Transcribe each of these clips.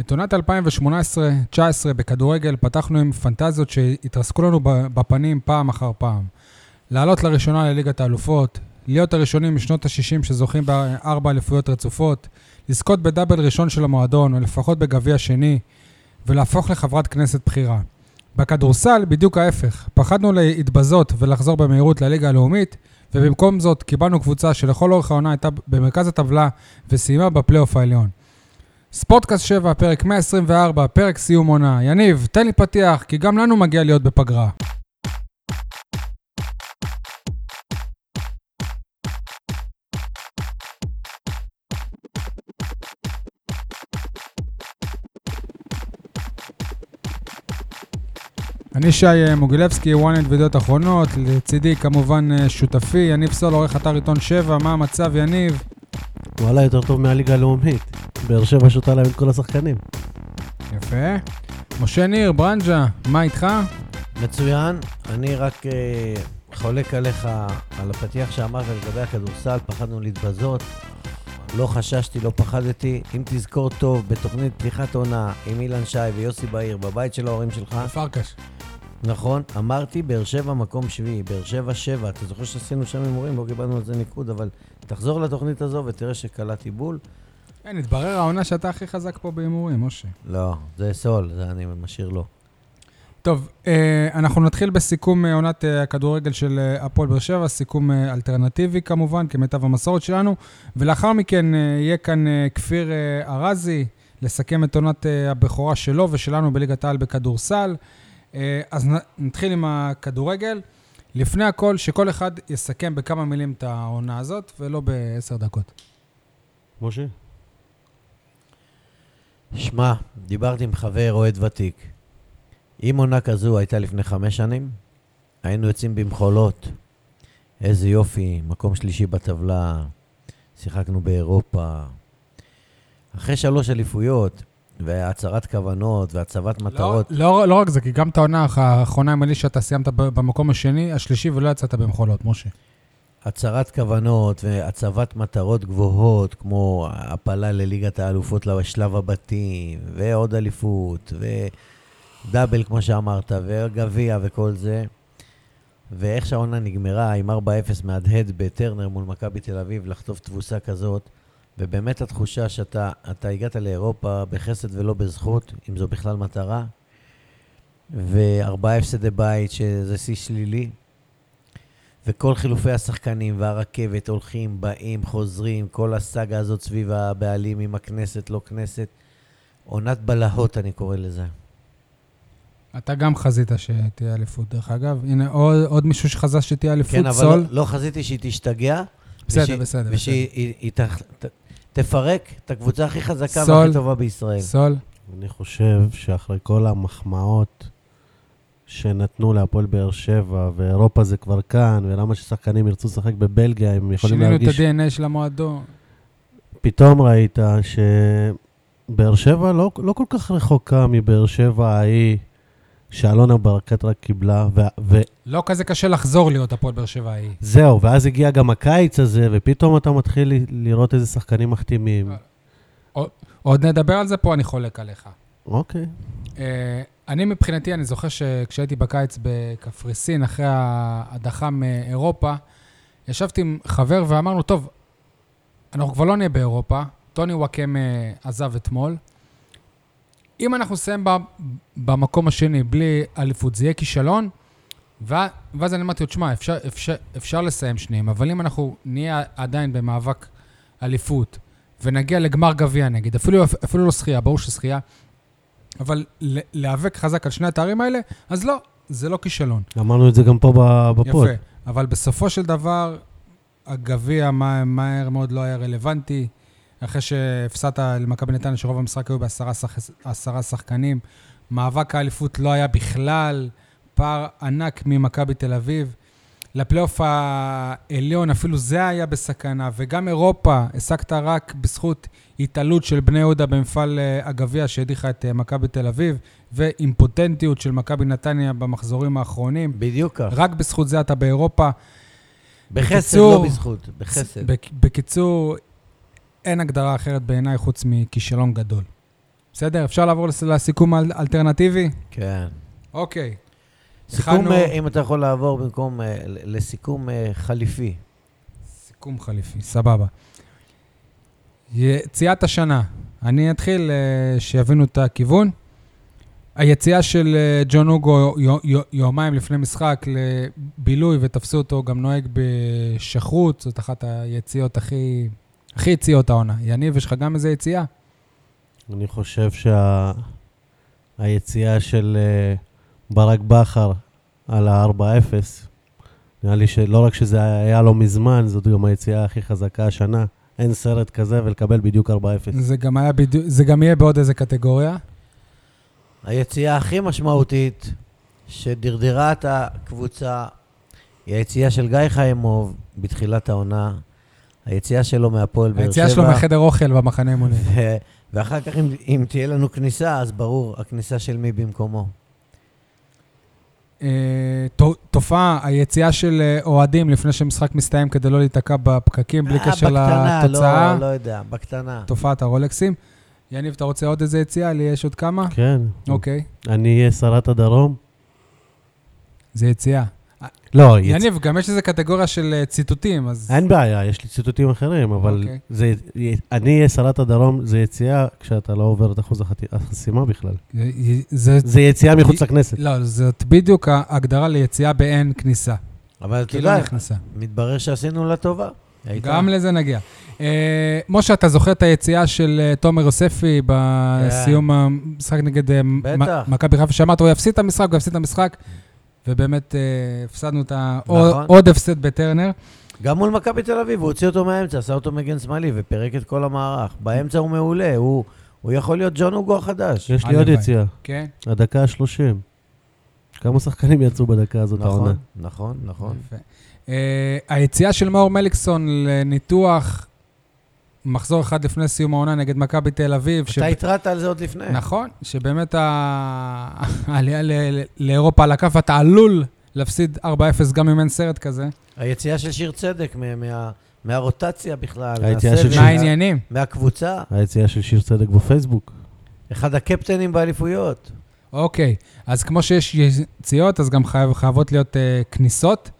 את עונת 2018-2019 בכדורגל פתחנו עם פנטזיות שהתרסקו לנו בפנים פעם אחר פעם. לעלות לראשונה לליגת האלופות, להיות הראשונים משנות ה-60 שזוכים בארבע אליפויות רצופות, לזכות בדאבל ראשון של המועדון, או לפחות בגביע שני, ולהפוך לחברת כנסת בכירה. בכדורסל, בדיוק ההפך. פחדנו להתבזות ולחזור במהירות לליגה הלאומית, ובמקום זאת קיבלנו קבוצה שלכל אורך העונה הייתה במרכז הטבלה וסיימה בפלייאוף העליון. ספורטקאסט 7, פרק 124, פרק סיום עונה. יניב, תן לי פתיח, כי גם לנו מגיע להיות בפגרה. אני שי אה, מוגילבסקי, וואנט וידיעות אחרונות, לצידי כמובן אה, שותפי, יניב סול, עורך אתר עיתון 7, מה המצב יניב? וואלה, יותר טוב מהליגה הלאומית. באר שבע שותה להם את כל השחקנים. יפה. משה ניר, ברנג'ה, מה איתך? מצוין, אני רק אה, חולק עליך, על הפתיח שאמרת לגבי הכדורסל, פחדנו להתבזות. לא חששתי, לא פחדתי. אם תזכור טוב, בתוכנית פתיחת עונה עם אילן שי ויוסי בהיר, בבית של ההורים שלך, פרקש. נכון, אמרתי באר שבע מקום שביעי, באר שבע שבע. אתה זוכר שעשינו שם הימורים, לא קיבלנו על זה ניקוד, אבל תחזור לתוכנית הזו ותראה שקלעתי בול. כן, התברר העונה שאתה הכי חזק פה בהימורים, משה. לא, זה סול, זה אני משאיר לו. טוב, אה, אנחנו נתחיל בסיכום אה, עונת אה, הכדורגל של אה, הפועל באר שבע, סיכום אה, אלטרנטיבי כמובן, כמיטב המסורת שלנו, ולאחר מכן אה, יהיה כאן אה, כפיר אה, ארזי לסכם את עונת אה, הבכורה שלו ושלנו בליגת העל בכדורסל. אה, אז נ- נתחיל עם הכדורגל. לפני הכל, שכל אחד יסכם בכמה מילים את העונה הזאת, ולא בעשר דקות. משה? שמע, דיברתי עם חבר אוהד ותיק. אם עונה כזו הייתה לפני חמש שנים, היינו יוצאים במחולות. איזה יופי, מקום שלישי בטבלה, שיחקנו באירופה. אחרי שלוש אליפויות, והצהרת כוונות, והצבת מטרות, לא, לא רק זה, כי גם את העונה האחרונה עם אלישע, אתה סיימת ב- במקום השני, השלישי, ולא יצאת במחולות, משה. הצהרת כוונות והצבת מטרות גבוהות, כמו הפלה לליגת האלופות לשלב הבתים, ועוד אליפות, ודאבל, כמו שאמרת, וגביע וכל זה. ואיך שהעונה נגמרה, עם 4-0 מהדהד בטרנר מול מכבי תל אביב, לחטוף תבוסה כזאת, ובאמת התחושה שאתה אתה הגעת לאירופה בחסד ולא בזכות, אם זו בכלל מטרה, וארבעה הפסדי בית, שזה שיא שלילי, וכל חילופי השחקנים והרכבת הולכים, באים, חוזרים, כל הסאגה הזאת סביב הבעלים עם הכנסת, לא כנסת. עונת בלהות, אני קורא לזה. אתה גם חזית שתהיה אליפות, דרך אגב. הנה, עוד, עוד מישהו שחזה שתהיה אליפות, כן, אבל סול. לא, לא חזיתי שהיא תשתגע. בסדר, ושהיא- בסדר, ושהיא היא- היא תח- ת- תפרק את הקבוצה הכי חזקה סול. והכי טובה בישראל. סול, אני חושב שאחרי כל המחמאות שנתנו להפועל באר שבע, ואירופה זה כבר כאן, ולמה ששחקנים ירצו לשחק בבלגיה, הם יכולים שינינו את להרגיש... ה-DNA של המועדון. פתאום ראית שבאר שבע לא, לא כל כך רחוקה מבאר שבע ההיא, שאלונה ברקת רק קיבלה, ו- לא כזה קשה לחזור להיות הפועל באר שבע ההיא. וזהו, ואז הגיע גם הקיץ הזה, ופתאום אתה מתחיל ל- לראות איזה שחקנים מחתימים. אה. עוד נדבר על זה פה, אני חולק עליך. אוקיי. אה, אני מבחינתי, אני זוכר שכשהייתי בקיץ בקפריסין, אחרי ההדחה מאירופה, ישבתי עם חבר ואמרנו, טוב, אנחנו כבר לא נהיה באירופה, טוני וואקם אה, עזב אתמול. אם אנחנו נסיים ב- במקום השני בלי אליפות, זה יהיה כישלון. וה- ואז אני אמרתי לו, תשמע, אפשר, אפשר, אפשר לסיים שניים, אבל אם אנחנו נהיה עדיין במאבק אליפות, ונגיע לגמר גביע נגיד, אפילו, אפילו לא שחייה, ברור ששחייה, אבל ל- להיאבק חזק על שני התארים האלה, אז לא, זה לא כישלון. אמרנו את זה גם פה ב- בפוד. יפה. אבל בסופו של דבר, הגביע מה- מהר מאוד לא היה רלוונטי. אחרי שהפסדת למכבי נתניה, שרוב המשחק היו בעשרה שח- עשרה שחקנים, מאבק האליפות לא היה בכלל, פער ענק ממכבי תל אביב. לפלייאוף העליון, אפילו זה היה בסכנה, וגם אירופה, השגת רק בזכות התעלות של בני יהודה במפעל אה, הגביע שהדיחה את אה, מכבי תל אביב, ואימפוטנטיות של מכבי נתניה במחזורים האחרונים. בדיוק כך. רק בזכות זה אתה באירופה. בחסד, בקיצור, לא בזכות. בחסד. בק- בקיצור, אין הגדרה אחרת בעיניי חוץ מכישלון גדול. בסדר? אפשר לעבור לס- לסיכום האל- האלטרנטיבי? כן. אוקיי. סיכום, הכנו- אה, אם אתה יכול לעבור במקום, אה, ל- לסיכום אה, חליפי. סיכום חליפי, סבבה. יציאת השנה, אני אתחיל אה, שיבינו את הכיוון. היציאה של אה, ג'ון הוגו יו- יו- יומיים לפני משחק לבילוי, ותפסו אותו גם נוהג בשכרות, זאת אחת היציאות הכי... הכי יציאות העונה. יניב, יש לך גם איזה יציאה? אני חושב שהיציאה של אה, ברק בכר על ה-4-0, נראה לי שלא רק שזה היה לא מזמן, זאת גם היציאה הכי חזקה השנה. אין סרט כזה ולקבל בדיוק 4-0. זה גם, היה בדיוק, זה גם יהיה בעוד איזה קטגוריה. היציאה הכי משמעותית שדרדרה את הקבוצה היא היציאה של גיא חיימוב בתחילת העונה, היציאה שלו מהפועל באר שבע. היציאה שלו מהחדר אוכל במחנה אימונים. ו- ואחר כך, אם, אם תהיה לנו כניסה, אז ברור, הכניסה של מי במקומו. אה, ת- תופעה, היציאה של אה, אוהדים לפני שהמשחק מסתיים כדי לא להיתקע בפקקים בלי אה, קשר בקטנה, לתוצאה. לא, לא יודע, בקטנה. תופעת הרולקסים. יניב, אתה רוצה עוד איזה יציאה? לי יש עוד כמה? כן. אוקיי, אני אהיה שרת הדרום? זה יציאה. לא, יצ... יניב, גם יש איזה קטגוריה של אה, ציטוטים, אז... אין בעיה, יש לי ציטוטים אחרים, אבל אוקיי. זה, אני אהיה שרת הדרום, זה יציאה כשאתה לא עובר את אחוז החת- החסימה בכלל. זה... זה יציאה מחוץ לכנסת. לא, זאת בדיוק ההגדרה ליציאה באין כניסה. אבל אתה כי לא יודע, נכנסה. מתברר שעשינו לה טובה. הייתה. גם לזה נגיע. אה, משה, אתה זוכר את היציאה של אה, תומר יוספי בסיום המשחק נגד אה, מ- כן. בטח. מכבי חיפה, שאמרת, הוא יפסיד את המשחק, הוא יפסיד את המשחק, ובאמת אה, הפסדנו את ה- נכון. עוד הפסד בטרנר. גם מול מכבי תל אביב, הוא הוציא אותו מהאמצע, עשה אותו מגן שמאלי ופירק את כל המערך. באמצע הוא מעולה, הוא, הוא יכול להיות ג'ון הוגו החדש. יש לי עוד הלוואי. יציאה, כן. הדקה ה-30. כמה שחקנים יצאו בדקה הזאת העונה? נכון, נכון, נכון. כן, יפה. אה, היציאה של מאור מליקסון לניתוח מחזור אחד לפני סיום העונה נגד מכבי תל אביב. שב- אתה התרעת על זה עוד לפני. נכון, שבאמת ה- העלייה ל- ל- לאירופה על הכף, אתה עלול להפסיד 4-0 גם אם אין סרט כזה. היציאה של שיר צדק מה, מה, מהרוטציה בכלל, היציאה של מהסבל, שיר- מה מה- העניינים? מהקבוצה, היציאה של שיר צדק בפייסבוק. אחד הקפטנים באליפויות. אוקיי, אז כמו שיש יציאות, אז גם חייב, חייבות להיות אה, כניסות.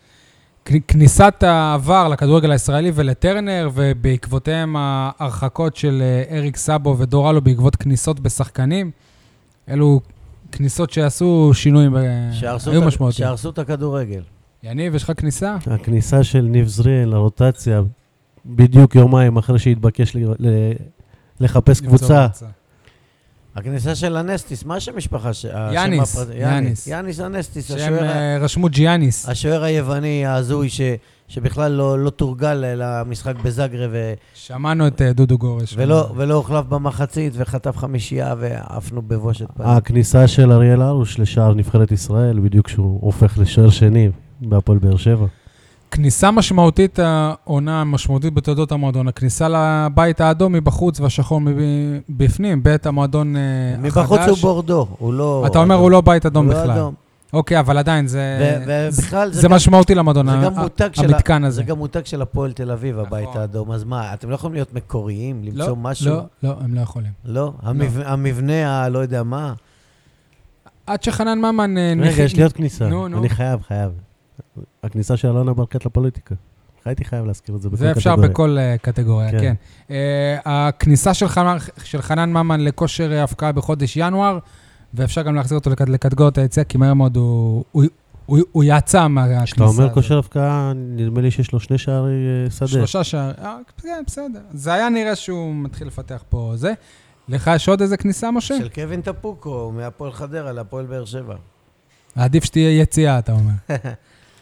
כ- כניסת העבר לכדורגל הישראלי ולטרנר, ובעקבותיהם ההרחקות של אה, אריק סאבו ודורלו בעקבות כניסות בשחקנים. אלו כניסות שעשו שינויים, אה, שהרסו היו את ה- משמעותיים. שהרסו את הכדורגל. יניב, יש לך כניסה? הכניסה של ניב זריאן לרוטציה, בדיוק יומיים אחרי שהתבקש ל- ל- לחפש קבוצה. נמצא בקבוצה. הכניסה של אנסטיס, מה שם המשפחה? ש- השם יאניס, הפרטי- יאניס. יאניס אנסטיס, שהם השוער ה- אה, רשמו ג'יאניס. השוער היווני ההזוי ש- שבכלל לא לא תורגל למשחק בזאגרב ו- שמענו את אה, דודו גורש. ולא ולא הוחלף במחצית וחטף חמישייה ועפנו בבושת אה, פנים. הכניסה של אריאל הרוש לשער נבחרת ישראל, בדיוק כשהוא הופך לשוער שני בהפועל באר שבע. כניסה משמעותית, העונה המשמעותית בתולדות המועדון, הכניסה לבית האדום מבחוץ והשחור מבפנים, בית המועדון אה, החדש. מבחוץ הוא בורדו, הוא לא... אתה אומר, הוא לא בית אדום הוא לא בכלל. אדום. אוקיי, אבל עדיין, זה ו- ובכלל זה זה גם- משמעותי למועדון, זה ה- גם מותג ה- של ה- המתקן הזה. זה גם מותג של הפועל תל אביב, הבית כן. נכון. האדום, אז מה, אתם לא יכולים להיות מקוריים, לא, למצוא משהו? לא, לא, הם לא יכולים. לא? המבנ- המבנה, הלא יודע מה. עד שחנן ממן... אה, נכ- רגע, יש לי עוד כניסה. נו, נו. אני חייב, חייב. הכניסה של אלונה ברקת לפוליטיקה. הייתי חייב להזכיר את זה בכל זה אפשר קטגוריה. בכל אה, קטגוריה, כן. כן. אה, הכניסה של חנן- של חנן ממן לכושר אה, הפקעה בחודש ינואר, ואפשר גם להחזיר אותו לקט- לקטגוריית היציאה, כי מהר מאוד הוא- הוא- הוא הוא יצא מהכניסה הזאת. כשאתה אומר כושר הבקעה, נדמה לי שיש לו שני שערי אה, שדה. שלושה שער, אה, כן, בסדר. זה היה נראה שהוא מתחיל לפתח פה זה. לך יש עוד איזה כניסה, משה? של קווין טפוקו, מהפועל חדרה להפועל באר שבע. עדיף שתהיה יציאה, אתה אומר.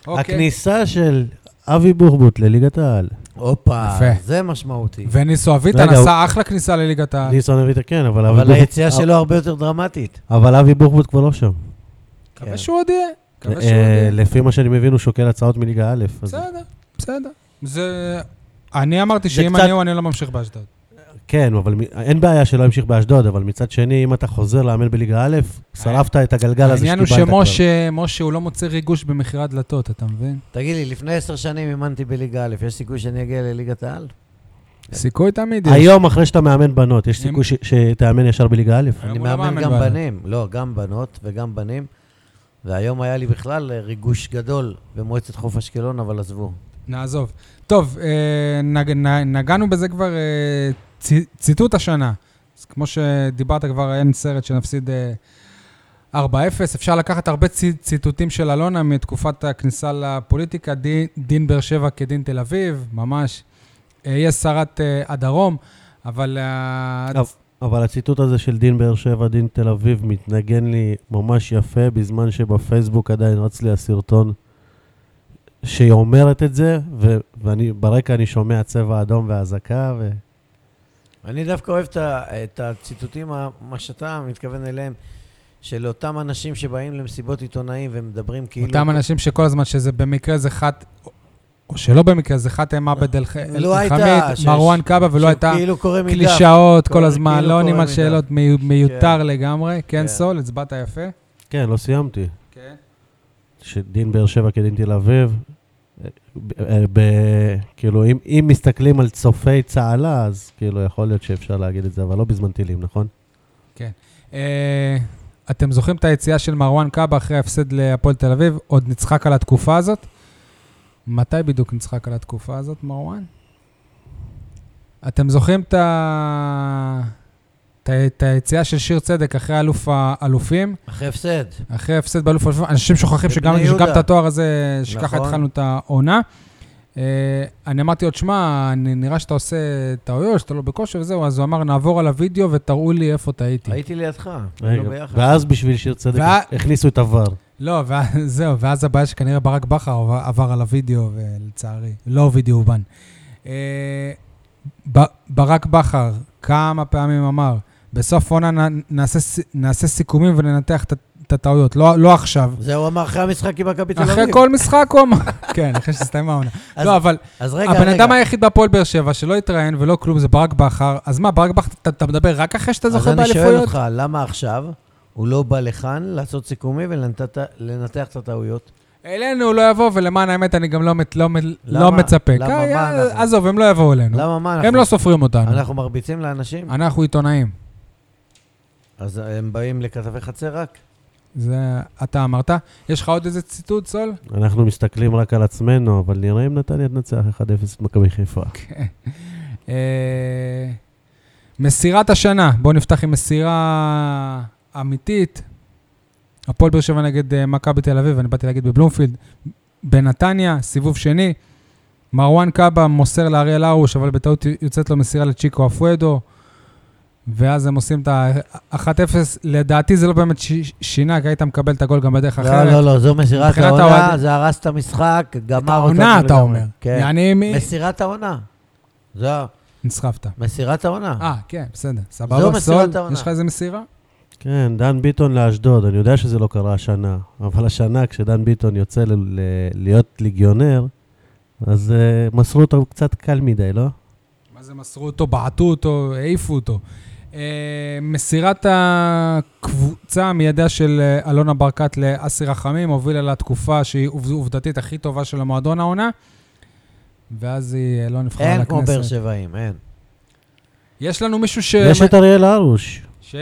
אוקיי. הכניסה של אבי בוחבוט לליגת העל. הופה, יפה. זה משמעותי. וניסו אביטן רגע, עשה אחלה כניסה לליגת ה... ניסון אביטה כן, אבל אבי אבל בוחבוט- אה, היציאה שלו הרבה יותר דרמטית. אבל אבי בוחבוט כבר לא שם. מקווה שהוא עוד יהיה. מקווה שהוא עוד אה, יהיה. לפי מה שאני מבין, הוא שוקל הצעות מליגה א'. אז- בסדר, בסדר. זה... אני אמרתי זה שאם קצת- אני הוא, אני לא ממשיך באשדוד. כן, אבל מ- אין בעיה שלא ימשיך באשדוד, אבל מצד שני, אם אתה חוזר לאמן בליגה א', שרפת את הגלגל הזה העניין הוא שקיבלת כבר. שמשה, משה, הוא לא מוצא ריגוש במכירת דלתות, אתה מבין? תגיד לי, לפני עשר שנים אימנתי בליגה א', יש סיכוי שאני אגיע לליגת העל? סיכוי תמיד יש. כן. היום, אחרי שאתה מאמן בנות, יש הם- סיכוי ש- שתאמן ישר בליגה א'? היום אני הוא לא מאמן מאמן גם בנות. בנים, לא, גם בנות וגם בנים. והיום היה לי בכלל אה, ריגוש גדול במועצת חוף אשקלון, אבל עזבו. נעזוב. טוב, אה, נג, נ, נגענו בזה כבר אה, צ, ציטוט השנה. אז כמו שדיברת כבר, אין סרט שנפסיד אה, 4-0. אפשר לקחת הרבה צ, ציטוטים של אלונה מתקופת הכניסה לפוליטיקה, דין, דין באר שבע כדין תל אביב, ממש. אה, היא שרת אה, הדרום, אבל... אה, אבל- אבל הציטוט הזה של דין באר שבע, דין תל אביב, מתנגן לי ממש יפה, בזמן שבפייסבוק עדיין רץ לי הסרטון שהיא אומרת את זה, ו- ואני, ברקע אני שומע צבע אדום ואזעקה, ו... אני דווקא אוהב את, ה- את הציטוטים, ה- מה שאתה מתכוון אליהם, של אותם אנשים שבאים למסיבות עיתונאים ומדברים כאילו... אותם אנשים שכל הזמן, שזה במקרה זה חת... או שלא במקרה, זה חתם עבד אל לא אל- הייתה, שיש- חמיד, מרואן קאבה, ולא הייתה... כאילו קורא מדף. קלישאות כל כל- הזמן, לא כאילו כל עונים על המידע. שאלות, מי- מיותר לגמרי. כן. כן, סול, הצבעת יפה. כן, לא סיימתי. כן. שדין באר שבע כדין תל אביב, אה, ב- אה, ב- כאילו, אם- אם מסתכלים על צופי צהלה, אז כאילו, יכול להיות שאפשר להגיד את זה, אבל לא בזמן טילים, נכון? אה, אתם זוכרים את היציאה של מרואן קאבה אחרי ההפסד להפועל תל אביב? עוד נצחק על התקופה הזאת? מתי בדיוק נצחק על התקופה הזאת, מרואן? אתם זוכרים את ה... את ה- את היציאה של שיר צדק אחרי אלוף האלופים, אחרי הפסד. אחרי ההפסד באלוף האלופים, אנשים שוכחים לבני שגם, יהודה. שגם את התואר הזה, שככה נכון. התחלנו את העונה. אה, אני אמרתי לו, תשמע, נ- נראה שאתה עושה טעויות, שאתה לא בכושר וזהו, אז הוא אמר, נעבור על הוידאו ותראו לי איפה טעיתי. הייתי לידך, רגע, היינו לא ביחד. ואז בשביל שיר צדק וה- הכניסו את עבר. לא, ואז- זהו, ואז הבעיה שכנראה ברק בכר עבר- עבר על הוידאו, ולצערי, לא וידאו אובן. אה, ב- ברק בכר כמה פעמים אמר, בסוף העונה נ- נעשה ס- נעשה סיכומים וננתח את ה- את הטעויות, לא לא עכשיו. זה הוא אמר אחרי המשחק עם מכבי תל אביב. אחרי כל משחק הוא אמר. כן, אחרי שהסתיימה העונה. לא אז- לא, אבל אז רגע, הבן רגע. אדם היחיד בהפועל באר שבע שלא התראיין ולא כלום, זה ברק בכר. אז מה, ברק בכר, אתה- אתה מדבר רק אחרי שאתה זוכר אז אני שואל באליפויות? אותך, למה עכשיו הוא לא בא לכאן לעשות סיכומים ולנתח את הטעויות? אלינו הוא לא יבוא, ולמען האמת, אני גם לא מת- לא מ- לא למה? מצפה. למה? כי- מה אנחנו? עזוב, הם לא יבואו אלינו. למה, מה אנחנו? הם לא סופרים אותנו. אנחנו מרביצים לאנשים? אנחנו עיתונאים. אז הם באים לכתבי חצר רק? זה אתה אמרת. יש לך עוד איזה ציטוט, סול? אנחנו מסתכלים רק על עצמנו, אבל נראה אם נתניה תנצח 1-0 את מכבי חיפה. אה, מסירת השנה, בואו נפתח עם מסירה אמיתית. הפועל באר שבע נגד אה, מכבי תל אביב, אני באתי להגיד בבלומפילד. בנתניה, סיבוב שני. מרואן קאבה מוסר לאריאל הרוש, אבל בטעות יוצאת לו מסירה לצ'יקו אפואדו. ואז הם עושים את ה-1-0. לדעתי זה לא באמת ש- שינה, כי היית מקבל את הגול גם בדרך אחרת. לא, לא, לא, זו מסירת מבחינת העונה, האוהדים- זה הרס את המשחק, גמר אותנו. העונה, אתה לגמרי. אומר. כן. יעני מי? מסירת העונה. זו נסחפת. מסירת העונה. אה, כן, בסדר. זו סבבה, מסירת סול, העונה. יש לך איזה מסירה? כן, דן ביטון לאשדוד, אני יודע שזה לא קרה השנה, אבל השנה כשדן ביטון יוצא ל- ל- להיות ליגיונר, אז אה, מסרו אותו קצת קל מדי, לא? מה זה מסרו אותו, בעטו אותו, העיפו אותו. אה, מסירת הקבוצה מידיה של אה, אלונה ברקת לאסי רחמים הובילה לתקופה שהיא עובד- עובדתית הכי טובה של המועדון העונה, ואז היא אה, לא נבחרה אין כמו באר לכנסת. שבעים, אין. יש לנו מישהו ש... יש את אריאל הרוש, ש...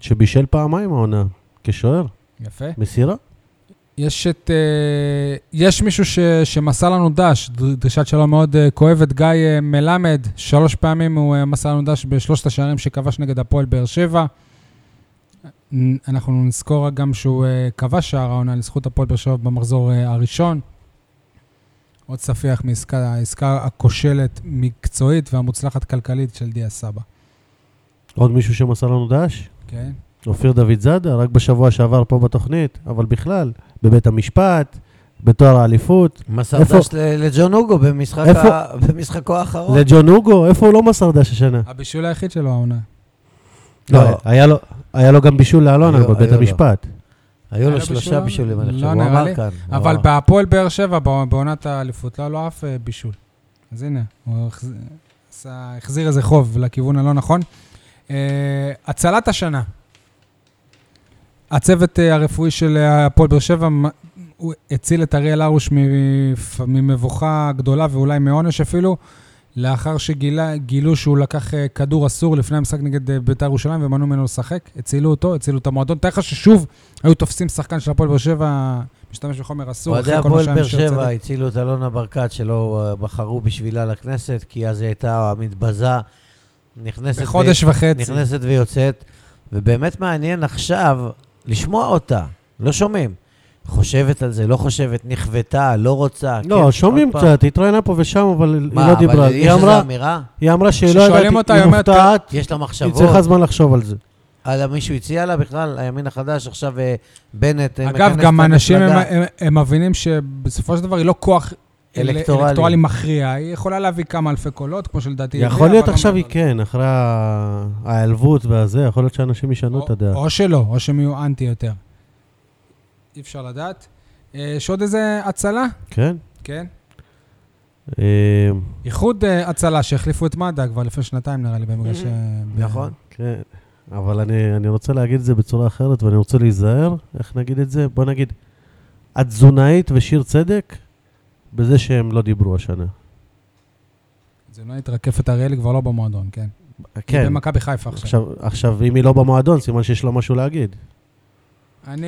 שבישל פעמיים העונה, כשוער, יפה. מסירה. יש את... אה, יש מישהו ש, שמסר לנו דש, ד- דרישת שלום מאוד אה, כואבת, גיא אה, מלמד, שלוש פעמים הוא אה, מסר לנו דש בשלושת השערים שכבש נגד הפועל באר שבע. נ- אנחנו נזכור רק גם שהוא אה, כבש שער העונה לזכות הפועל באר שבע במחזור אה, הראשון. עוד ספיח מעסקה העסקה הכושלת מקצועית והמוצלחת כלכלית של דיה סבא. עוד מישהו שמסר לנו דש? כן? אופיר דוד זאדה, רק בשבוע שעבר פה בתוכנית, אבל בכלל, בבית המשפט, בתואר האליפות, מסר איפה- דש ל- לג'ון הוגו במשחק איפה- ה- במשחקו האחרון. לג'ון הוגו, איפה הוא לא מסר דש השנה? הבישול היחיד שלו העונה. לא, לא. היה לו- היה לו גם בישול לאלונה היו- בבית היו לו. המשפט. היו היה לו לו שלושה בישול? בישולים, לא אני חושב, הוא נראה אמר לי. כאן. לא. הוא אבל אמר. בהפועל באר שבע, בע- בעונת האליפות, לא היה לו אף אה, בישול. אז הנה, הוא החז- עשה- החזיר איזה חוב לכיוון הלא נכון. אה, הצלת השנה. הצוות אה, הרפואי של אה, הפועל באר שבע מ- הוא הציל את אריאל הרוש מ- ממבוכה גדולה ואולי מעונש אפילו. לאחר שגילו שהוא לקח אה, כדור אסור לפני המשחק נגד אה, בית"ר ירושלים ומנעו ממנו לשחק, הצילו אותו, הצילו את המועדון. תאר לך ששוב היו תופסים שחקן של הפועל באר שבע, משתמש בחומר אסור, אוהדי אחרי כל מה הפועל שהיה באר עם שיר שבע צדק. הצילו את אלונה ברקת, שלא אה, בחרו בשבילה לכנסת, כי אז היא הייתה מתבזה, נכנסת, בחודש ו... וחצי. נכנסת ויוצאת, ובאמת מעניין עכשיו לשמוע אותה, לא שומעים. חושבת על זה, לא חושבת, נכוותה, לא רוצה. כן, לא, שומעים עוד פעם. קצת, התראיינה פה ושם, אבל היא מה, לא דיברה. אבל היא יש איזו אמרה- אמירה? היא אמרה שהיא לא כששואלים יודעת, אותה, היא היא אומרת, מופתעת, יש לה היא מחשבות? צריכה זמן לחשוב על זה. על מישהו הציע לה בכלל, הימין החדש, עכשיו אה, בנט אה, אגב, מכנס גם את אנשים הם- המפלגה. הם- הם מבינים שבסופו של דבר היא לא כוח אלקטורלי. אלקטורלי מכריע, היא יכולה להביא כמה אלפי קולות, כמו שלדעתי... היא יכול הביאה, להיות אבל לא עכשיו היא מאוד. כן, אחרי ה- ההיעלבות והזה, יכול להיות שאנשים ישנו את או- הדעה. או שלא, או שהם יהיו אנטי יותר. אי אפשר לדעת. אה, יש עוד איזה הצלה? כן? כן. אה, איחוד אה, הצלה שהחליפו את מד"א כבר לפני שנתיים, נראה לי, במגרש... אה, ב- נכון. כן. אבל אני, אני רוצה להגיד את זה בצורה אחרת, ואני רוצה להיזהר, איך נגיד את זה? בוא נגיד, התזונאית ושיר צדק, בזה שהם לא דיברו השנה. זה לא התרקפת אריאלי כבר לא במועדון, כן. היא כן, במכבי חיפה עכשיו. עכשיו, עכשיו, אם היא לא במועדון, סימן שיש לה משהו להגיד. אני,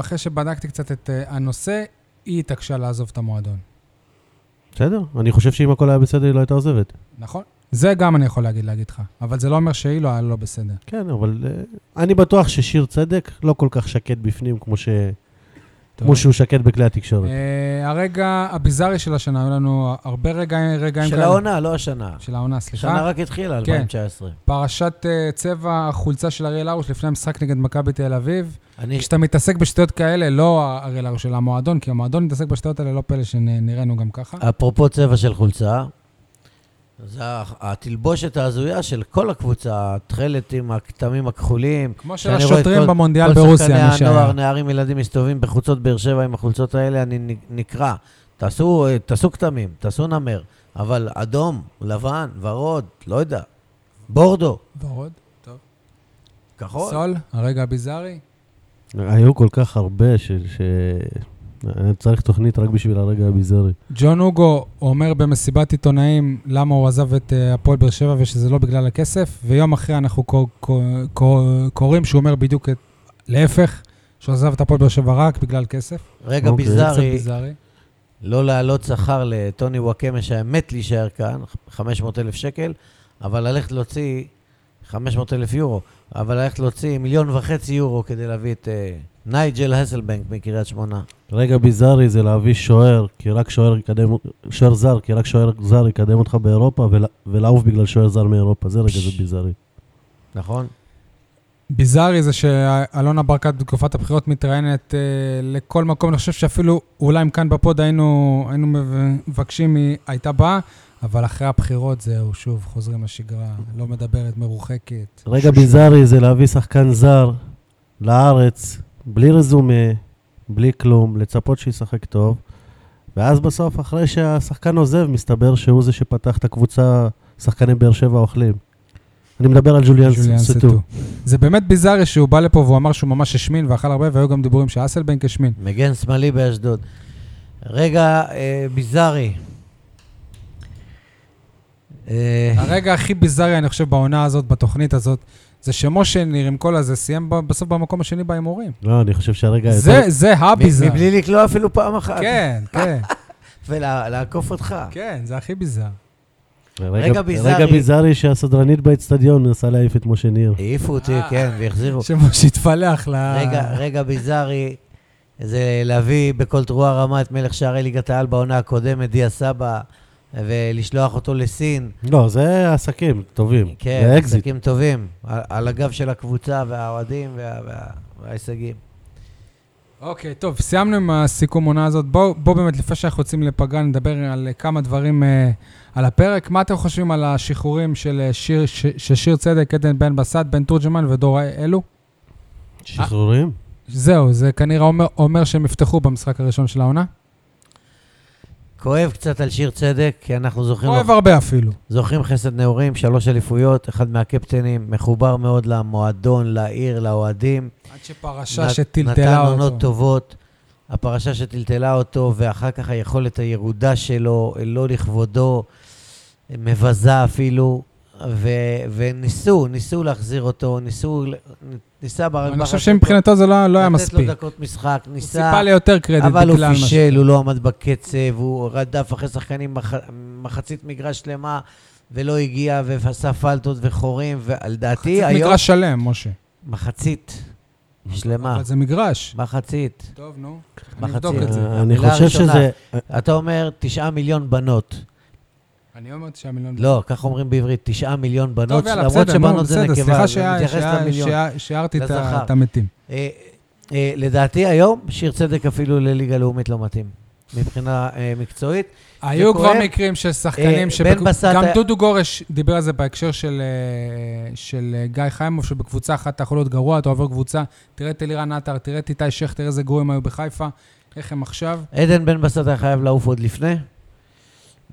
אחרי שבדקתי קצת את אה, הנושא, היא התעקשה לעזוב את המועדון. בסדר? אני חושב שאם הכל היה בסדר, היא לא הייתה עוזבת. נכון? זה גם אני יכול להגיד, להגיד לך. אבל זה לא אומר שהיא לא היה לא בסדר. כן, אבל אה, אני בטוח ששיר צדק לא כל כך שקט בפנים, כמו, ש... כמו שהוא שקט בכלי התקשורת. אה, הרגע הביזארי של השנה, היו לנו הרבה רגעים רגעים של העונה, לא השנה. של העונה, סליחה. השנה רק התחילה, כן. 2019. פרשת אה, צבע החולצה של אריאל הרוש לפני המשחק נגד מכבי תל אביב. אני כשאתה מתעסק בשטויות כאלה, לא אריאל הרוש, אלא המועדון, כי המועדון מתעסק בשטויות האלה, לא פלא שנראינו גם ככה. אפרופו צבע של חולצה, זה התלבושת ההזויה של כל הקבוצה, התכלת עם הכתמים הכחולים. כמו של שאני רואה את השוטרים כל- במונדיאל ברוסיה, כל מי שחקני הנוער, שהיה. נערים, ילדים מסתובבים בחולצות באר שבע עם החולצות האלה, אני נ- נקרע. תעשו, אה, תעשו כתמים, תעשו נמר, אבל אדום, לבן, ורוד, לא יודע, בורדו, ורוד, כחול. סול, הרגע הביזארי. היו כל כך הרבה ש... ש... אני צריך תוכנית רק בשביל הרגע הביזארי. ג'ון הוגו אומר במסיבת עיתונאים למה הוא עזב את אה, הפועל באר שבע ושזה לא בגלל הכסף, ויום אחרי אנחנו קו- קו- קו- קוראים שהוא אומר בדיוק את... להפך, שהוא עזב את הפועל באר שבע רק בגלל כסף. רגע אוקיי, קצת ביזארי, ביזארי. לא להעלות שכר לטוני וואקמה, שהיה מת להישאר כאן, 500 אלף שקל, אבל ללכת להוציא 500 אלף יורו, אבל ללכת להוציא מיליון וחצי יורו כדי להביא את אה, נייג'ל הסלבנק מקריית שמונה. רגע ביזארי זה להביא שוער, כי רק שוער יקדם, שוער זר, כי רק שוער זר יקדם אותך באירופה, ול- ולעוף בגלל שוער זר מאירופה, זה רגע זה ביזארי. נכון? ביזארי זה שאלונה ברקת בתקופת הבחירות מתראיינת אה, לכל מקום. אני חושב שאפילו אולי אם כאן בפוד היינו, היינו מבקשים, היא הייתה באה, אבל אחרי הבחירות זהו, שוב, חוזרים לשגרה, לא מדברת, מרוחקת. רגע ביזארי זה להביא שחקן זר לארץ, בלי רזומה, בלי כלום, לצפות שישחק טוב, ואז בסוף, אחרי שהשחקן עוזב, מסתבר שהוא זה שפתח את הקבוצה שחקני באר שבע אוכלים. אני מדבר על ג'וליאן ג'וליאן סטו. סטו. זה באמת ביזארי שהוא בא לפה והוא אמר שהוא ממש השמין ואכל הרבה, והיו גם דיבורים שאסלבנק השמין. מגן שמאלי באשדוד. רגע אה, ביזארי. אה, הרגע הכי ביזארי, אני חושב, בעונה הזאת, בתוכנית הזאת, זה שמשה ניר עם כל הזה סיים ב- בסוף במקום השני בהימורים. לא, אני חושב שהרגע... זה- זה הביזארי. כן, מבלי לקלוע אפילו פעם אחת. כן, כן, ולעקוף אותך. כן, זה הכי ביזארי. רגע ביזארי. רגע ביזארי שהסדרנית באצטדיון מנסה להעיף את משה ניר. העיפו אותי, אה. כן, והחזירו. שמשה התפלח ל... רגע, רגע ביזארי, זה להביא בכל תרועה רמה את מלך שערי ליגת העל בעונה הקודמת, דיה סבא, ולשלוח אותו לסין. לא, זה עסקים טובים. כן, זה אקזיט. עסקים טובים, על, על הגב של הקבוצה והאוהדים וה, וה, וההישגים. אוקיי, טוב, סיימנו עם הסיכום עונה הזאת. בואו בוא באמת, לפני שאנחנו יוצאים לפגרה, נדבר על אה, כמה דברים אה, על הפרק. מה אתם חושבים על השחרורים של אה, שיר, ש, של שיר צדק, עדן בן בסט, בן תורג'מן ודור אלו? שחרורים? זהו, זה כנראה אומר, אומר שהם יפתחו במשחק הראשון של העונה. כואב קצת על שיר צדק, כי אנחנו זוכרים, אוהב הרבה אפילו. זוכרים חסד נעורים, שלוש אליפויות, אחד מהקפטנים, מחובר מאוד למועדון, לעיר, לאוהדים. עד שפרשה נת- שטלטלה נתן אותו. עונות טובות, הפרשה שטלטלה אותו, ואחר כך היכולת הירודה שלו, לא לכבודו. מבזה אפילו, ו- וניסו, ניסו להחזיר אותו, ניסו, ניסה ברק בכר... אני חושב שמבחינתו זה לא לא היה לתת מספיק. לו דקות משחק, הוא ניסה... ציפה ליותר קרדיט אבל בכלל. הוא מה ש- פישל, הוא לא עמד בקצב, הוא רדף אחרי שחקנים מח... מחצית מגרש שלמה, ולא הגיע, ועשה פלטות וחורים, ועל דעתי מחצית היום... מגרש שלם, משה. מחצית שלמה. אבל זה מגרש. מחצית. טוב, נו. אני מחצית. אבדוק את זה. אה, אני המילה חושב אה, הראשונה. שזה... אתה אומר תשעה מיליון בנות. אני אומר 9 מיליון. לא, כך אומרים בעברית, תשעה מיליון בנות, טוב, יאללה, למרות בסדר, נו, שבנות זה בסדר. נקבה, סליחה זה שהיה- מתייחס שהיה- למיליון. שהיה- שהערתי את ה- לזכר. את המתים. אה, אה, לדעתי היום, שיר צדק אפילו לליגה לאומית לא מתאים, מבחינה אה, מקצועית. היו וכואב. כבר מקרים של שחקנים, אה, שבק- בן בסט גם היה- דודו גורש דיבר על זה בהקשר של, אה, של אה, גיא חיימוב, שבקבוצה אחת אתה יכול להיות גרוע, אתה עובר קבוצה, תראה את אלירן עטר, תראה את איתי שכטר, תראה איזה גרועים היו בחיפה, איך הם עכשיו. עדן בן בסט היה חייב לעוף עוד לפני.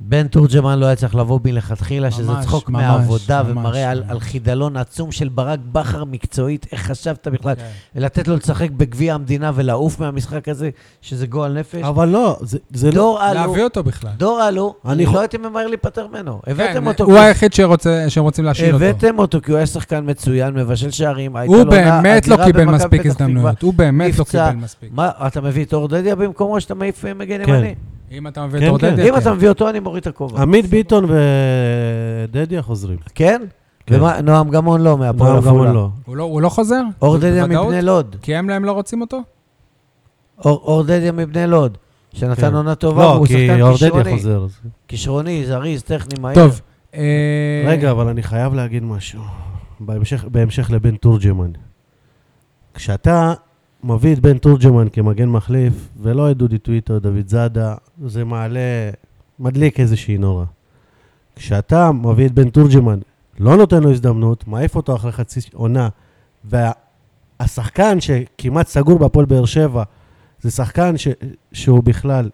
בן תורג'מן לא היה צריך לבוא מלכתחילה, שזה ממש, צחוק ממש, מהעבודה, ממש, ומראה על, ממש. על חידלון עצום של ברק בכר מקצועית, איך חשבת בכלל, כן. ולתת לו לשחק בגביע המדינה ולעוף מהמשחק הזה, שזה גועל נפש. אבל לא, זה- זה לא... דור אלו, להביא אותו בכלל. דור אלו, אני אני חו- לא הייתי ממהר להיפטר ממנו. הבאתם כן, אותו, הוא כי- היחיד שרוצה- שהם רוצים להשאיר אותו. הבאתם אותו כי הוא היה שחקן מצוין, מבשל שערים, הייתה לו הוא עונה באמת לא אדירה קיבל במכבי מספיק פתח תקווה. הזדמנויות. הוא באמת לא נפצע. קיבל מספיק. מה, אתה מביא את אור דדיה במקומו או שאתה מעיף אה, מגן כן. ימני? אם אתה מביא את כן, אורדדיה, אם אתה מביא אותו, אני מוריד את הכובע. עמית ביטון ודדיה חוזרים. כן? כן. ומה, נועם גמון לא, מהפועל נועם עפולה. גמון לא. הוא לא- הוא לא חוזר? אור זאת דדיה בוודאות? מבני לוד. כי הם להם לא רוצים אותו? אה, אור אור דדיה מבני לוד, כן. שנתן עונה טובה, לא, והוא כי שחקן אורדדיה כישרוני. חוזר. אז- כישרוני, זריז, טכני, מהיר. טוב. אה, רגע, אבל אני חייב להגיד משהו. בהמשך, בהמשך לבן תורג'מן. כשאתה מביא את בן תורג'מן כמגן מחליף, ולא את דודי טוויטו, דוד זאדה, זה מעלה, מדליק איזושהי נורה. כשאתה מביא את בן תורג'מן, לא נותן לו הזדמנות, מעיף אותו אחרי חצי עונה, והשחקן שכמעט סגור בהפועל באר שבע, זה שחקן ש, שהוא בכלל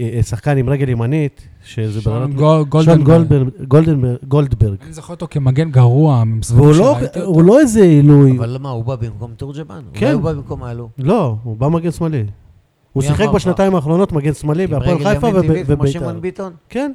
אה, אה, שחקן עם רגל ימנית, שזה שון ברמת גול- שון גולדנברג. גולדברג, גולדנברג, גולדברג. אני זוכר אותו כמגן גרוע ממסגור והוא לא, שראיתי אותו. הוא לא איזה עילוי. אבל מה, הוא בא במקום תורג'מן? כן. אולי הוא בא במקום אלו. לא, הוא בא מגן שמאלי. הוא מי שיחק אמר לך? בשנתיים האחרונות מגן שמאלי עם בהפועל רגל חיפה ימין וב- טבעית כמו ובית"ר. שמעון ביטון? כן.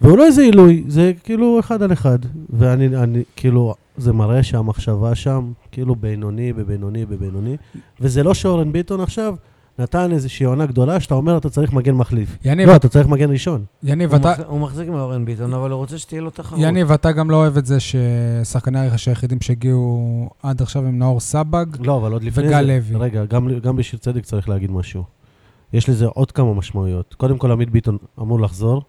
והוא לא איזה עילוי, זה כאילו אחד על אחד. ואני, אני, כאילו, זה מראה שהמחשבה שם, כאילו בינוני, בבינוני, בבינוני. וזה לא שאורן ביטון עכשיו נתן איזושהי עונה גדולה, שאתה אומר, אתה צריך מגן מחליף. יניב, לא, אתה צריך מגן ראשון. יניב, הוא אתה... מחזיק- הוא מחזיק מאורן ביטון, אבל הוא רוצה שתהיה לו תחרות. יניב, אתה גם לא אוהב את זה ששחקני הרכש היחידים שהגיעו עד עכשיו הם נאור סבג. לא, אבל עוד לפני זה... וגל לוי. רגע, גם, גם בשביל צדק צריך להגיד משהו. יש לזה עוד כמה משמעויות. קודם כל, עמית ביטון אמור לחזור,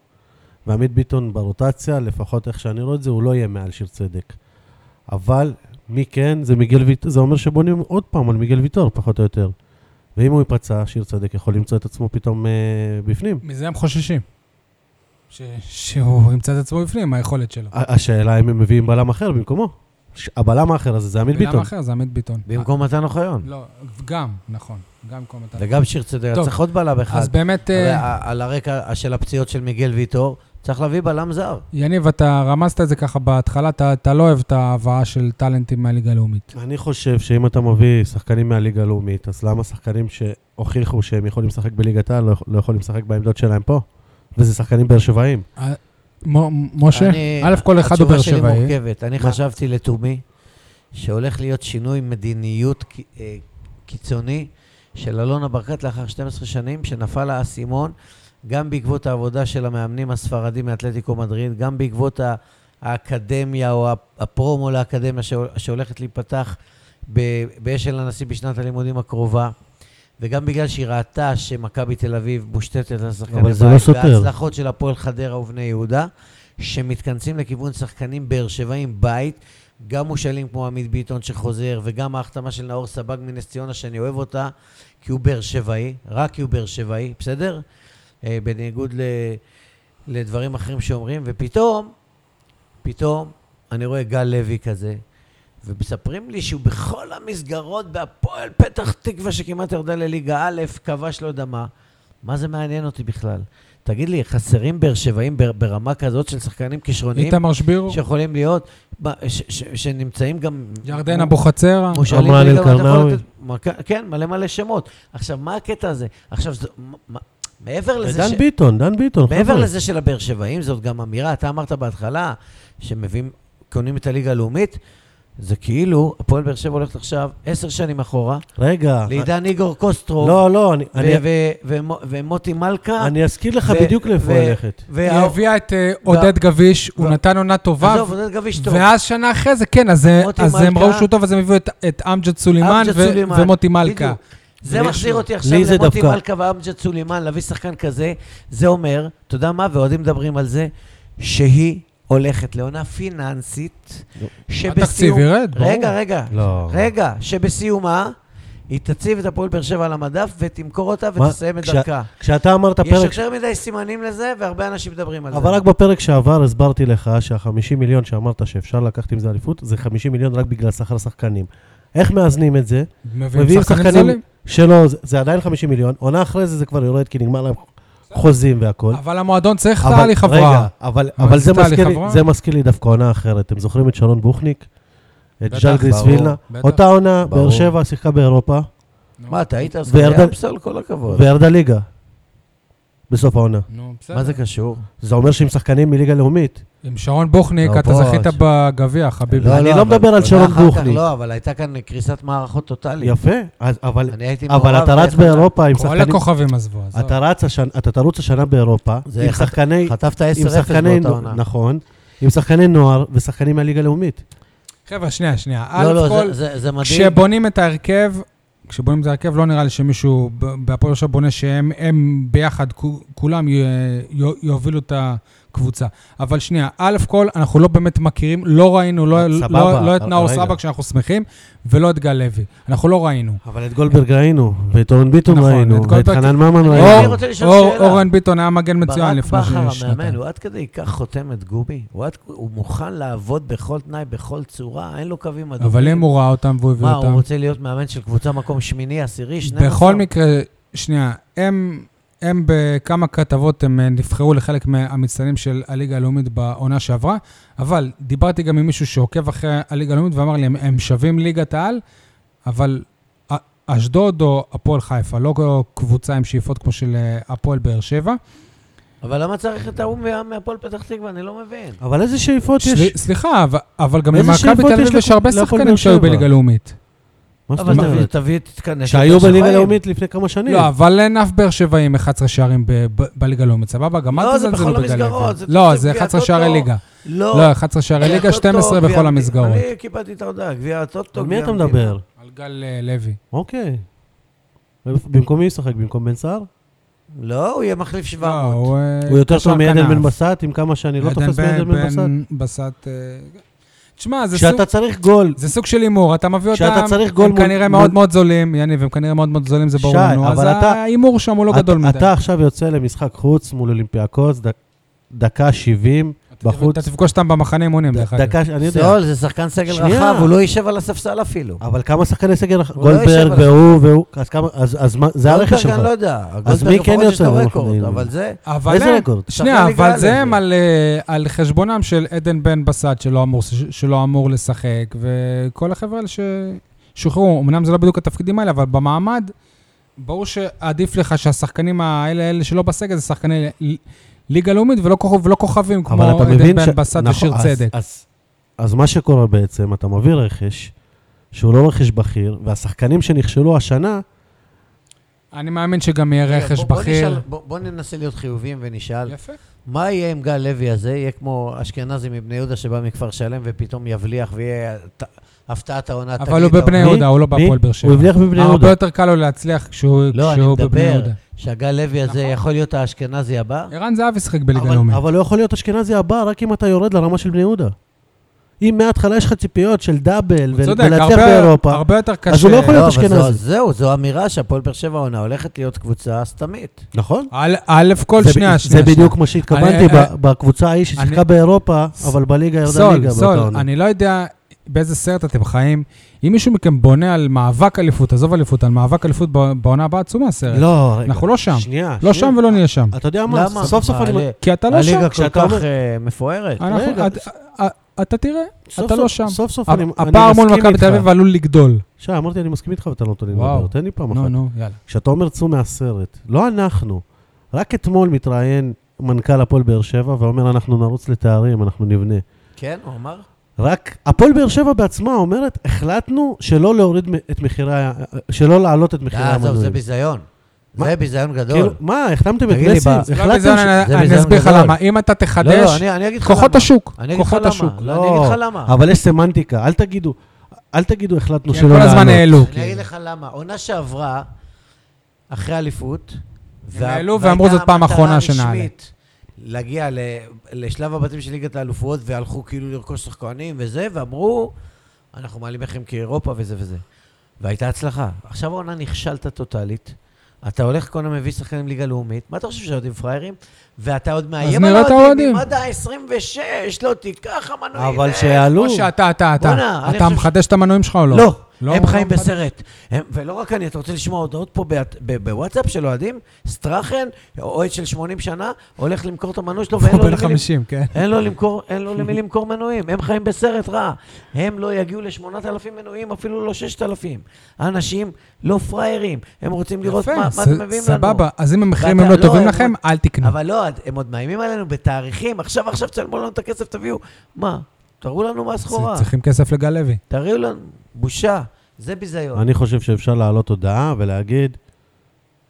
ועמית ביטון ברוטציה, לפחות איך שאני רואה את זה, הוא לא יהיה מעל שיר צדק. אבל מי כן, זה מיגל ויט... זה אומר שבונים עוד פעם על מיגל ויטור, פחות או יותר. ואם הוא ייפצע, שיר צדק יכול למצוא את עצמו פתאום אה, בפנים. מזה הם חוששים. ש- שהוא ימצא את עצמו בפנים, היכולת שלו. ה- השאלה אם הם מביאים בלם אחר במקומו. ש- הבלם האחר הזה זה עמית ולמה ביטון. אחר? זה עמית ביטון. במקום מתן אוחיון. לא, גם, נכון. גם במקום אתה. וגם שיר צדק, טוב. צריך עוד בלם אחד. אז באמת, הרי אה, ה- על הרקע של הפציעות של מיגל ויטור, צריך להביא בלם זר. יניב, אתה רמזת את זה ככה בהתחלה, אתה אתה לא אוהב את ההבאה של טאלנטים מהליגה כן. הלאומית. אני חושב שאם אתה מביא שחקנים מהליגה הלאומית, אז למה שחקנים שהוכיחו שהם יכולים לשחק בליגת העל לא, יכול- לא יכולים לשחק בעמדות שלהם פה? וזה שחקנים באר שבעים. מ- משה, אני- א', כל אחד הוא באר התשובה שלי שבעי. מורכבת. אני מה? חשבתי לתומי שהולך להיות שינוי מדיניות ק- אה, קיצוני של אלונה ברקת לאחר 12 שנים, שנפל לה האסימון, גם בעקבות העבודה של המאמנים הספרדים מאתלטיקו מדריד, גם בעקבות ה- האקדמיה או ה- הפרומו לאקדמיה שהול- שהולכת להיפתח ב- באשל הנשיא בשנת הלימודים הקרובה. וגם בגלל שהיא ראתה שמכבי תל אביב מושתתת על שחקני אבל זה לא סותר. וההצלחות של הפועל חדרה ובני יהודה, שמתכנסים לכיוון שחקנים באר שבעים בית, גם מושאלים כמו עמית ביטון שחוזר, וגם ההחתמה של נאור סבג מנס ציונה, שאני אוהב אותה, כי הוא באר שבעי, רק כי הוא באר שבעי, בסדר? אה, בניגוד ל, לדברים אחרים שאומרים, ופתאום, פתאום, אני רואה גל לוי כזה, ומספרים לי שהוא בכל המסגרות בהפועל פתח תקווה שכמעט ירדה לליגה א', כבש לא יודע מה. מה זה מעניין אותי בכלל? תגיד לי, חסרים באר שבעים בר- ברמה כזאת של שחקנים כישרוניים איתמר שבירו, שיכולים להיות, מה, ש- ש- שנמצאים גם... ירדן אבוחצירא. מושאלים אמרן ליגה, ואתה יכול אלקרנאוי. לתת- מה- כן, מלא מלא שמות. עכשיו, מה הקטע הזה? עכשיו, זה- מה- מה- מעבר לזה דן ביטון, דן ביטון, מעבר חבר'ה. לזה של הבאר שבעים, זאת גם אמירה, אתה אמרת בהתחלה שמביאים, קונים את הליגה הלאומית, זה כאילו, הפועל באר שבע הולכת עכשיו עשר שנים אחורה, רגע. לעידן איגור קוסטרו, לא, לא, אני- ו- אני- ו- ומו- ומותי מלכה. אני אזכיר לך ו- בדיוק לאיפה ו- ללכת. היא וה- הביאה את אה, עודד גביש, הוא וה- נתן עונה טובה, עזוב, עודד גביש טוב. ואז שנה אחרי זה, כן, אז אה, מוטי אז הם מלכה. ראו שהוא טוב, אז הם הביאו את- את אמג'ד סולימאן אמג'ד ו- סולימאן, ומוטי מלכה. בדיוק. זה ויש מחזיר לו- אותי עכשיו לי זה למוטי דווקא- מלכה ואמג'ד סולימאן, להביא שחקן כזה, זה אומר, אתה יודע מה, ואוהדים מדברים על זה, שהיא הולכת לעונה פיננסית, נו. התקציב שבסיום... אה, ירד, ברור. רגע, רגע, לא. רגע, שבסיומה היא תציב את הפועל באר שבע על המדף ותמכור אותה מה? ותסיים את כשה- דרכה. כשאתה אמרת יש פרק... יותר מדי סימנים לזה, והרבה אנשים מדברים על זה. אבל רק בפרק שעבר הסברתי לך שה-50 מיליון שאמרת שאפשר לקחת עם זה אליפות, זה 50 מיליון רק בגלל שכר שחקנים. איך מאזנים את זה? מביאים שחקנים זולים. שלא, זה- זה עדיין 50 מיליון, עונה אחרי זה זה כבר יורד כי נגמר להם חוזים והכול. אבל המועדון צריך אבל- תהליך רגע, הבראה. אבל, אבל אבל זה זה, תהליך מזכיר לי, הבראה. זה מזכיר לי דווקא עונה אחרת. אתם זוכרים את שרון בוכניק? את בטח, ז'לגריס ברור, וילנה? בטח. אותה עונה, ברור. באר שבע שיחקה באירופה, מה, אתה היית אז וירדן- חייב פסול? כל הכבוד. וירדה ליגה בסוף העונה. נו, בסדר. מה זה קשור? זה אומר שהם שחקנים מליגה לאומית. עם שרון בוכניק, לא, אתה פה- זכית בגביע, חביבי. לא, אני אבל מדבר על עונה שרון אחר כך בוכניק. לא, אבל הייתה כאן קריסת מערכות טוטאלית. יפה, אז- אבל אני הייתי אבל אתה רץ ואיך אתה- באירופה עם כל שחקנים... הכוכבים עזבו, עזוב. אתה רץ השנה, אתה תרוץ השנה באירופה, זה עם חת- שחקני... חטפת עם 10-0 שחקני... באותה עונה. נכון. עם שחקני נוער ושחקנים מהליגה הלאומית. חבר'ה, שנייה, שנייה. נכון. לא, אלף כל, לא, זה- זה זה מדהים. כשבונים את ההרכב, כשבונים את ההרכב, לא נראה לי שמישהו ב- בהפועל עכשיו בונה שהם הם ביחד, כו- כולם י- י- יובילו את הקבוצה. אבל שנייה, א' כל, אנחנו לא באמת מכירים, לא ראינו, לא, לא, סבבה, לא את אבל נאור רגע. סבק שאנחנו שמחים, ולא את גל לוי. אנחנו לא ראינו. אבל את גולדברג ראינו, ואת אורן ביטון כן. נכון, ראינו, את ואת גולדברג- חנן ממן אני אור- ראינו. רוצה לשאול אור- שאלה. אורן ביטון היה מגן מצוין לפני ש- ברק בכר, המאמן, שנתיים. הוא עד כדי כך חותמת גובי. הוא עד- הוא מוכן לעבוד בכל תנאי, בכל צורה, אין לו קווים אדומים. אבל אם הוא ראה אותם והוא הביא מה, הוא אותם... רוצה להיות מאמן של קבוצה מקום שמיני, עשירי, שנים? בכל מקרה, שנייה, הם, הם בכמה כתבות, הם אה, נבחרו לחלק מהמצטיינים של הליגה הלאומית בעונה שעברה, אבל דיברתי גם עם מישהו שעוקב אחרי הליגה הלאומית ואמר לי, הם, הם שווים ליגת העל, אבל א- אשדוד או הפועל חיפה, לא קבוצה עם שאיפות כמו של אה, הפועל באר שבע. אבל למה צריך את ההוא מה- מהפועל פתח תקווה? אני לא מבין. אבל איזה שאיפות יש? סל- סליחה, אבל, אבל גם איזה למכבי שאיפות תל יש אביב יש הרבה להפועל שחקנים באר שהיו שבע? בליגה לאומית. מה זאת אבל תביא, אומרת? תביא, תתכנס. שהיו יותר בליגה שפיים. הלאומית לפני כמה שנים. לא, אבל אין אף באר שבע עם 11 שערים ב- ב- בליגה הלאומית, סבבה? גם אל לא, זה תזלזלו בכל בגלל המסגרות, זה לא, תקציב זה 11 גביע הטוטו. שערי ליגה. לא, 11 שערי גביע ליגה, הטוטו, 12 גביע בכל המדינה. המסגרות. אני קיבלתי את ההודעה, גביע הטוטו. על מי גביע אתה המדינה. מדבר? על גל אה, לוי. אוקיי. במקומי ישחק, במקום בן סער? אה, לא, הוא יהיה מחליף לא, 700. אה, הוא יותר קשר טוב מעדן כנף. בן בסט, עם כמה שאני לא עדן תופס מעדן בן בסט. בן בסט. אה, תשמע, זה סוג- כשאתה צריך גול, זה סוג של הימור, אתה מביא אותם, כשאתה צריך גול הם מול- כנראה מול- מאוד מאוד זולים, יניב, הם כנראה מאוד מאוד זולים, זה ברור שי, לנו, אז אבל אתה- ההימור שם הוא לא אתה- גדול מדי. אתה עכשיו יוצא למשחק חוץ מול אולימפיאקוס, דק- דקה 70, אתה- בחוץ. אתה תפגוש אותם במחנה אימונים, דרך אגב. דקה, ש- אני יודע. סול, לא, זה שחקן סגל שנייה. רחב, הוא לא יישב על הספסל אפילו. אבל כמה שחקני סגל, לא גולדברג יושב על- והוא והוא, אז כמה, אז אז מה, זה הרכב גולדברג, שלך. אני לא יודע. אז מי גולדברג כן לפחות יש יוצא? לו אנחנו רקורד, יודעים. אבל זה... אבל איזה הם- רקורד? שנייה, שחקן אבל ליגה א' זה הם זה. על, אה, על חשבונם של עדן בן בסט, שלא אמור, ש- שלא אמור לשחק, וכל החבר'ה האלה ששוחררו, אמנם זה לא בדיוק התפקידים האלה, אבל במעמד, ברור שעדיף לך שהשחקנים האלה, אלה שלא בסגל, זה שחקני ל- ליגה לאומית ולא, כוכב, ולא כוכבים, אבל כמו אתה עדן מבין בן בסט נכון, ושיר אז- צדק. אז- אז מה שקורה בעצם, אתה מביא רכש, שהוא לא רכש בכיר, והשחקנים שנכשלו השנה, אני מאמין שגם יהיה רגע, רכש כן, בוא- בוא בכיר. נשאל- בוא בוא ננסה להיות חיוביים ונשאל, יפה. מה יהיה עם גל לוי הזה? יהיה כמו אשכנזי מבני יהודה שבא מכפר שלם ופתאום יבליח ויהיה ת- הפתעת העונה. אבל תגיד, הוא בבני "אוקיי". יהודה, הוא לא מי? בהפועל באר שבע. הוא הבליח בבני יהודה. הרבה יותר קל לו להצליח כשהוא לא, אני כשהוא בבני מדבר יהודה. שהגל לוי הזה נכון. יכול להיות האשכנזי הבא. לא, ערן זהבי שיחק בליגה אבל- לאומית. אבל לא יכול להיות אשכנזי הבא, רק אם אתה יורד לרמה של בני יהודה. אם מההתחלה יש לך ציפיות של דאבל, ו- צודק, ולהצליח הרבה- באירופה, הרבה יותר קשה. הוא לא יכול לא, להיות אבל זו- אשכנזי. זהו, זו אמירה שהפועל באר שבע עונה הולכת להיות קבוצה סתמית. נכון? א', א', כל זה ב- שנייה, זה שנייה. בדיוק מה שהתכוונתי אני- ב- בקבוצה ההיא ששיחקה אני- באירופה, אבל בליגה ירדה סול, ליגה באותה סול, עונה. אני לא יודע באיזה סרט אתם חיים. אם מישהו מכם בונה על מאבק אליפות, עזוב אליפות, על מאבק אליפות ב- בעונה הבאה, צאו מהסרט. לא, רגע. אנחנו לא שם. שנייה. לא שנייה. שם ולא נהיה שם. אתה יודע מה? למה? סוף סוף מה, אני... אלה- כי אתה לא שם. הליגה כל כשאתה כך אומר- אה, מפוארת. אנחנו- רגע, את- א- אתה תראה, סוף אתה סוף- לא שם. סוף סוף אני אני מסכים איתך. הפער מול מכבי תל אביב עלול לגדול. שי, אמרתי, אני מסכים איתך ואתה לא נותן לי וואו. לדבר. תן לי פעם נו, אחת. נו, יאללה. כשאתה אומר צאו מהסרט, לא אנחנו. רק אתמול מתראיין מנכ"ל הפועל באר שבע ואומר, אנחנו נרוץ לתארים, אנחנו נבנה. כן, הוא אמר? רק הפועל באר שבע בעצמה אומרת, החלטנו שלא להוריד מ- את מחירי, ה- שלא להעלות את מחירי אה, עזוב, זה המנויים. ביזיון. מה? זה ביזיון כאילו, גדול. מה, החתמתם את תגיד לי, מסי? ב- זה לא החלטתם ביזיון, ש- אני- זה אני ביזיון אסביר לך גדול. למה. אם אתה לא, לא, תחדש, אני אני אגיד לך למה. כוחות השוק. אני אגיד לך כוחות למה. השוק. לא, אני אגיד לך למה. אבל יש סמנטיקה, אל תגידו, אל תגידו החלטנו כי שלא הם לעלות. כל הזמן העלו. כן. אני אגיד לך למה. עונה שעברה, אחרי אליפות, הם העלו ואמרו, "זאת פעם אחרונה שנעלה." להגיע ל- לשלב הבתים של ליגת האלופות, והלכו כאילו לרכוש שחקנים וזה, ואמרו, אנחנו מעלים לכם כאירופה וזה וזה. והייתה הצלחה. עכשיו העונה נכשלת טוטאלית. אתה הולך כל הזמן מביא שחקנים ליגה לאומית, מה אתה חושב שהאוהדים פראיירים? ואתה עוד מאיים על נראה את האוהדים. האוהדים, עד ה-26, לא תיקח המנועים. אבל אה, שיעלו. או שאתה, אתה, בואנה, אתה. אני אתה חושב ש- מחדש את המנויים שלך או לא? לא, לא, הם לא חיים מחדש. בסרט. הם- ולא רק אני, אתה רוצה לשמוע הודעות פה באת- ב- בוואטסאפ של אוהדים? סטראכן, אוהד של 80 שנה, הולך למכור את המנוי שלו ואין הוא לו בן למי למכור. 50, כן. אין לו למכור, אין לו למי למכור מנויים, הם חיים בסרט רע. הם לא יגיעו ל-8,000 מנויים, אפילו לא 6,000. האנשים לא פראיירים, הם רוצים לראות מה, מה ס- אתם מביאים לנו. סבבה, אז אם המחירים ואתה- הם לא טובים הם לכם, עוד- אל תקנו. אבל לא, הם עוד מאיימים עלינו בתאריכים, עכשיו, עכשיו תשלמו לנו את הכסף, תביאו. מה? תראו לנו מה הסחורה. צריכים כסף לגל לוי. תראו לנו, בושה. זה ביזיון, אני חושב שאפשר להעלות הודעה ולהגיד...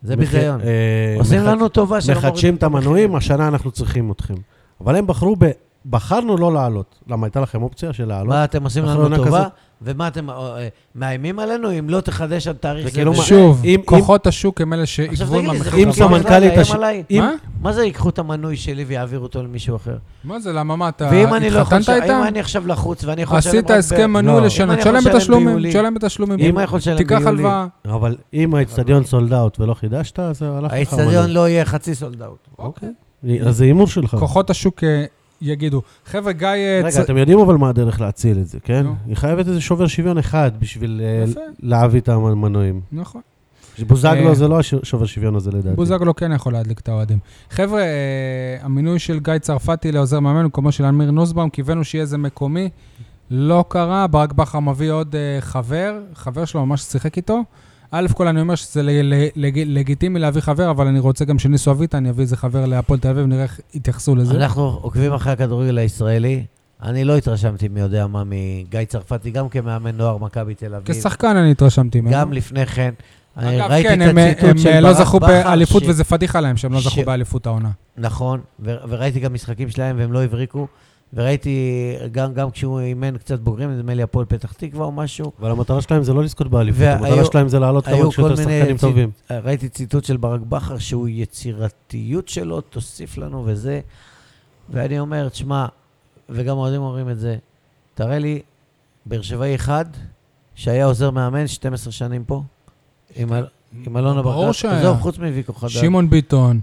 זה "מח- ביזיון. אה, עושים מח- לנו טובה שלא מחדשים מורידים את המנויים, השנה אנחנו צריכים אתכם. אבל הם בחרו ב... בחרנו לא לעלות. למה, הייתה לכם אופציה של לעלות? מה, אתם עושים אחרי לנו עונה טובה? לא כזאת. ומה אתם אה, אה, מאיימים עלינו אם לא תחדש עד תאריך זה זה? כאילו וזה? מה- שוב, אם- אם- כוחות השוק הם אלה לא עכשיו שיקבעו תגיד עם לי, זה לא המחיר. אם חוקי גבוה. סמנכ"ל בכלל לאיים התעש- עליי? אם- מה? מה זה ייקחו את המנוי שלי ויעבירו אותו למישהו אחר? מה זה, למה מה, אתה ואם אני לא יכול... התחתנת לש- אם איתם? אני עכשיו לחוץ ואני יכול... לשלם עשית רק ב- הסכם לא. מנוי אם לשנה, אני תשלם יכול לשלם בתשלומים, ביולי- תשלם בתשלומים. אם אני יכול לשלם תיקח ביולי. הלוואה. אבל אם האיצטדיון סולד אאוט ולא חידשת, אז זה הלך לך האיצטדיון לא יהיה חצי סולד אאוט. אוקיי. המנוי. אז זה הימור שלך. כוחות השוק אה, יגידו, חבר'ה, גיא... אה, צ- רגע, אתם יודעים אבל מה הדרך להציל את זה, כן? נו. היא חייבת איזה שובר שוויון אחד בשביל אה, יפה. להביא את המנויים. נכון. בוזגלו אה, זה לא השובר שוויון הזה לדעתי. בוזגלו כן יכול להדליק את האוהדים. חבר'ה, אה, המינוי של גיא צרפתי לעוזר מאמן במקומו של אמיר נוסבאום, קיווינו שיהיה איזה מקומי, לא קרה, ברק בכר מביא עוד אה, חבר, חבר שלו ממש שיחק איתו. א' כל אני אומר שזה ל- ל- לג- לגיטימי להביא חבר, אבל אני רוצה גם שניסו אביטן יביא איזה חבר להפועל תל אביב, נראה איך יתייחסו לזה. אנחנו עוקבים אחרי הכדורגל הישראלי. אני לא התרשמתי מי יודע מה מגיא צרפתי, גם כמאמן נוער מכבי תל אביב. כשחקן אני התרשמתי ממנו. גם לפני כן. אני אגב, ראיתי כן, את הם- הם הציטוט של ברק בכר. לא זכו באליפות, ש- וזה פדיחה להם שהם לא ש- זכו באליפות העונה. נכון, ו- וראיתי גם משחקים שלהם והם לא הבריקו. וראיתי גם, גם כשהוא אימן קצת בוגרים, נדמה לי הפועל פתח תקווה או משהו. אבל המטרה שלהם זה לא לזכות באליפות, והיו- המטרה שלהם זה להעלות היו כמה שיותר כל מיני שחקנים צי- טובים. אה, ראיתי ציטוט של ברק בכר שהוא יצירתיות שלו, תוסיף לנו וזה. ואני אומר, תשמע, וגם האוהדים אומרים את זה, תראה לי באר שבעי אחד שהיה עוזר מאמן 12 שנים פה, עם, אל- עם אלונה ברקת. ברור שהיה. עזוב, חוץ מוויקו חדד. שמעון ביטון.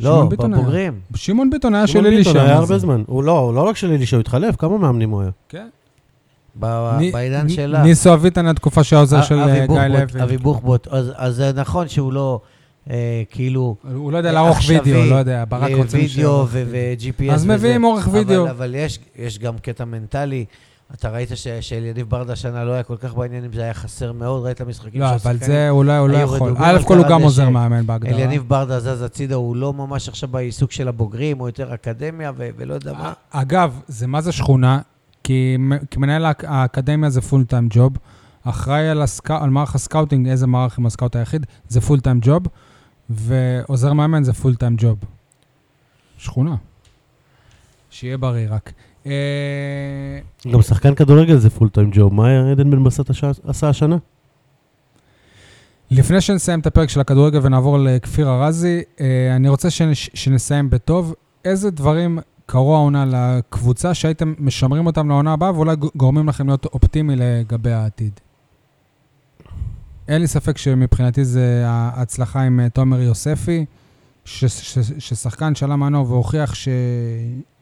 לא, שמעון ביטון היה. בבוגרים. שמעון ביטון היה שמעון אה, של אלישע. ביטון היה מה הרבה זה? זמן. הוא לא, הוא לא רק של אלישע, הוא התחלף, כמה מאמנים הוא היה? כן. ב- ני- בעידן נ- שלה. ניסו אביטן התקופה של העוזר אבי של אה, גיא בוחבוט, לוי. אבי בוחבוט. אז אז זה נכון שהוא לא, אה, כאילו, הוא לא יודע לערוך עכשווי, וידאו, לא יודע, ברק אה, רוצה... וידאו שיערוך וידאו. ו-GPS. אז מביאים עורך וידאו. אבל יש- יש גם קטע מנטלי. אתה ראית ש- שאליניב ברדה השנה לא היה כל כך בעניינים, זה היה חסר מאוד, ראית משחקים לא, של אבל שחקנים? זה אולי הוא לא היו יכול. רדומים על א' כל הוא קרדש, גם עוזר אה, מאמן בהגדרה. אליניב ברדה זז הצידה, הוא לא ממש עכשיו בעיסוק של הבוגרים, הוא יותר אקדמיה ו- ולא יודע מה. אה, אגב, זה מה זה שכונה? כי מ- כי מנהל האק- האקדמיה זה פול טיים ג'וב. אחראי על הסק- על מערך הסקאוטינג, איזה מערך עם הסקאוט היחיד, זה פול טיים ג'וב. ועוזר מאמן זה פול טיים ג'וב. שכונה. שיהיה בריא רק. אה, גם שחקן כדורגל זה פול טיים ג'וב. מה עדן בן בסט עשה- עשה השנה? אה, לפני שנסיים את הפרק של הכדורגל ונעבור לכפיר ארזי, אה, אני רוצה שנש, שנסיים בטוב. איזה דברים קרו העונה לקבוצה שהייתם משמרים אותם לעונה הבאה ואולי ג- גורמים לכם להיות אופטימי לגבי העתיד? אין לי ספק שמבחינתי זה ההצלחה עם אה, תומר יוספי, ש, ש, ש, ששחקן שעלה מנו והוכיח ש,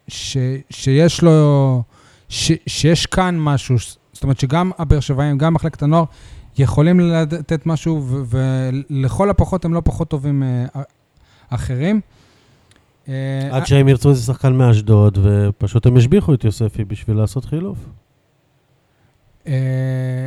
ש, שיש לו, ש, שיש כאן משהו, זאת אומרת שגם הבאר שבעים, גם מחלקת הנוער, יכולים לתת משהו, ו- ולכל הפחות הם לא פחות טובים אה, אה, אחרים. אה, עד שהם ירצו איזה שחקן מאשדוד, ופשוט הם השביחו את יוספי בשביל לעשות חילוף. אה,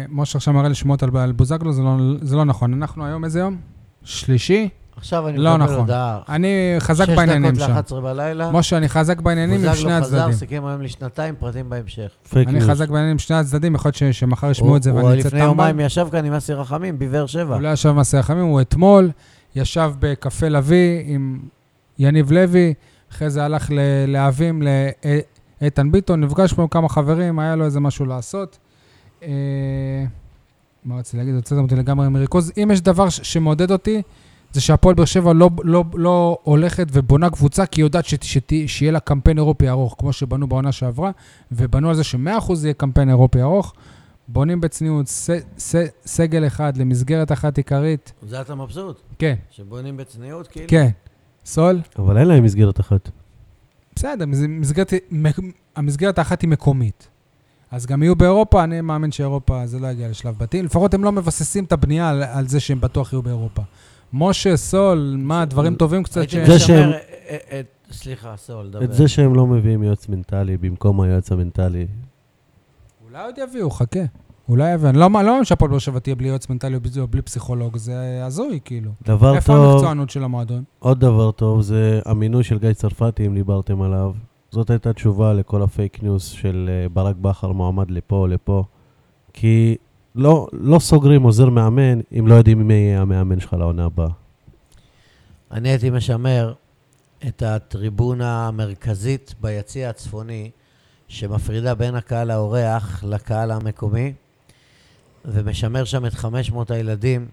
משה עכשיו מראה לי שמות על, על בוזגלו, זה לא, זה לא נכון. אנחנו היום, איזה יום? שלישי? עכשיו אני לא מקבל נכון. הודעה. אני חזק בעניינים שש שם. לא דקות ל-11 בלילה. משה, אני חזק בעניינים עם שני בוזגלו חזר, הצדדים. סיכם היום לשנתיים, פרטים בהמשך. פייק אני ניוז. חזק בעניינים עם שני הצדדים, יכול להיות ש- שמחר ישמעו את זה הוא- ואני אצא הוא לפני טמבל. יומיים ישב כאן עם אסי רחמים בבאר שבע. הוא לא ישב במעשה החמים, הוא אתמול ישב בקפה לביא עם יניב לוי, אחרי זה הלך ל- להבים לאיתן ביטון, נפגש פה עם כמה חברים, היה לו איזה משהו לעשות. אה, מה רציתי להגיד? הוצאתם אותי לגמרי מריכוז. אם יש דבר ש- שמעודד אותי, זה שהפועל באר שבע לא, לא, לא הולכת ובונה קבוצה, כי היא יודעת שת, שת, שיהיה לה קמפיין אירופי ארוך, כמו שבנו בעונה שעברה, ובנו על זה ש-100% יהיה קמפיין אירופי ארוך. בונים בצניעות ס, ס, סגל אחד למסגרת אחת עיקרית. זה אתה מבסוט? כן, שבונים בצניעות, כאילו? כן. סול? אבל אין להם מסגרת אחת. בסדר, מס- מסגרת, מ- המסגרת האחת היא מקומית. אז גם יהיו באירופה, אני מאמין שאירופה זה לא יגיע לשלב בתים. לפחות הם לא מבססים את הבנייה על, על זה שהם בטוח יהיו באירופה. משה, סול, מה, דברים טובים קצת ש... הייתי זה משמר שהם- א- א- את... אה, סליחה, סול, דבר. את זה שהם לא מביאים יועץ מנטלי במקום היועץ המנטלי. אולי עוד יביאו, חכה. אולי יביאו. אני לא לא מאמין שהפועל באר שבע תהיה בלי יועץ מנטלי או בלי- או בלי פסיכולוג, זה הזוי, כאילו. דבר איפה טוב, המקצוענות של המועדון? עוד דבר טוב זה המינוי של גיא צרפתי, אם דיברתם עליו. זאת הייתה תשובה לכל הפייק ניוז של אה, ברק בכר מועמד לפה, לפה. כי לא, לא סוגרים עוזר מאמן אם לא יודעים מי יהיה המאמן שלך לעונה הבאה. אני הייתי משמר את הטריבונה המרכזית ביציע הצפוני, שמפרידה בין הקהל האורח לקהל המקומי, ומשמר שם את 500 הילדים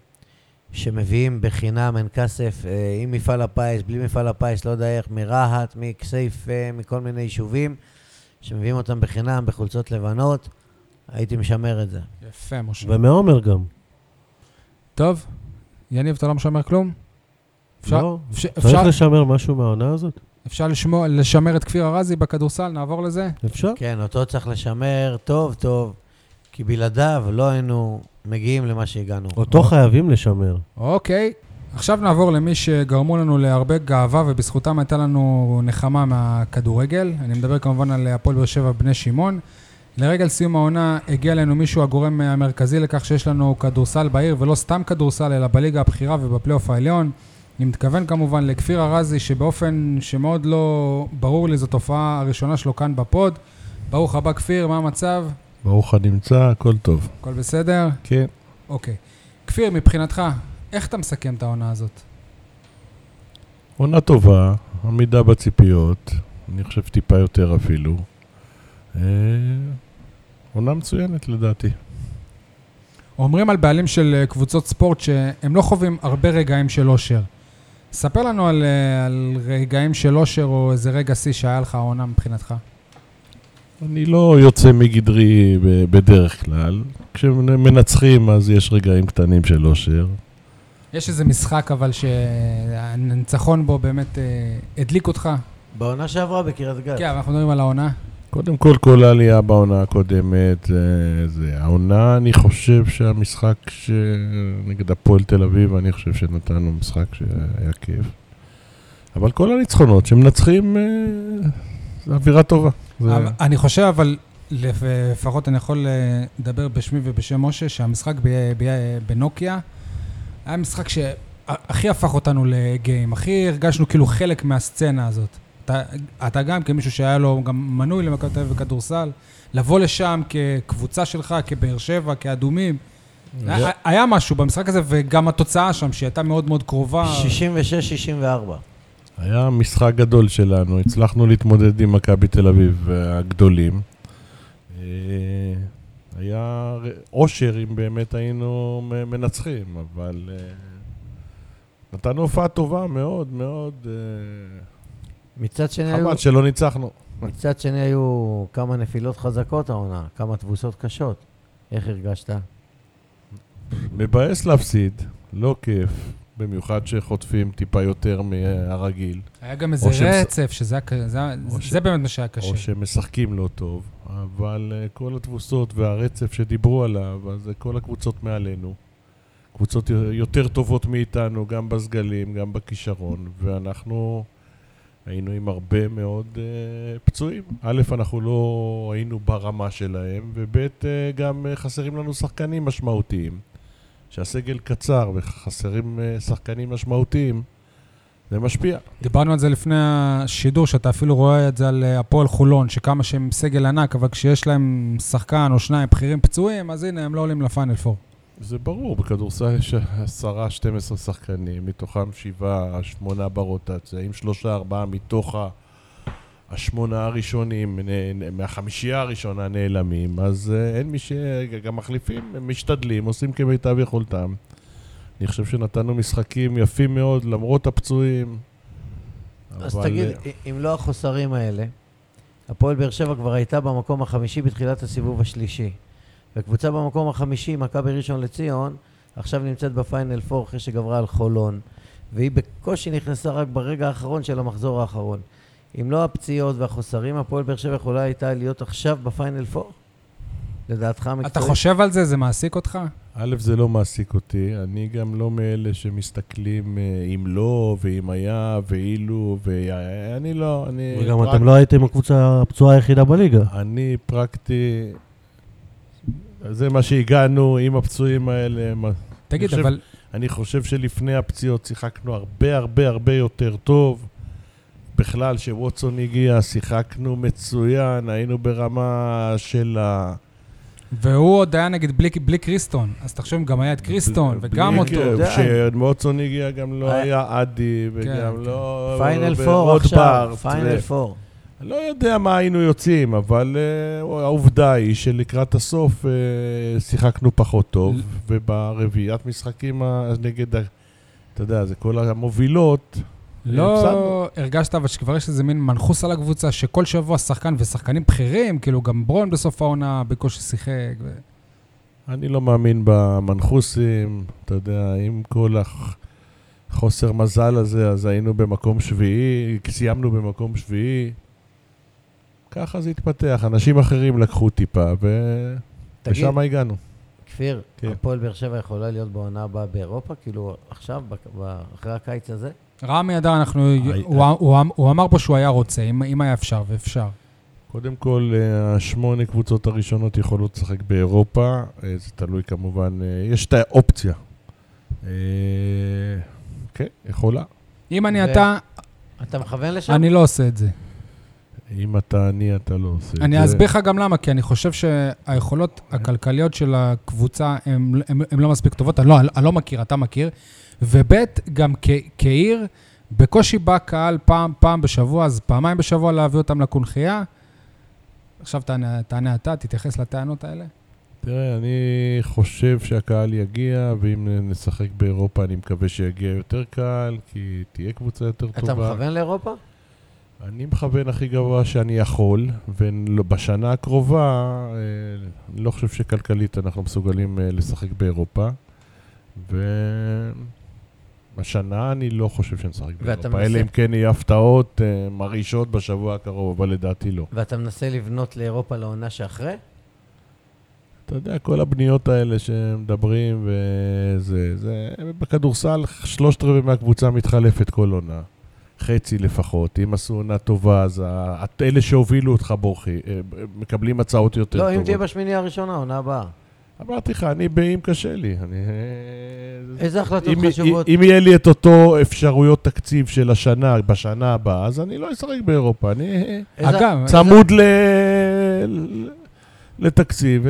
שמביאים בחינם, אין כסף, אה, עם מפעל הפיס, בלי מפעל הפיס, לא יודע איך, מרהט, מכסייפה, מכל מיני יישובים, שמביאים אותם בחינם בחולצות לבנות. הייתי משמר את זה. יפה, משה. ומעומר גם. טוב, יניב, אתה לא משמר כלום? אפשר- לא? אפשר- צריך אפשר- לשמר משהו מהעונה הזאת? אפשר לשמור- לשמר את כפיר ארזי בכדורסל, נעבור לזה? אפשר? כן, אותו צריך לשמר טוב טוב, כי בלעדיו לא היינו מגיעים למה שהגענו. כן. אותו חייבים לשמר. אוקיי. עכשיו נעבור למי שגרמו לנו להרבה גאווה ובזכותם הייתה לנו נחמה מהכדורגל. אני מדבר כמובן על הפועל באר שבע בני שמעון. לרגל סיום העונה הגיע אלינו מישהו הגורם המרכזי לכך שיש לנו כדורסל בעיר, ולא סתם כדורסל, אלא בליגה הבכירה ובפלייאוף העליון. אני מתכוון כמובן לכפיר ארזי, שבאופן שמאוד לא ברור לי, זו תופעה הראשונה שלו כאן בפוד. ברוך הבא, כפיר, מה המצב? ברוך הנמצא, הכל טוב. הכל בסדר? כן. אוקיי. כפיר, מבחינתך, איך אתה מסכם את העונה הזאת? עונה טובה, עמידה בציפיות, אני חושב טיפה יותר אפילו. אה, עונה מצוינת לדעתי. אומרים על בעלים של אה, קבוצות ספורט שהם לא חווים הרבה רגעים של אושר. ספר לנו על, אה, על רגעים של אושר או איזה רגע שיא שהיה לך העונה מבחינתך. אני לא יוצא מגדרי ב- בדרך כלל. כשמנצחים אז יש רגעים קטנים של אושר. יש איזה משחק אבל שהניצחון בו באמת אה, הדליק אותך? בעונה שעברה בקריית גת. כן, אבל אנחנו מדברים על העונה. קודם כל, כל העלייה בעונה הקודמת, אה, זה העונה, אני חושב שהמשחק ש... נגד הפועל תל אביב, אני חושב שנתנו משחק שהיה כיף. אבל כל הניצחונות שמנצחים, אה, זה אווירה טובה. זה... אבל- אני חושב, אבל לפ- לפחות אני יכול אה, לדבר בשמי ובשם משה, שהמשחק ב- ב- בנוקיה היה משחק שהכי הפך אותנו לגיים, הכי הרגשנו כאילו חלק מהסצנה הזאת. אתה, אתה גם כמישהו שהיה לו גם מנוי למכבי תל אביב בכדורסל, לבוא לשם כקבוצה שלך, כבאר שבע, כאדומים. היה, היה משהו במשחק הזה, וגם התוצאה שם, שהייתה מאוד מאוד קרובה. 66-64. היה משחק גדול שלנו, הצלחנו להתמודד עם מכבי תל אביב אה, הגדולים. אה, היה ר- אושר אם באמת היינו מ- מנצחים, אבל אה, נתנו הופעה טובה מאוד מאוד, אה, מצד שני, היו, חבל שלא ניצחנו. מצד שני היו כמה נפילות חזקות העונה, כמה תבוסות קשות. איך הרגשת? מבאס להפסיד, לא כיף, במיוחד שחוטפים טיפה יותר מהרגיל, היה גם איזה או שהם- רצף, שזה היה ק- זה היה- או זה באמת מה שהיה או קשה. שמשחקים לא טוב, אבל אה, כל התבוסות והרצף שדיברו עליו, אז אה, כל הקבוצות מעלינו. קבוצות י- יותר טובות מאיתנו, גם בסגלים, גם בכישרון, ואנחנו היינו עם הרבה מאוד אה, פצועים. א', אנחנו לא היינו ברמה שלהם, וב', אה, גם אה, חסרים לנו שחקנים משמעותיים. שהסגל קצר וחסרים אה, שחקנים משמעותיים, זה משפיע. דיברנו על זה לפני השידור, שאתה אפילו רואה את זה על אה, הפועל חולון, שכמה שהם סגל ענק, אבל כשיש להם שחקן או שניים בכירים פצועים, אז הנה, הם לא עולים לפיינל פור. זה ברור, בכדורסל יש 10-12 שחקנים, מתוכם 7, 8 ברוטציה, אם 3-4 מתוך ה- השמונה הראשונים, נ- נ- מהחמישייה הראשונה נעלמים, אז אה, אין מי ש... גם מחליפים, הם משתדלים, עושים כמיטב יכולתם. אני חושב שנתנו משחקים יפים מאוד, למרות הפצועים. אז אבל, תגיד, אה, אם לא החוסרים האלה, הפועל באר שבע כבר הייתה במקום החמישי בתחילת הסיבוב השלישי. וקבוצה במקום החמישי, מכבי ראשון לציון, עכשיו נמצאת בפיינל פור אחרי שגברה על חולון. והיא בקושי נכנסה רק ברגע האחרון של המחזור האחרון. אם לא הפציעות והחוסרים, הפועל באר שבע יכולה הייתה להיות עכשיו בפיינל פור? לדעתך המקצועית? אתה חושב על זה? זה מעסיק אותך? א', זה לא מעסיק אותי, אני גם לא מאלה שמסתכלים אה, אם לא, ואם היה, ואילו, והיה, אני לא, אה, אני... וגם פרק- אתם לא הייתם הקבוצה הפצועה היחידה בליגה. אני פרקטי, זה מה שהגענו עם הפצועים האלה. מה- תגיד, חושב- אבל אני חושב שלפני הפציעות שיחקנו הרבה הרבה הרבה יותר טוב. בכלל, כשווטסון הגיע, שיחקנו מצוין, היינו ברמה של ה... והוא עוד היה נגיד בלי, בלי קריסטון, אז תחשוב, גם היה את קריסטון, בלי- וגם בלי- אותו. יודע. כשווטסון הגיע גם לא היה- היה עדי, כן. וגם לא... פיינל אה, פור ורוטברט, עכשיו, ו- פיינל פור. לא יודע מה היינו יוצאים, אבל uh, העובדה היא שלקראת הסוף uh, שיחקנו פחות טוב, ל- וברביעיית משחקים ה- נגד, ה- אתה יודע, זה כל המובילות, לא הפסדנו. הרגשת אבל שכבר יש איזה מין מנחוס על הקבוצה, שכל שבוע שחקן ושחקנים בכירים, כאילו גם ברון בסוף העונה בקושי שיחק. ו... אני לא מאמין במנחוסים, אתה יודע, עם כל הח- חוסר מזל הזה, אז היינו במקום שביעי, סיימנו במקום שביעי. ככה זה התפתח, אנשים אחרים לקחו טיפה, ו... תגיד, ושם הגענו. כפיר, כן. הפועל באר שבע יכולה להיות בעונה הבאה באירופה? כאילו, עכשיו, בק- ב- אחרי הקיץ הזה? רמי אדר, אנחנו, הי- הוא, אמ- הוא, הוא אמר פה שהוא היה רוצה, אם, אם היה אפשר, ואפשר. קודם כל, אה, השמונה קבוצות הראשונות יכולות לשחק באירופה, אה, זה תלוי כמובן, אה, יש את האופציה. אה, כן, יכולה. אם אני ו- אתה, אתה מכוון לשם? אני לא עושה את זה. אם אתה עני, אתה לא עושה את זה. אה? אני אסביר לך גם למה, כי אני חושב שהיכולות הכלכליות של הקבוצה הן לא מספיק טובות. אני לא, אני לא מכיר, אתה מכיר. וב' גם כ, כעיר, בקושי בא קהל פעם, פעם בשבוע, אז פעמיים בשבוע להביא אותם לקונכייה. עכשיו תענה, תענה אתה, תתייחס לטענות האלה. תראה, אני חושב שהקהל יגיע, ואם נשחק באירופה, אני מקווה שיגיע יותר קהל, כי תהיה קבוצה יותר טובה. אתה מכוון לאירופה? אני מכוון הכי גבוה שאני יכול, ובשנה הקרובה, אה, אני לא חושב שכלכלית אנחנו מסוגלים אה, לשחק באירופה, ובשנה אני לא חושב שנשחק ואתה מנסה- באירופה, אלא אם כן יהיו הפתעות אה, מרעישות בשבוע הקרוב, אבל לדעתי לא. ואתה מנסה לבנות לאירופה לעונה שאחרי? אתה יודע, כל הבניות האלה שמדברים, וזה, זה, בכדורסל שלושת רבעי מהקבוצה מתחלפת כל עונה. חצי לפחות. אם עשו עונה טובה, אז ה- את- אלה שהובילו אותך בורחי, אה, מקבלים הצעות יותר לא, אם טובות. תהיה בשמיני הראשונה, עונה הבאה. אמרתי לך, אני באם קשה לי. אני... אה, איזה החלטות אם, חשובות? אם יהיה לי את אותו אפשרויות תקציב של השנה, בשנה הבאה, אז אני לא אשחק באירופה. אני אה, איזה- אגב, צמוד ל... ל- לתקציב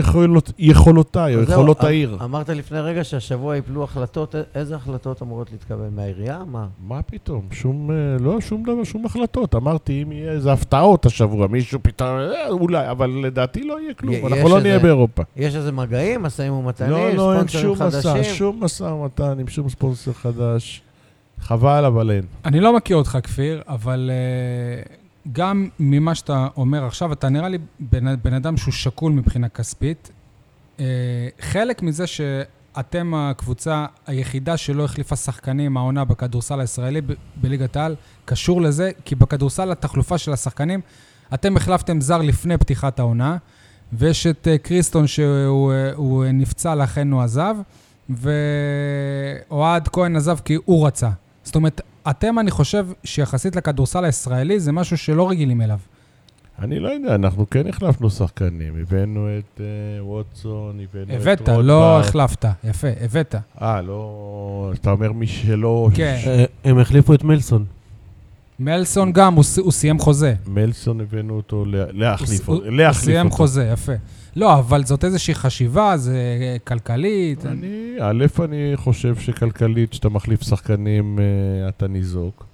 וליכולותיי, או אז זהו, יכולות אמ- העיר. אמרת לפני רגע שהשבוע ייפלו החלטות, א- איזה החלטות אמורות להתקבל? מהעירייה? מה? מה פתאום? שום, אה, לא, שום דבר, שום החלטות. אמרתי, אם יהיה איזה הפתעות השבוע, מישהו פתאום, אה, אולי, אבל לדעתי לא יהיה י- כלום, יש אנחנו לא נהיה איזה- באירופה. יש איזה מגעים, משאים לא, ומתנים, לא, אין ספונסרים שום מסע, חדשים? שום משא ומתן עם שום ספונסר חדש. חבל, אבל אין. אני לא מכיר אותך, כפיר, אבל אה, גם ממה שאתה אומר עכשיו, אתה נראה לי בן, בן אדם שהוא שקול מבחינה כספית. אה, חלק מזה שאתם הקבוצה היחידה שלא החליפה שחקנים העונה בכדורסל הישראלי ב- בליגת העל, קשור לזה, כי בכדורסל התחלופה של השחקנים, אתם החלפתם זר לפני פתיחת העונה, ויש את אה, קריסטון שהוא אה, הוא, אה, נפצע, לכן הוא עזב, ואוהד כהן עזב כי הוא רצה. זאת אומרת, אתם, אני חושב, שיחסית לכדורסל הישראלי, זה משהו שלא רגילים אליו. אני לא יודע, אנחנו כן החלפנו שחקנים. הבאנו את אה, ווטסון, הבאנו את הבאת, לא רוטברג. החלפת. יפה, הבאת. אה, לא... אתה אומר מי שלא... כן. אה, הם החליפו את מלסון. כן. מלסון גם, הוא ס- הוא סיים חוזה. מלסון הבאנו אותו לה- הוא להחליף ס- הוא- אותו. הוא להחליף סיים אותו. חוזה, יפה. לא, אבל זאת איזושהי חשיבה, זה אה, כלכלית. אני, א', אני חושב שכלכלית, כשאתה מחליף שחקנים, אה, אתה ניזוק.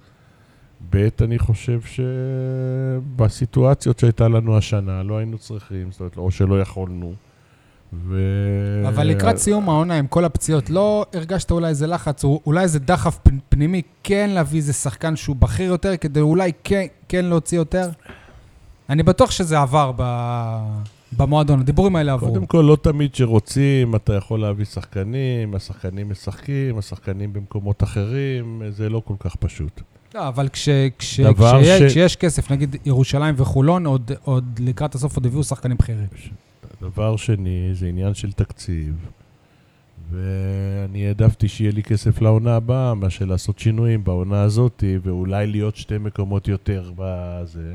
ב', אני חושב שבסיטואציות שהייתה לנו השנה, לא היינו צריכים, זאת אומרת, או שלא יכולנו. ו... אבל לקראת סיום העונה, עם כל הפציעות, לא הרגשת אולי איזה לחץ, או אולי איזה דחף פ- פנימי כן להביא איזה שחקן שהוא בכיר יותר, כדי אולי כן- כן להוציא יותר? אני בטוח שזה עבר ב- במועדון, הדיבורים האלה עברו. קודם כל, לא תמיד שרוצים, אתה יכול להביא שחקנים, השחקנים משחקים, השחקנים במקומות אחרים, זה לא כל כך פשוט. לא, אבל כש, כש, דבר כשיה, ש- כשיש כסף, נגיד ירושלים וחולון, עוד, עוד לקראת הסוף עוד הביאו שחקנים בכירים. דבר שני, זה עניין של תקציב, ואני העדפתי שיהיה לי כסף לעונה הבאה, מאשר לעשות שינויים בעונה הזאת, ואולי להיות שתי מקומות יותר בזה.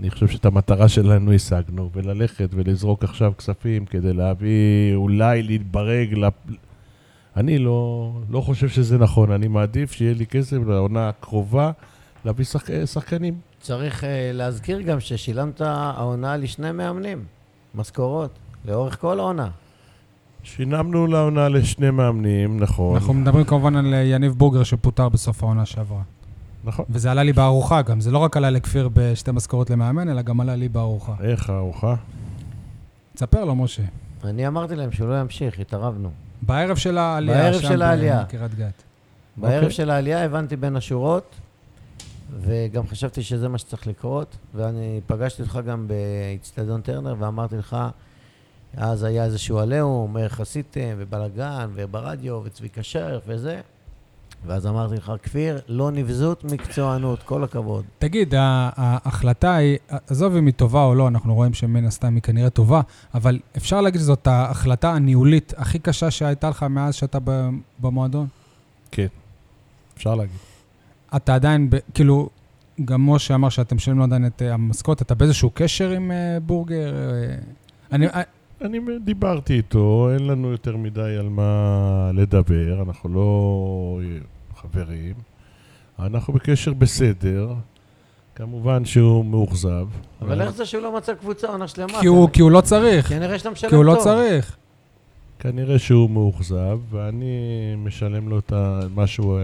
אני חושב שאת המטרה שלנו השגנו, וללכת ולזרוק עכשיו כספים כדי להביא, אולי להתברג ל... אני לא, לא חושב שזה נכון, אני מעדיף שיהיה לי כסף לעונה הקרובה להביא שחק... שחקנים. צריך אה, להזכיר גם ששילמת העונה לשני מאמנים, משכורות, לאורך כל העונה. שינמנו לעונה לשני מאמנים, נכון. אנחנו מדברים כמובן על אה, יניב בורגר שפוטר בסוף העונה שעברה. נכון. וזה עלה לי בארוחה גם, זה לא רק עלה לכפיר בשתי משכורות למאמן, אלא גם עלה לי בארוחה. איך הארוחה? תספר לו, משה. אני אמרתי להם שהוא לא ימשיך, התערבנו. בערב של העלייה. בערב שם של העלייה. בקריית גת. בערב אוקיי. של העלייה הבנתי בין השורות, וגם חשבתי שזה מה שצריך לקרות, ואני פגשתי אותך גם באצטדיון טרנר, ואמרתי לך, אז היה איזשהו עליהום, איך עשיתם, ובלאגן, וברדיו, וצביקה שרף, וזה. ואז אמרתי לך, כפיר, לא נבזות, מקצוענות, כל הכבוד. תגיד, ה- ההחלטה היא, עזוב אם היא טובה או לא, אנחנו רואים שמן הסתם היא כנראה טובה, אבל אפשר להגיד שזאת ההחלטה הניהולית הכי קשה שהייתה לך מאז שאתה ב- במועדון? אפשר להגיד. אתה עדיין, ב, כאילו, גם משה אמר שאתם משלמים לו עדיין את אה, המשכורת, אתה באיזשהו קשר עם אה, בורגר? אה, אני, אה, אני דיברתי איתו, אין לנו יותר מדי על מה לדבר, אנחנו לא חברים. אנחנו בקשר בסדר, כמובן שהוא מאוכזב. אבל איך זה שהוא לא מצא קבוצה עונה שלמה? כי, הוא, כי הוא לא צריך, כנראה שאתה משלם כי כן, טוב. הוא לא צריך. כנראה שהוא מאוכזב, ואני משלם לו את ה- מה שהוא...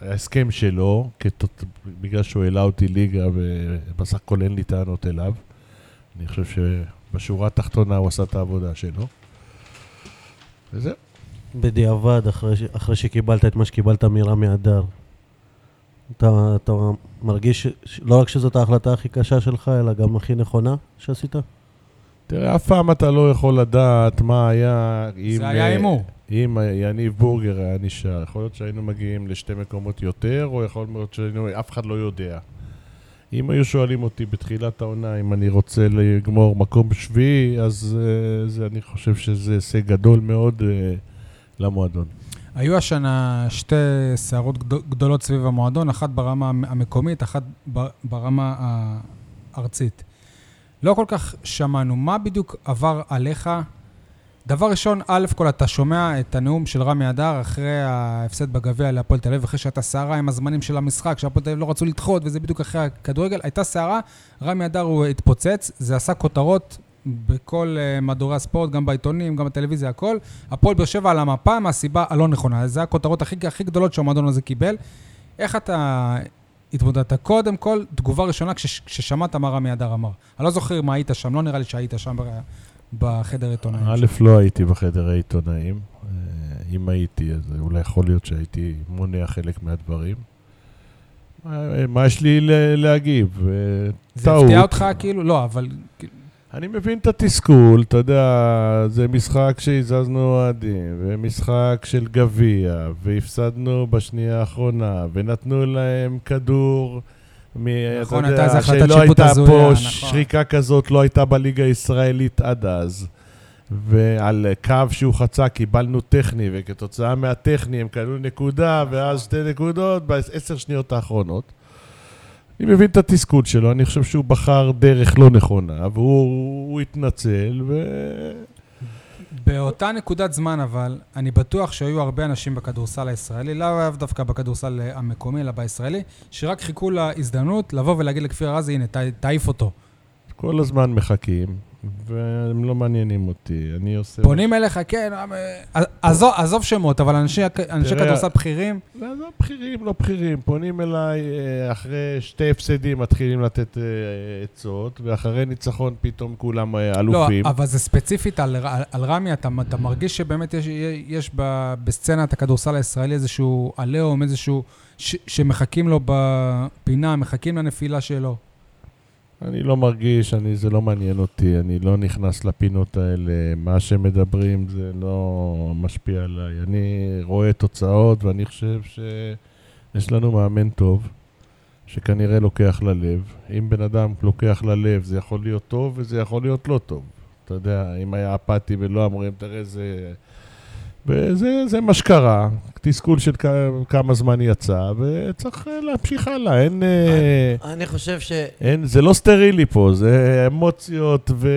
ההסכם שלו, כתות, בגלל שהוא העלה אותי ליגה, ובסך הכל אין לי טענות אליו. אני חושב שבשורה התחתונה הוא עשה את העבודה שלו. וזהו. בדיעבד, אחרי, ש- אחרי שקיבלת את מה שקיבלת מרמי אדר. אתה, אתה מרגיש ש- ש- לא רק שזאת ההחלטה הכי קשה שלך, אלא גם הכי נכונה שעשית? תראה, אף פעם אתה לא יכול לדעת מה היה אם... זה היה אה, הימור. אם יניב בורגר היה נשאר. יכול להיות שהיינו מגיעים לשתי מקומות יותר, או יכול להיות שהיינו... אף אחד לא יודע. אם היו שואלים אותי בתחילת העונה אם אני רוצה לגמור מקום שביעי, אז אה, זה, אני חושב שזה הישג גדול מאוד אה, למועדון. היו השנה שתי סערות גדול- גדולות סביב המועדון, אחת ברמה המ- המקומית, אחת ב- ברמה הארצית. לא כל כך שמענו מה בדיוק עבר עליך. דבר ראשון, א' כל, אתה שומע את הנאום של רמי אדר אחרי ההפסד בגביע להפועל תל אביב, אחרי שהייתה סערה עם הזמנים של המשחק, שהפועל תל אביב לא רצו לדחות, וזה בדיוק אחרי הכדורגל. הייתה סערה, רמי אדר הוא התפוצץ, זה עשה כותרות בכל אה, מהדורי הספורט, גם בעיתונים, גם בטלוויזיה, הכל. הפועל באר שבע על המפה מהסיבה הלא נכונה. זה הכותרות הכי, הכי גדולות שהמועדון הזה קיבל. איך אתה התמודדת? קודם כל, תגובה ראשונה כש, כששמעת מה רמי אדר אמר. אני לא זוכר מה היית שם, לא נראה לי שהיית שם ב- בחדר עיתונאים. א', לא הייתי בחדר העיתונאים. אה, אם הייתי, אז אולי יכול להיות שהייתי מונע חלק מהדברים. מה- מה יש לי ל- להגיב? אה, זה הפתיע אותך כאילו? לא, אבל... אני מבין את התסכול, אתה יודע, זה משחק שהזזנו אוהדים, ומשחק של גביע, והפסדנו בשנייה האחרונה, ונתנו להם כדור, מ- נכון, אתה הייתה יודע, איזה החלטת שלא שיפוט הייתה הזויה, פה נכון. שריקה כזאת, לא הייתה בליגה הישראלית עד אז. ועל קו שהוא חצה קיבלנו טכני, וכתוצאה נכון. מהטכני הם קנו נקודה, ואז שתי נקודות בעשר שניות האחרונות. אני מבין את התסכול שלו, אני חושב שהוא בחר דרך לא נכונה, והוא הוא התנצל, ו... באותה נקודת זמן, אבל, אני בטוח שהיו הרבה אנשים בכדורסל הישראלי, לאו דווקא בכדורסל המקומי, אלא בישראלי, שרק חיכו להזדמנות לבוא ולהגיד לכפיר ארזי, הנה, ת- תעיף אותו. כל הזמן מחכים, והם לא מעניינים אותי, אני עושה... פונים אליך, כן, אה, עזוב- עזוב שמות, אבל אנשי אנשי תראה- כדורסל בכירים, לא, לא בכירים, לא בכירים. פונים אליי אה, אחרי שתי הפסדים מתחילים לתת אה, עצות, ואחרי ניצחון פתאום כולם אה, לא, אלופים. אבל זה ספציפית על, על, על רמי, אתה, אתה מרגיש שבאמת יש, יש ב, בסצנת הכדורסל הישראלי איזשהו עליהום, איזשהו... ש, שמחכים לו בפינה, מחכים לנפילה שלו. אני לא מרגיש, אני, זה לא מעניין אותי, אני לא נכנס לפינות האלה. מה שמדברים זה לא משפיע עליי. אני רואה תוצאות, ואני חושב שיש לנו מאמן טוב, שכנראה לוקח ללב. אם בן אדם לוקח ללב, זה יכול להיות טוב וזה יכול להיות לא טוב. אתה יודע, אם היה אפאתי ולא אמורים, תראה איזה... וזה זה מה שקרה, תסכול של כ- כמה זמן יצא, וצריך אה, להמשיך הלאה, אין... אה, אני חושב ש... אין, זה לא סטרילי פה, זה אמוציות ו...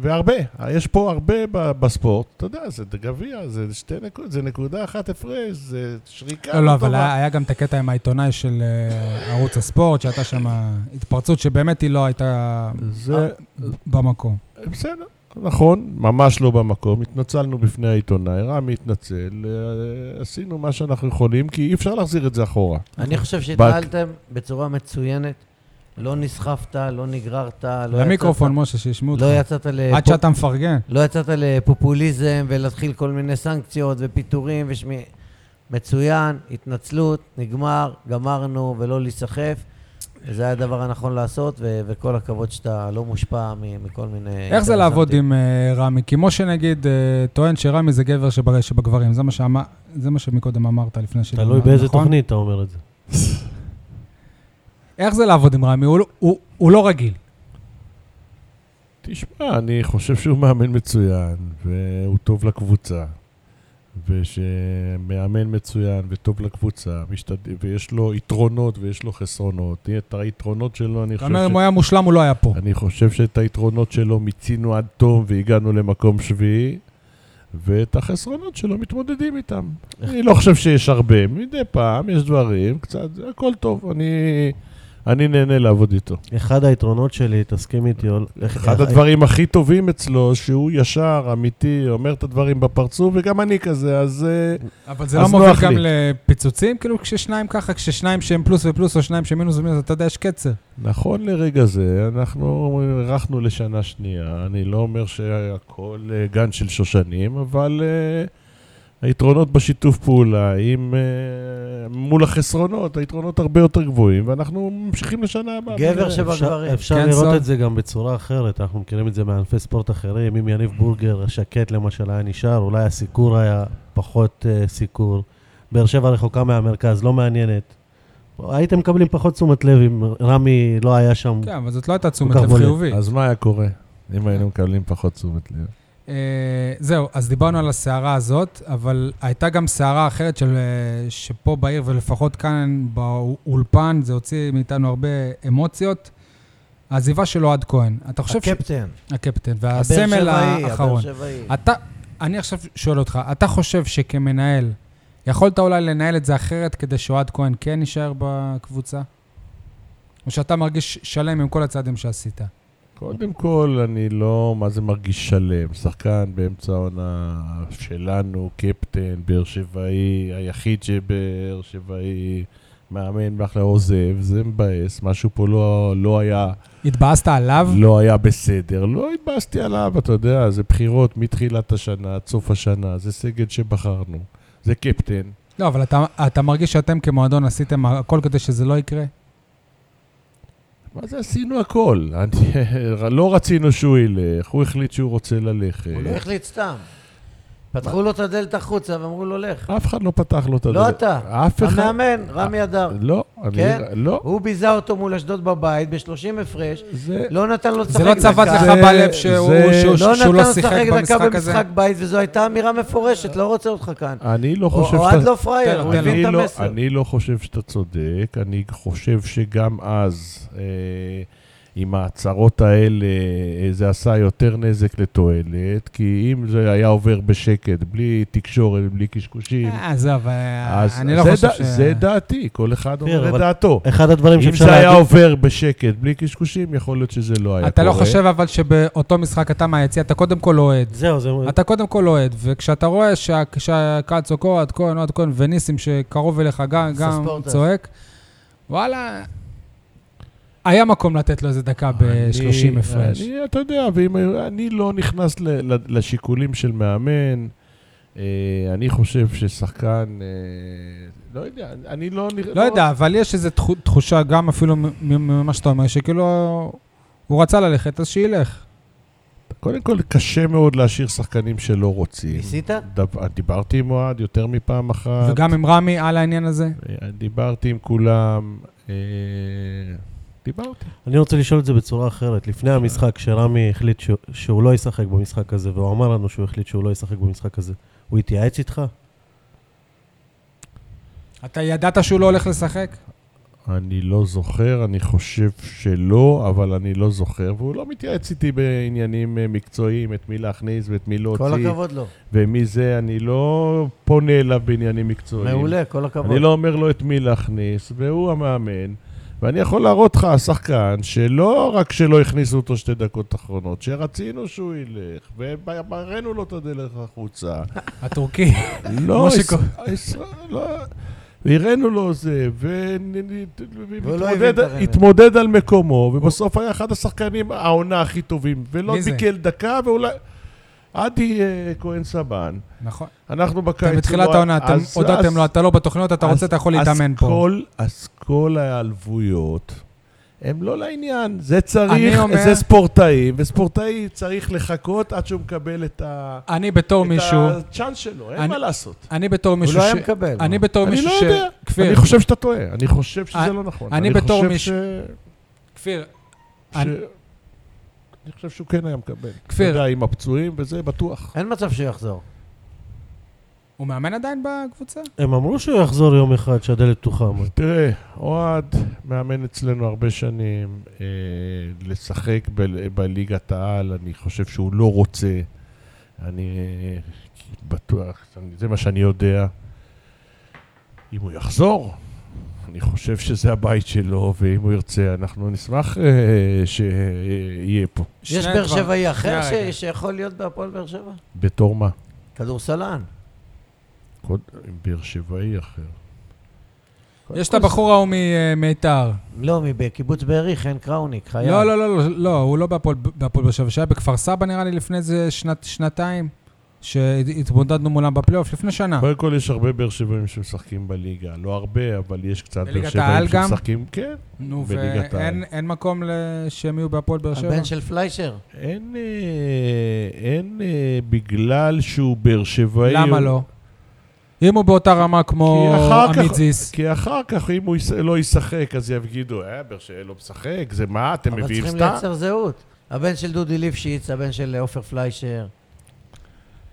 והרבה. יש פה הרבה ב... בספורט. אתה יודע, זה גביע, זה שתי נקודות, זה נקודה אחת הפרש, זה שריקה. לא, לא, אבל טובה. היה, היה גם את הקטע עם העיתונאי של אה, ערוץ הספורט, שהייתה שם התפרצות שבאמת היא לא הייתה זה... במקום. בסדר, נכון, ממש לא במקום. התנצלנו בפני העיתונאי, רמי התנצל, אה, עשינו מה שאנחנו יכולים, כי אי אפשר להחזיר את זה אחורה. אני נכון. חושב שהתנהלתם בצורה מצוינת. לא נסחפת, לא נגררת, לא למיקרופון, יצאת- משה, שישמעו אותך. לא יצאת לפופ- עד שאתה מפרגן. לא יצאת לפופוליזם ולהתחיל כל מיני סנקציות ופיטורים ושמי... מצוין, התנצלות, נגמר, גמרנו, ולא להיסחף. זה היה הדבר הנכון לעשות, ו- וכל הכבוד שאתה לא מושפע מ- מכל מיני... איך זה לעבוד אינטרסנטים. עם אה, רמי? כי משה נגיד אה, טוען שרמי זה גבר שבג- שבגברים, זה מה שאמר- זה מה שמקודם אמרת לפני נכון? ש... תלוי באיזה תוכנית אתה אומר את זה. איך זה לעבוד עם רמי? הוא לא- הוא- הוא לא רגיל. תשמע, אני חושב שהוא מאמן מצוין, והוא טוב לקבוצה. ושמאמן מצוין וטוב לקבוצה, משתד... ויש לו יתרונות ויש לו חסרונות. את היתרונות שלו, אני אתה חושב, אומר, ש... אם הוא היה מושלם, הוא לא היה פה. אני חושב שאת היתרונות שלו מיצינו עד תום והגענו למקום שביעי, ואת החסרונות שלו מתמודדים איתם. אני לא חושב שיש הרבה, מדי פעם יש דברים, קצת, הכל טוב, אני, אני נהנה לעבוד איתו. אחד היתרונות שלי, תסכים איתי, או- אחד הדברים הכי טובים אצלו, שהוא ישר, אמיתי, אומר את הדברים בפרצוף, וגם אני כזה, אז... אה, אבל זה אז לא מוביל נוח גם לי. לפיצוצים? כאילו, כששניים ככה, כששניים שהם פלוס ופלוס, או שניים שהם מינוס ומינוס, אתה יודע, יש קצר. נכון לרגע זה, אנחנו הארכנו לשנה שנייה. אני לא אומר שהכל אה, גן של שושנים, אבל אה, היתרונות בשיתוף פעולה עם... אה, מול החסרונות, היתרונות הרבה יותר גבוהים, ואנחנו ממשיכים לשנה הבאה. גבר נראה. שבגברים. אפשר- אפשר כן, סול? לראות את זה גם בצורה אחרת, אנחנו מכירים את זה מענפי ספורט אחרים, אם יניב בורגר השקט למשל היה נשאר, אולי הסיקור היה פחות אה, סיקור. באר שבע רחוקה מהמרכז, לא מעניינת. הייתם מקבלים פחות תשומת לב אם רמי לא היה שם. כן, אבל זאת לא הייתה תשומת כך לב בולט. חיובית. אז מה היה קורה אם היינו מקבלים פחות תשומת לב? אה, זהו, אז דיברנו על הסערה הזאת, אבל הייתה גם סערה אחרת של, אה, שפה בעיר, ולפחות כאן באולפן, זה הוציא מאיתנו הרבה אמוציות. העזיבה שלו עד כהן. אתה חושב ש... הקפטן, הקפטן. הבאר והסמל שבעי, הבאר האחרון. אה. שבעי. אתה, אני עכשיו שואל אותך, אתה חושב שכמנהל, יכולת אולי לנהל את זה אחרת כדי שאוהד כהן כן יישאר בקבוצה? או שאתה מרגיש שלם עם כל הצעדים שעשית? קודם כל, אני לא, מה זה מרגיש שלם? שחקן באמצע העונה שלנו, קפטן, באר שבעי, היחיד שבאר שבעי, מאמן מאחלה עוזב, זה מבאס, משהו פה לא, לא היה, התבאסת עליו? לא היה בסדר. לא התבאסתי עליו, אתה יודע, זה בחירות מתחילת השנה עד סוף השנה, זה סגל שבחרנו, זה קפטן. לא, אבל אתה, אתה מרגיש שאתם כמועדון עשיתם הכל כדי שזה לא יקרה? מה זה עשינו הכל? אני, לא רצינו שהוא ילך, הוא החליט שהוא רוצה ללכת. הוא לא החליט סתם. פתחו לו את הדלת החוצה ואמרו לו לך. אף אחד לא פתח לו את הדלת. לא אתה, אף אחד. אה, המאמן, רמי אדר. לא, אני- כן? לא. הוא ביזה אותו מול אשדוד בבית ב-30 הפרש, זה... לא נתן לו לשחק זה לא צבט דקה. לך בלב שהוא זה- שהוא- לא שהוא נתן לא לו שיחק לשחק דקה במשחק הזה? במשחק בית, וזו הייתה אמירה מפורשת, לא רוצה אותך כאן. אני לא חושב אוהד לא פראייר, תן הוא לו, תן הבין אני את לא, המסר. אני לא חושב שאתה צודק, אני חושב שגם אז, אה, עם ההצהרות האלה, אה, זה עשה יותר נזק לתועלת, כי אם זה היה עובר בשקט, בלי תקשורת, בלי קשקושים, אה, עזוב, אה, אז אני לא זה, חושב ד- ש... זה דעתי, כל אחד כן, אומר את אבל- דעתו. אחד הדברים אם שאפשר זה היה להגיד... עובר בשקט, בלי קשקושים, יכול להיות שזה לא היה קורה. אתה לא חושב אבל שבאותו משחק אתה מהיציע, אתה קודם כל אוהד. זהו, זה... אתה קודם כל אוהד, וכשאתה רואה שה- שהקהל צועק אוהד כהן, אוהד כהן, וניסים שקרוב אליך גם גם ספורטס. צועק, וואלה, היה מקום לתת לו איזה דקה ב-30 אני- הפרש. אני- אתה יודע, ואם, אני לא נכנס ל, ל, לשיקולים של מאמן. אה, אני חושב ששחקן, אה, לא יודע, אני לא... נכ- לא יודע, אבל יש איזו תחו- תחושה, גם אפילו מ- ממה שאתה אומר, שכאילו הוא רצה ללכת, אז שילך. קודם כל, קשה מאוד להשאיר שחקנים שלא רוצים. ניסית? דב- דיברתי עם אוהד יותר מפעם אחת. וגם עם רמי על העניין הזה. אה, דיברתי עם כולם. אה, דיברתי. אני רוצה לשאול את זה בצורה אחרת. כן. לפני המשחק, כשרמי החליט שהוא- שהוא לא ישחק במשחק הזה, והוא אמר לנו שהוא החליט שהוא לא ישחק במשחק הזה, הוא התייעץ איתך? אתה ידעת שהוא לא הולך לשחק? אני לא זוכר, אני חושב שלא, אבל אני לא זוכר. והוא לא מתייעץ איתי בעניינים אה, מקצועיים, את מי להכניס ואת מי להוציא. כל הכבוד לו. ומי זה, אני לא פונה אליו בעניינים מקצועיים. מעולה, כל הכבוד. אני לא אומר לו את מי להכניס, והוא המאמן, ואני יכול להראות לך, השחקן, שלא רק שלא הכניסו אותו שתי דקות אחרונות, שרצינו שהוא ילך, ומראינו לו את הדרך החוצה. הטורקי. לא, משה יש- יש- לא... הראינו לו זה, והוא לא הבין את הרמז. והתמודד על מקומו, ובסוף היה אחד השחקנים העונה הכי טובים, ולא מי זה? תיקל דקה, ואולי... עדי אה, כהן סבן, נכון. אנחנו בקיץ... אתם בתחילת לא- העונה, אתם אז- הודעתם אז- לו, אתה לא בתוכניות, אתה אז- רוצה, אתה יכול אז להתאמן פה. כל- אז כל ההיעלבויות הם לא לעניין. זה צריך, אני אומר- זה ספורטאי, וספורטאי צריך לחכות עד שהוא מקבל את ה... אני בתור את מישהו, הצ'אנס שלו, אין אני- מה לעשות. אני בתור הוא מישהו לא היה ש... מקבל. אני בתור אני מישהו לא ש... יודע. כפיר, אני חושב שאתה טועה, אני חושב אני- שזה לא נכון. אני בתור חושב מישהו- ש- כפיר, ש- אני- אני חושב שהוא כן היה מקבל. כפיר. אתה יודע, עם הפצועים וזה, בטוח. אין מצב שהוא יחזור. הוא מאמן עדיין בקבוצה? הם אמרו שהוא יחזור יום אחד, שהדלת פתוחה. אמר. תראה, אוהד מאמן אצלנו הרבה שנים, אה, לשחק ב- בליגת העל, אני חושב שהוא לא רוצה. אני אה, בטוח, אני- זה מה שאני יודע. אם הוא יחזור, אני חושב שזה הבית שלו, ואם הוא ירצה, אנחנו נשמח אה, שיהיה פה. יש שנייה באר כבר. שבעי שנייה אחר ש- רגע. שיכול להיות בהפועל באר שבע? בתור מה? כדורסלן. קוד- באר שבעי אחר. יש את הבחור ההוא אה, ממיתר. לא, מקיבוץ בארי, חן קראוניק, חייב. לא, לא, לא, לא, לא, הוא לא בהפועל בהפועל באר שבע, שהיה בכפר סבא נראה לי לפני איזה שנת- שנתיים, שהתמודדנו מולם בפלייאוף, לפני שנה. קודם כל יש הרבה באר שבעים שמשחקים בליגה, לא הרבה, אבל יש קצת באר בליגת העל שבעים גם? שמשחקים, כן. נו, בליגת העל. ואין אין מקום ל- שהם יהיו בהפועל באר לא, שבע? הבן של פליישר. אין, אה, אין אה, בגלל שהוא באר שבעי. למה הוא- לא? אם הוא באותה רמה כמו כי אחר כך- עמית זיס, כי אחר כך, אם הוא יש- לא ישחק, אז יגידו, אה, באר שבעי לא משחק, זה מה, אתם אבל מביאים צריכים סתם? לייצר זהות. הבן של דודי ליפשיץ, הבן של אה, עופר פליישר.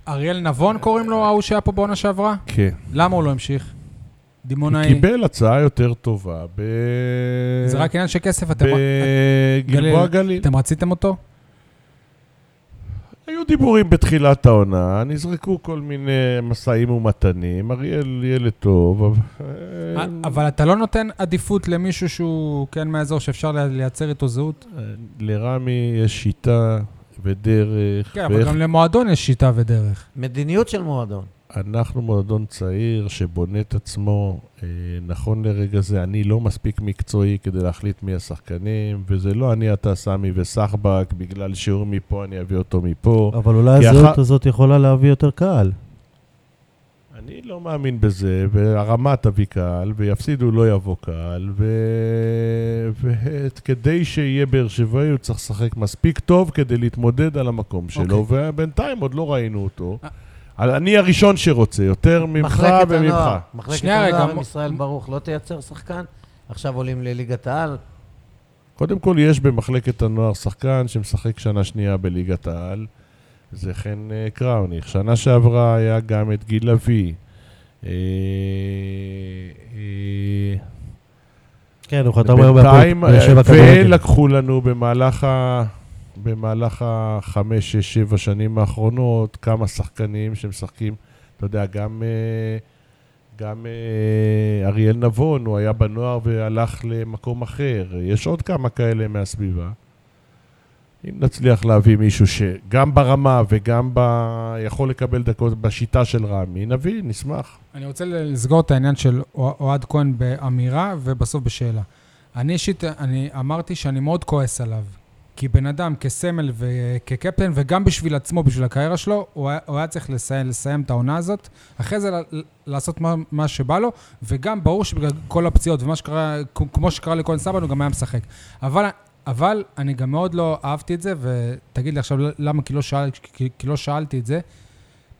אריאל נבון קוראים לו, ההוא שהיה פה בעונה שעברה? כן. למה הוא לא המשיך? דימונאי. קיבל הצעה יותר טובה ב... זה רק עניין של כסף, אתם- בגלבוע גליל. גליל. אתם רציתם אותו? היו דיבורים בתחילת העונה, נזרקו כל מיני משאים ומתנים, אריאל ילד טוב, אבל... אה, א- אבל אתה לא נותן עדיפות למישהו שהוא כן מהאזור שאפשר ל- לייצר איתו זהות? אה, לרמי יש שיטה ודרך, כן, אבל ואיך גם למועדון יש שיטה ודרך. מדיניות של מועדון. אנחנו מועדון צעיר שבונה את עצמו. אה, נכון לרגע זה, אני לא מספיק מקצועי כדי להחליט מי השחקנים, וזה לא אני, אתה, סמי וסחבק, בגלל שיעור מפה אני אביא אותו מפה. אבל אולי כי הזהות אחר- הזאת יכולה להביא יותר קהל. אני לא מאמין בזה, והרמה תביא קהל, ויפסידו לא יבוא קהל, ו... וכדי שיהיה באר שבעי הוא צריך לשחק מספיק טוב כדי להתמודד על המקום שלו, okay. אוקיי. ובינתיים עוד לא ראינו אותו. אה. על- אני הראשון שרוצה, יותר ממך מחלקת וממך. הנוער, מחלקת שנייה רגע, הנוער מ- עם ישראל ברוך לא תייצר שחקן? עכשיו עולים לליגת העל. קודם כל, יש במחלקת הנוער שחקן שמשחק שנה שנייה בליגת העל, זה חן אה, קראוניך. שנה שעברה היה גם את גיל לביא. אה, אה, כן, הוא חתם היום בינתיים, באר שבע כדורגל. אה, ולקחו לנו במהלך ה... במהלך החמש, שש, שבע שנים האחרונות, כמה שחקנים שמשחקים, אתה יודע, גם, אה, גם אה, אריאל נבון, הוא היה בנוער והלך למקום אחר. יש עוד כמה כאלה מהסביבה. אם נצליח להביא מישהו שגם ברמה וגם ב... יכול לקבל דקות בשיטה של רמי, נביא, נשמח. אני רוצה לסגור את העניין של אוה- אוהד כהן באמירה ובסוף בשאלה. אני אישית, אני אמרתי שאני מאוד כועס עליו. כי בן אדם כסמל וכקפטן, וגם בשביל עצמו, בשביל הקריירה שלו, הוא היה, הוא היה צריך לסיים, לסיים את העונה הזאת, אחרי זה ל- לעשות מה, מה שבא לו, וגם ברור שבגלל כל הפציעות ומה שקרה, כ- כמו שקרה לכהן סבן, הוא גם היה משחק. אבל, אבל אני גם מאוד לא אהבתי את זה, ותגיד לי עכשיו למה, כי לא, שאל, כי, כי לא שאלתי את זה.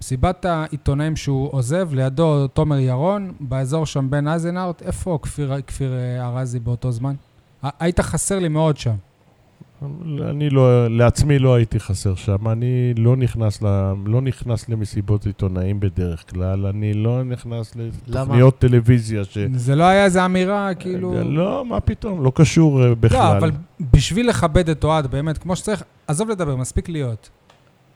מסיבת העיתונאים שהוא עוזב, לידו תומר ירון, באזור שם בין אייזנארט, איפה כפיר, כפיר אה, ארזי באותו זמן? ה- היית חסר לי מאוד שם. אני לא, לעצמי לא הייתי חסר שם. אני לא נכנס, ל, לא נכנס למסיבות עיתונאים בדרך כלל, אני לא נכנס לתוכניות טלוויזיה ש... זה לא היה איזו אמירה, כאילו... כן. לא, מה פתאום, לא קשור אה, בכלל. לא, אבל בשביל לכבד את אוהד, באמת, כמו שצריך, עזוב לדבר, מספיק להיות.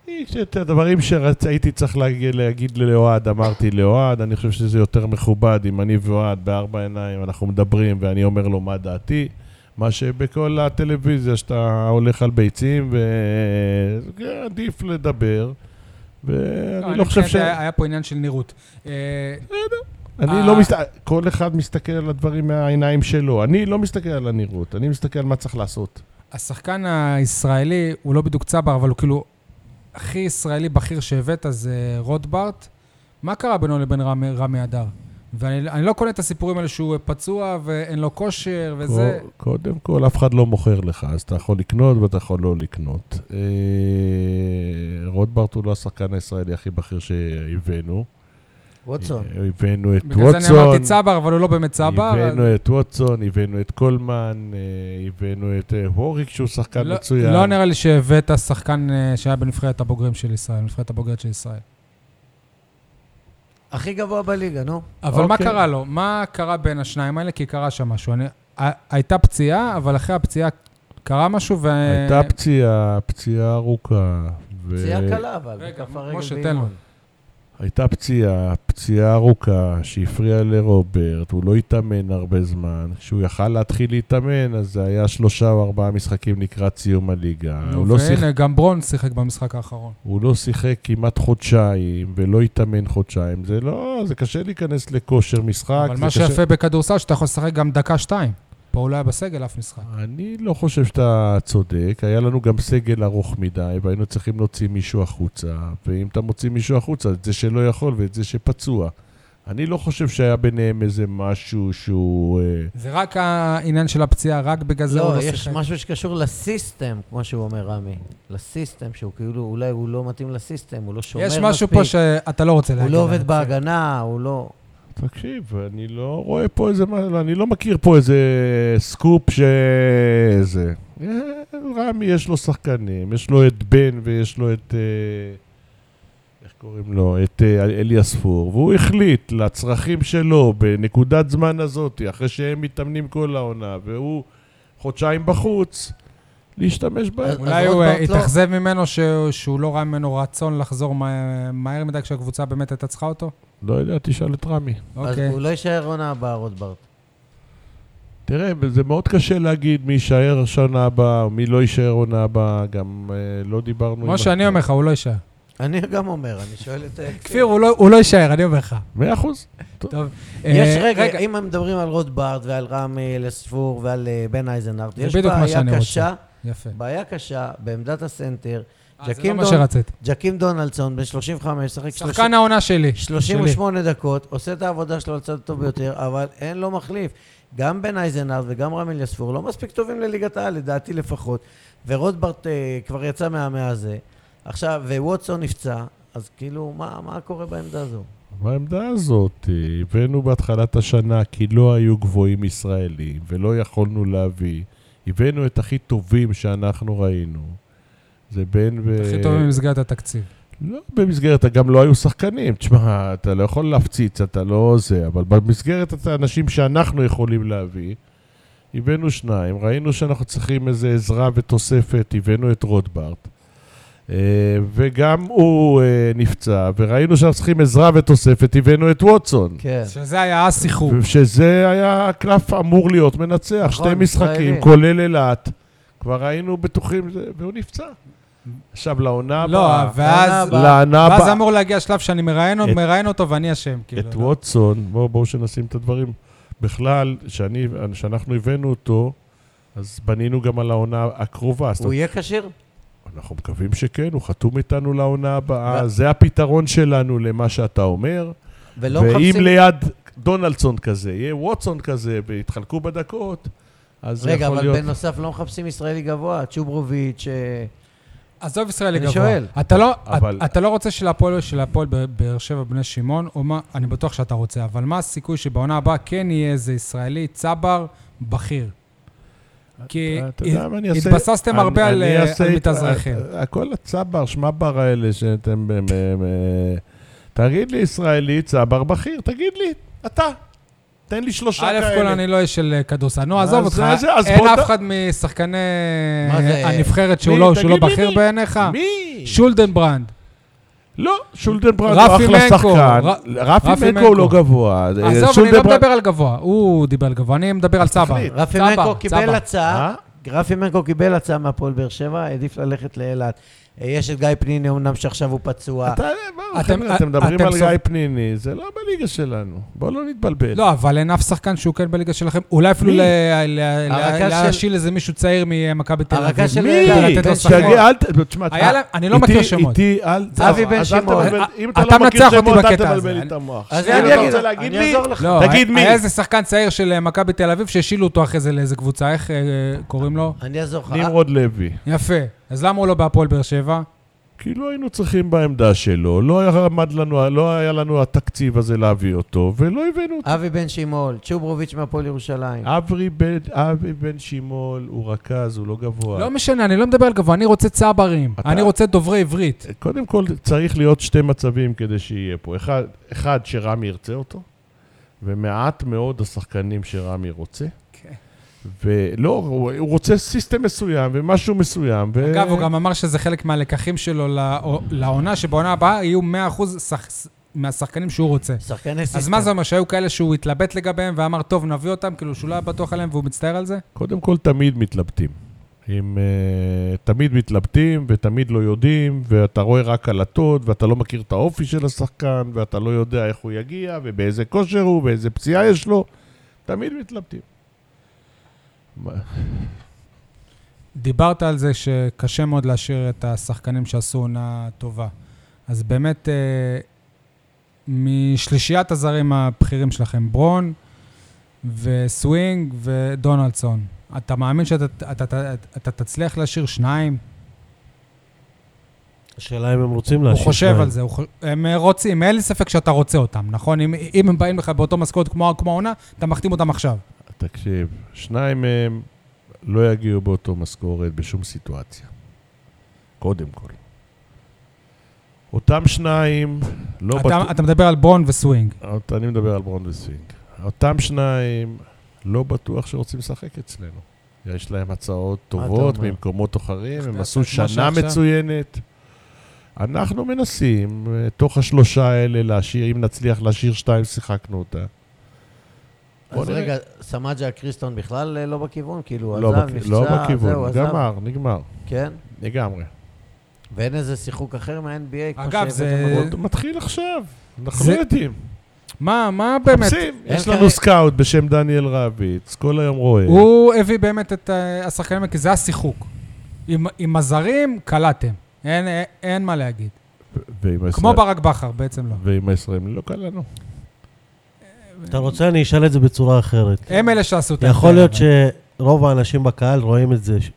יש את הדברים שהייתי צריך להגיד, להגיד לאוהד, אמרתי לאוהד, אני חושב שזה יותר מכובד אם אני ואוהד בארבע עיניים אנחנו מדברים ואני אומר לו מה דעתי, מה שבכל הטלוויזיה שאתה הולך על ביצים ועדיף לדבר, ואני לא חושב ש... מבחינתי היה היה פה עניין של נראות. אה, אני אה. לא מסתכל, כל אחד מסתכל על הדברים מהעיניים שלו, אני לא מסתכל על הנראות, אני מסתכל על מה צריך לעשות. השחקן הישראלי, הוא לא בדיוק צבר, אבל הוא כאילו הכי ישראלי בכיר שהבאת זה רוטברט. מה קרה בינו לבין רמי, רמי הדר? ואני אני לא קונה את הסיפורים האלה שהוא פצוע ואין לו כושר וזה. קו- קודם כל, אף אחד לא מוכר לך, אז אתה יכול לקנות ואתה יכול לא לקנות. אה, רוטברט הוא לא השחקן הישראלי הכי בכיר שהבאנו. ווטסון. אה, הבאנו את בגלל זה אני אמרתי ווטסון, צבר, אבל הוא לא באמת צבר. אז- הבאנו את ווטסון, הבאנו את קולמן, אה, הבאנו את אה, הוריק שהוא שחקן לא- מצוין. לא נראה לי שהבאת שחקן אה, שהיה בנבחרת הבוגרים של ישראל, נבחרת הבוגרת של ישראל. הכי גבוה בליגה, נו. אבל מה אוקיי. קרה לו? מה קרה בין השניים האלה? כי קרה שם משהו. אני- ה- הייתה פציעה, אבל אחרי הפציעה קרה משהו, ו... הייתה פציעה, פציעה ארוכה. ו- פציעה קלה, אבל. רגע, בכף הרגל משה, תן באימון. לו. הייתה פציעה, פציעה ארוכה שהפריעה לרוברט, הוא לא התאמן הרבה זמן. כשהוא יכל להתחיל להתאמן, אז זה היה שלושה או ארבעה משחקים לקראת סיום הליגה. נו, הוא לא, שיח... והנה, גם ברון שיחק במשחק האחרון. הוא לא שיחק כמעט חודשיים, ולא התאמן חודשיים. זה לא, זה קשה להיכנס לכושר משחק. אבל זה מה קשה... שיפה בכדורסל, שאתה יכול לשחק גם דקה-שתיים. פה הוא לא היה בסגל אף משחק. אני לא חושב שאתה צודק. היה לנו גם סגל ארוך מדי, והיינו צריכים להוציא מישהו החוצה. ואם אתה מוציא מישהו החוצה, את זה שלא יכול ואת זה שפצוע. אני לא חושב שהיה ביניהם איזה משהו שהוא... אה, זה רק העניין של הפציעה, רק בגלל זה הוא לא, לא יש שיחק. משהו שקשור לסיסטם, כמו שהוא אומר רמי. לסיסטם, שהוא כאילו, אולי הוא לא מתאים לסיסטם, הוא לא שומר יש מספיק. משהו פה שאתה לא רוצה להגיד. הוא לא עובד עליו. בהגנה, הוא לא... תקשיב, אני לא רואה פה איזה, מה- אני לא מכיר פה איזה סקופ ש... זה. אה, רמי יש לו שחקנים, יש לו את בן ויש לו את... אה, איך קוראים לו? את אה, אלי אספור, והוא החליט לצרכים שלו בנקודת זמן הזאת, אחרי שהם מתאמנים כל העונה, והוא חודשיים בחוץ, להשתמש בהם. אז אולי עוד הוא אה, פעם, לא. התאכזב ממנו שהוא- שהוא לא ראה ממנו רצון לחזור מה- מהר מדי כשהקבוצה באמת הייתה צריכה אותו? לא יודע, תשאל את רמי. אז אוקיי. הוא לא יישאר עונה הבאה, רוטברט. תראה, זה מאוד קשה להגיד מי יישאר שנה הבאה, או מי לא יישאר עונה הבאה, גם אה, לא דיברנו... כמו שאני אומר לך, הוא לא אה, יישאר. אני גם אומר, אני שואל את... כפיר, הוא לא- הוא לא יישאר, אני אומר לך. מאה אחוז. יש אה, רגע, אם מדברים על רוטברט ועל רמי לספור ועל אה, בן אייזנארט, זה יש בדיוק מה בעיה שאני רוצה. קשה, יפה. בעיה קשה בעמדת הסנטר. אה, זה לא ג'קים מה דון- שרצית. ג'קים דונלדסון, בן 35, שחק שחקן העונה שלי. 38 דקות, עושה את העבודה שלו על צד הטוב ביותר, אבל אין לו מחליף. גם בן אייזנארד וגם רמי לספור לא מספיק טובים לליגת העל, לדעתי לפחות. ורוטברט אה, כבר יצא מהמאה הזה. עכשיו, וווטסון נפצע, אז כאילו, מה, מה קורה בעמדה הזו? העמדה הזאת, אה, הבאנו בהתחלת השנה כי לא היו גבוהים ישראלים ולא יכולנו להביא. הבאנו את הכי טובים שאנחנו ראינו. זה בין... ו- הכי טוב במסגרת התקציב. לא במסגרת, גם לא היו שחקנים. תשמע, אתה לא יכול להפציץ, אתה לא זה, אבל במסגרת האנשים שאנחנו יכולים להביא, הבאנו שניים, ראינו שאנחנו צריכים איזו עזרה ותוספת, הבאנו את רוטברט, אה, וגם הוא אה, נפצע, וראינו שאנחנו צריכים עזרה ותוספת, הבאנו את ווטסון. כן. שזה היה השיחור. שזה היה הקלף אמור להיות מנצח, נכון, שתי משחקים, ישראלי. כולל אילת. כבר היינו בטוחים, זה- והוא נפצע. עכשיו לעונה לא, הבאה. ואז... הבאה. לעונה ואז הבאה. אמור להגיע שלב שאני מראיין את- מראיין אותו ואני אשם, כאילו. את אתה יודע. ווטסון, בואו בוא שנשים את הדברים. בכלל, שאני, שאנחנו הבאנו אותו, אז בנינו גם על העונה הקרובה. זאת הוא אומרת, יהיה כשיר? אנחנו מקווים שכן, הוא חתום איתנו לעונה הבאה. ו- זה הפתרון שלנו למה שאתה אומר. ולא ואם מחפשים... ליד דונלדסון כזה, יהיה ווטסון כזה, ויתחלקו בדקות, אז זה רגע, יכול אבל להיות... בנוסף לא מחפשים ישראלי גבוה, צ'וברוביץ', אה, עזוב ישראלי אני גבוה. שואל. אתה לא, אבל- אתה- אתה לא רוצה שלהפועל שלהפועל ב- באר שבע בני שמעון, או מה, אני בטוח שאתה רוצה, אבל מה הסיכוי שבעונה הבאה כן יהיה איזה ישראלי צבר בכיר? כי אתה יודע מה, אני אעשה- אה, התבססתם אני- הרבה על אני אה, אעשה על את- מתאזרחים. ה- ה- כל הצבר, שמבר האלה שאתם... ב- ב- ב- תגיד לי, ישראלי, צבר בכיר, תגיד לי, אתה. תן לי שלושה כאלה. א' כל אני לא איש של אה, כדורסל. נו, עזוב אז אותך, זה- זה- אז אין בוא ת- אף אחד משחקני מה זה? הנבחרת שהוא מי? לא- שהוא לא תגיד לי בכיר מי? בעיניך? מי? שולדנברנד. לא, שולדנברנד הוא רפי אחלה מנקו, שחקן. ר- רפי רפי מנקו הוא מנקו. לא גבוה. אה, עזוב, אני לא שולדנברנד- מדבר על גבוה. הוא דיבר על גבוה, אני מדבר על צבר. תחליט. רפי צבר, מנקו קיבל צבר. הצעה, אה? רפי מנקו קיבל הצעה מהפועל באר שבע, העדיף ללכת לאילת. אה, יש את גיא פניני אמנם שעכשיו הוא פצוע. אתה- מה, אתם- אה, חבר'ה, אתם מדברים אתם על סופ- גיא פניני, זה לא בליגה שלנו. בואו לא נתבלבל. לא, אבל אין אף שחקן שהוא כן בליגה שלכם. אולי אפילו מי? ל- ל- הרכז ל- של- להשיל איזה מישהו צעיר ממכבי תל אביב. הרכז של מי? אילת, לתת לו בן שחקן. שמעון. תגיד, אל ת... תשמע, היה אתה- להם- אני לא איתי- מכיר שמות. איתי, אל... אבי בן אז אל שמעון. תבלבל- אה, אם אתה אתה לא מכיר מנצח אותי שמות, אל בקטע תבלבל הזה. לי את המוח. אז שנייה, אני אתה אגיד- רוצה להגיד אני לי? אעזור לך. לא, תגיד היה- מי. היה איזה שחקן צעיר של אה, מכבי תל אביב שהשילו אותו אחרי זה לאיזה קבוצה, איך אה, קוראים לו? אני אעזור לך. נמרוד לוי. יפה. אז למה הוא לא בהפועל באר שבע? כי לא היינו צריכים בעמדה שלו, לא היה, עמד לנו, לא היה לנו התקציב הזה להביא אותו, ולא הבאנו אותו. אה, אבי בן שמעון, צ'וברוביץ' מהפועל ירושלים. אברי בן, אבי בן שימול הוא רכז, הוא לא גבוה. לא משנה, אני לא מדבר על גבוה, אני רוצה צברים. אתה- אה. אני רוצה דוברי עברית. קודם כל, צריך להיות שתי מצבים כדי שיהיה פה. אחד, אחד שרמי ירצה אותו, ומעט מאוד השחקנים שרמי רוצה. כן. ולא, הוא הוא רוצה סיסטם מסוים ומשהו מסוים. ו... אגב, הוא גם אמר שזה חלק מהלקחים שלו לעו- לעונה, שבעונה הבאה יהיו 100% שח- מהשחקנים שהוא רוצה. שחקני סיסטם. אז מה זה אומר, שהיו כאלה שהוא התלבט לגביהם ואמר, טוב, נביא אותם, כאילו שהוא לא היה בטוח עליהם והוא מצטער על זה? קודם כל, תמיד מתלבטים. עם, uh, תמיד מתלבטים ותמיד לא יודעים, ואתה רואה רק עלטות, ואתה לא מכיר את האופי של השחקן, ואתה לא יודע איך הוא יגיע, ובאיזה כושר הוא, ואיזה פציעה יש לו. תמיד מתלבטים. מה- דיברת על זה שקשה מאוד להשאיר את השחקנים שעשו עונה טובה. אז באמת, אה, משלישיית הזרים הבכירים שלכם, ברון וסווינג ודונלדסון, אתה מאמין שאתה אתה, אתה, אתה תצליח להשאיר שניים? השאלה אם הם רוצים הוא להשאיר חושב שניים. על זה, הוא חו- הם אה, רוצים, אין לי ספק שאתה רוצה אותם, נכון? אם, אם הם באים לך באותו משכורת כמו כמו העונה, אתה מחתים אותם עכשיו. תקשיב, שניים מהם לא יגיעו באותו משכורת בשום סיטואציה. קודם כל. אותם שניים לא אתה, אתה מדבר על ברון וסווינג. אות- אני מדבר על ברון וסווינג. אותם שניים לא בטוח שרוצים לשחק אצלנו. יש להם הצעות אתה טובות אומר? ממקומות אחרים, הם אתה עשו עושה את מה שנה שעכשיו? מצוינת. אנחנו מנסים, אה, תוך השלושה האלה, להשאיר, אם נצליח להשאיר שתיים, שיחקנו אותה. בוא אז נראה. רגע, סמג'ה קריסטון בכלל אה, לא בכיוון? כאילו, לא עזב, בכ- נפצע, לא זהו, בכיוון, עזב. גמר, נגמר, כן? לגמרי. ואין איזה שיחוק אחר מה-NBA? כמו אגב, זה- שהבאתם הוא אותו? עוד מתחיל עכשיו, אנחנו זה- לא יודעים. מה, מה באמת? חפשים, אין יש כרגע- לנו סקאוט בשם דניאל רביץ, כל היום רואה. הוא הביא באמת את אה, השחקנים, כי זה השיחוק. עם, עם הזרים, קלעתם. אין, אין, אין מה להגיד. ועם הישראל- כמו ברק בכר, בעצם לא. ועם הישראלים לא קל לנו. אתה רוצה, אני אשאל את זה בצורה אחרת. הם אלה שעשו את יכול ההבדל, להיות אבל. שרוב האנשים בקהל רואים את זה ש-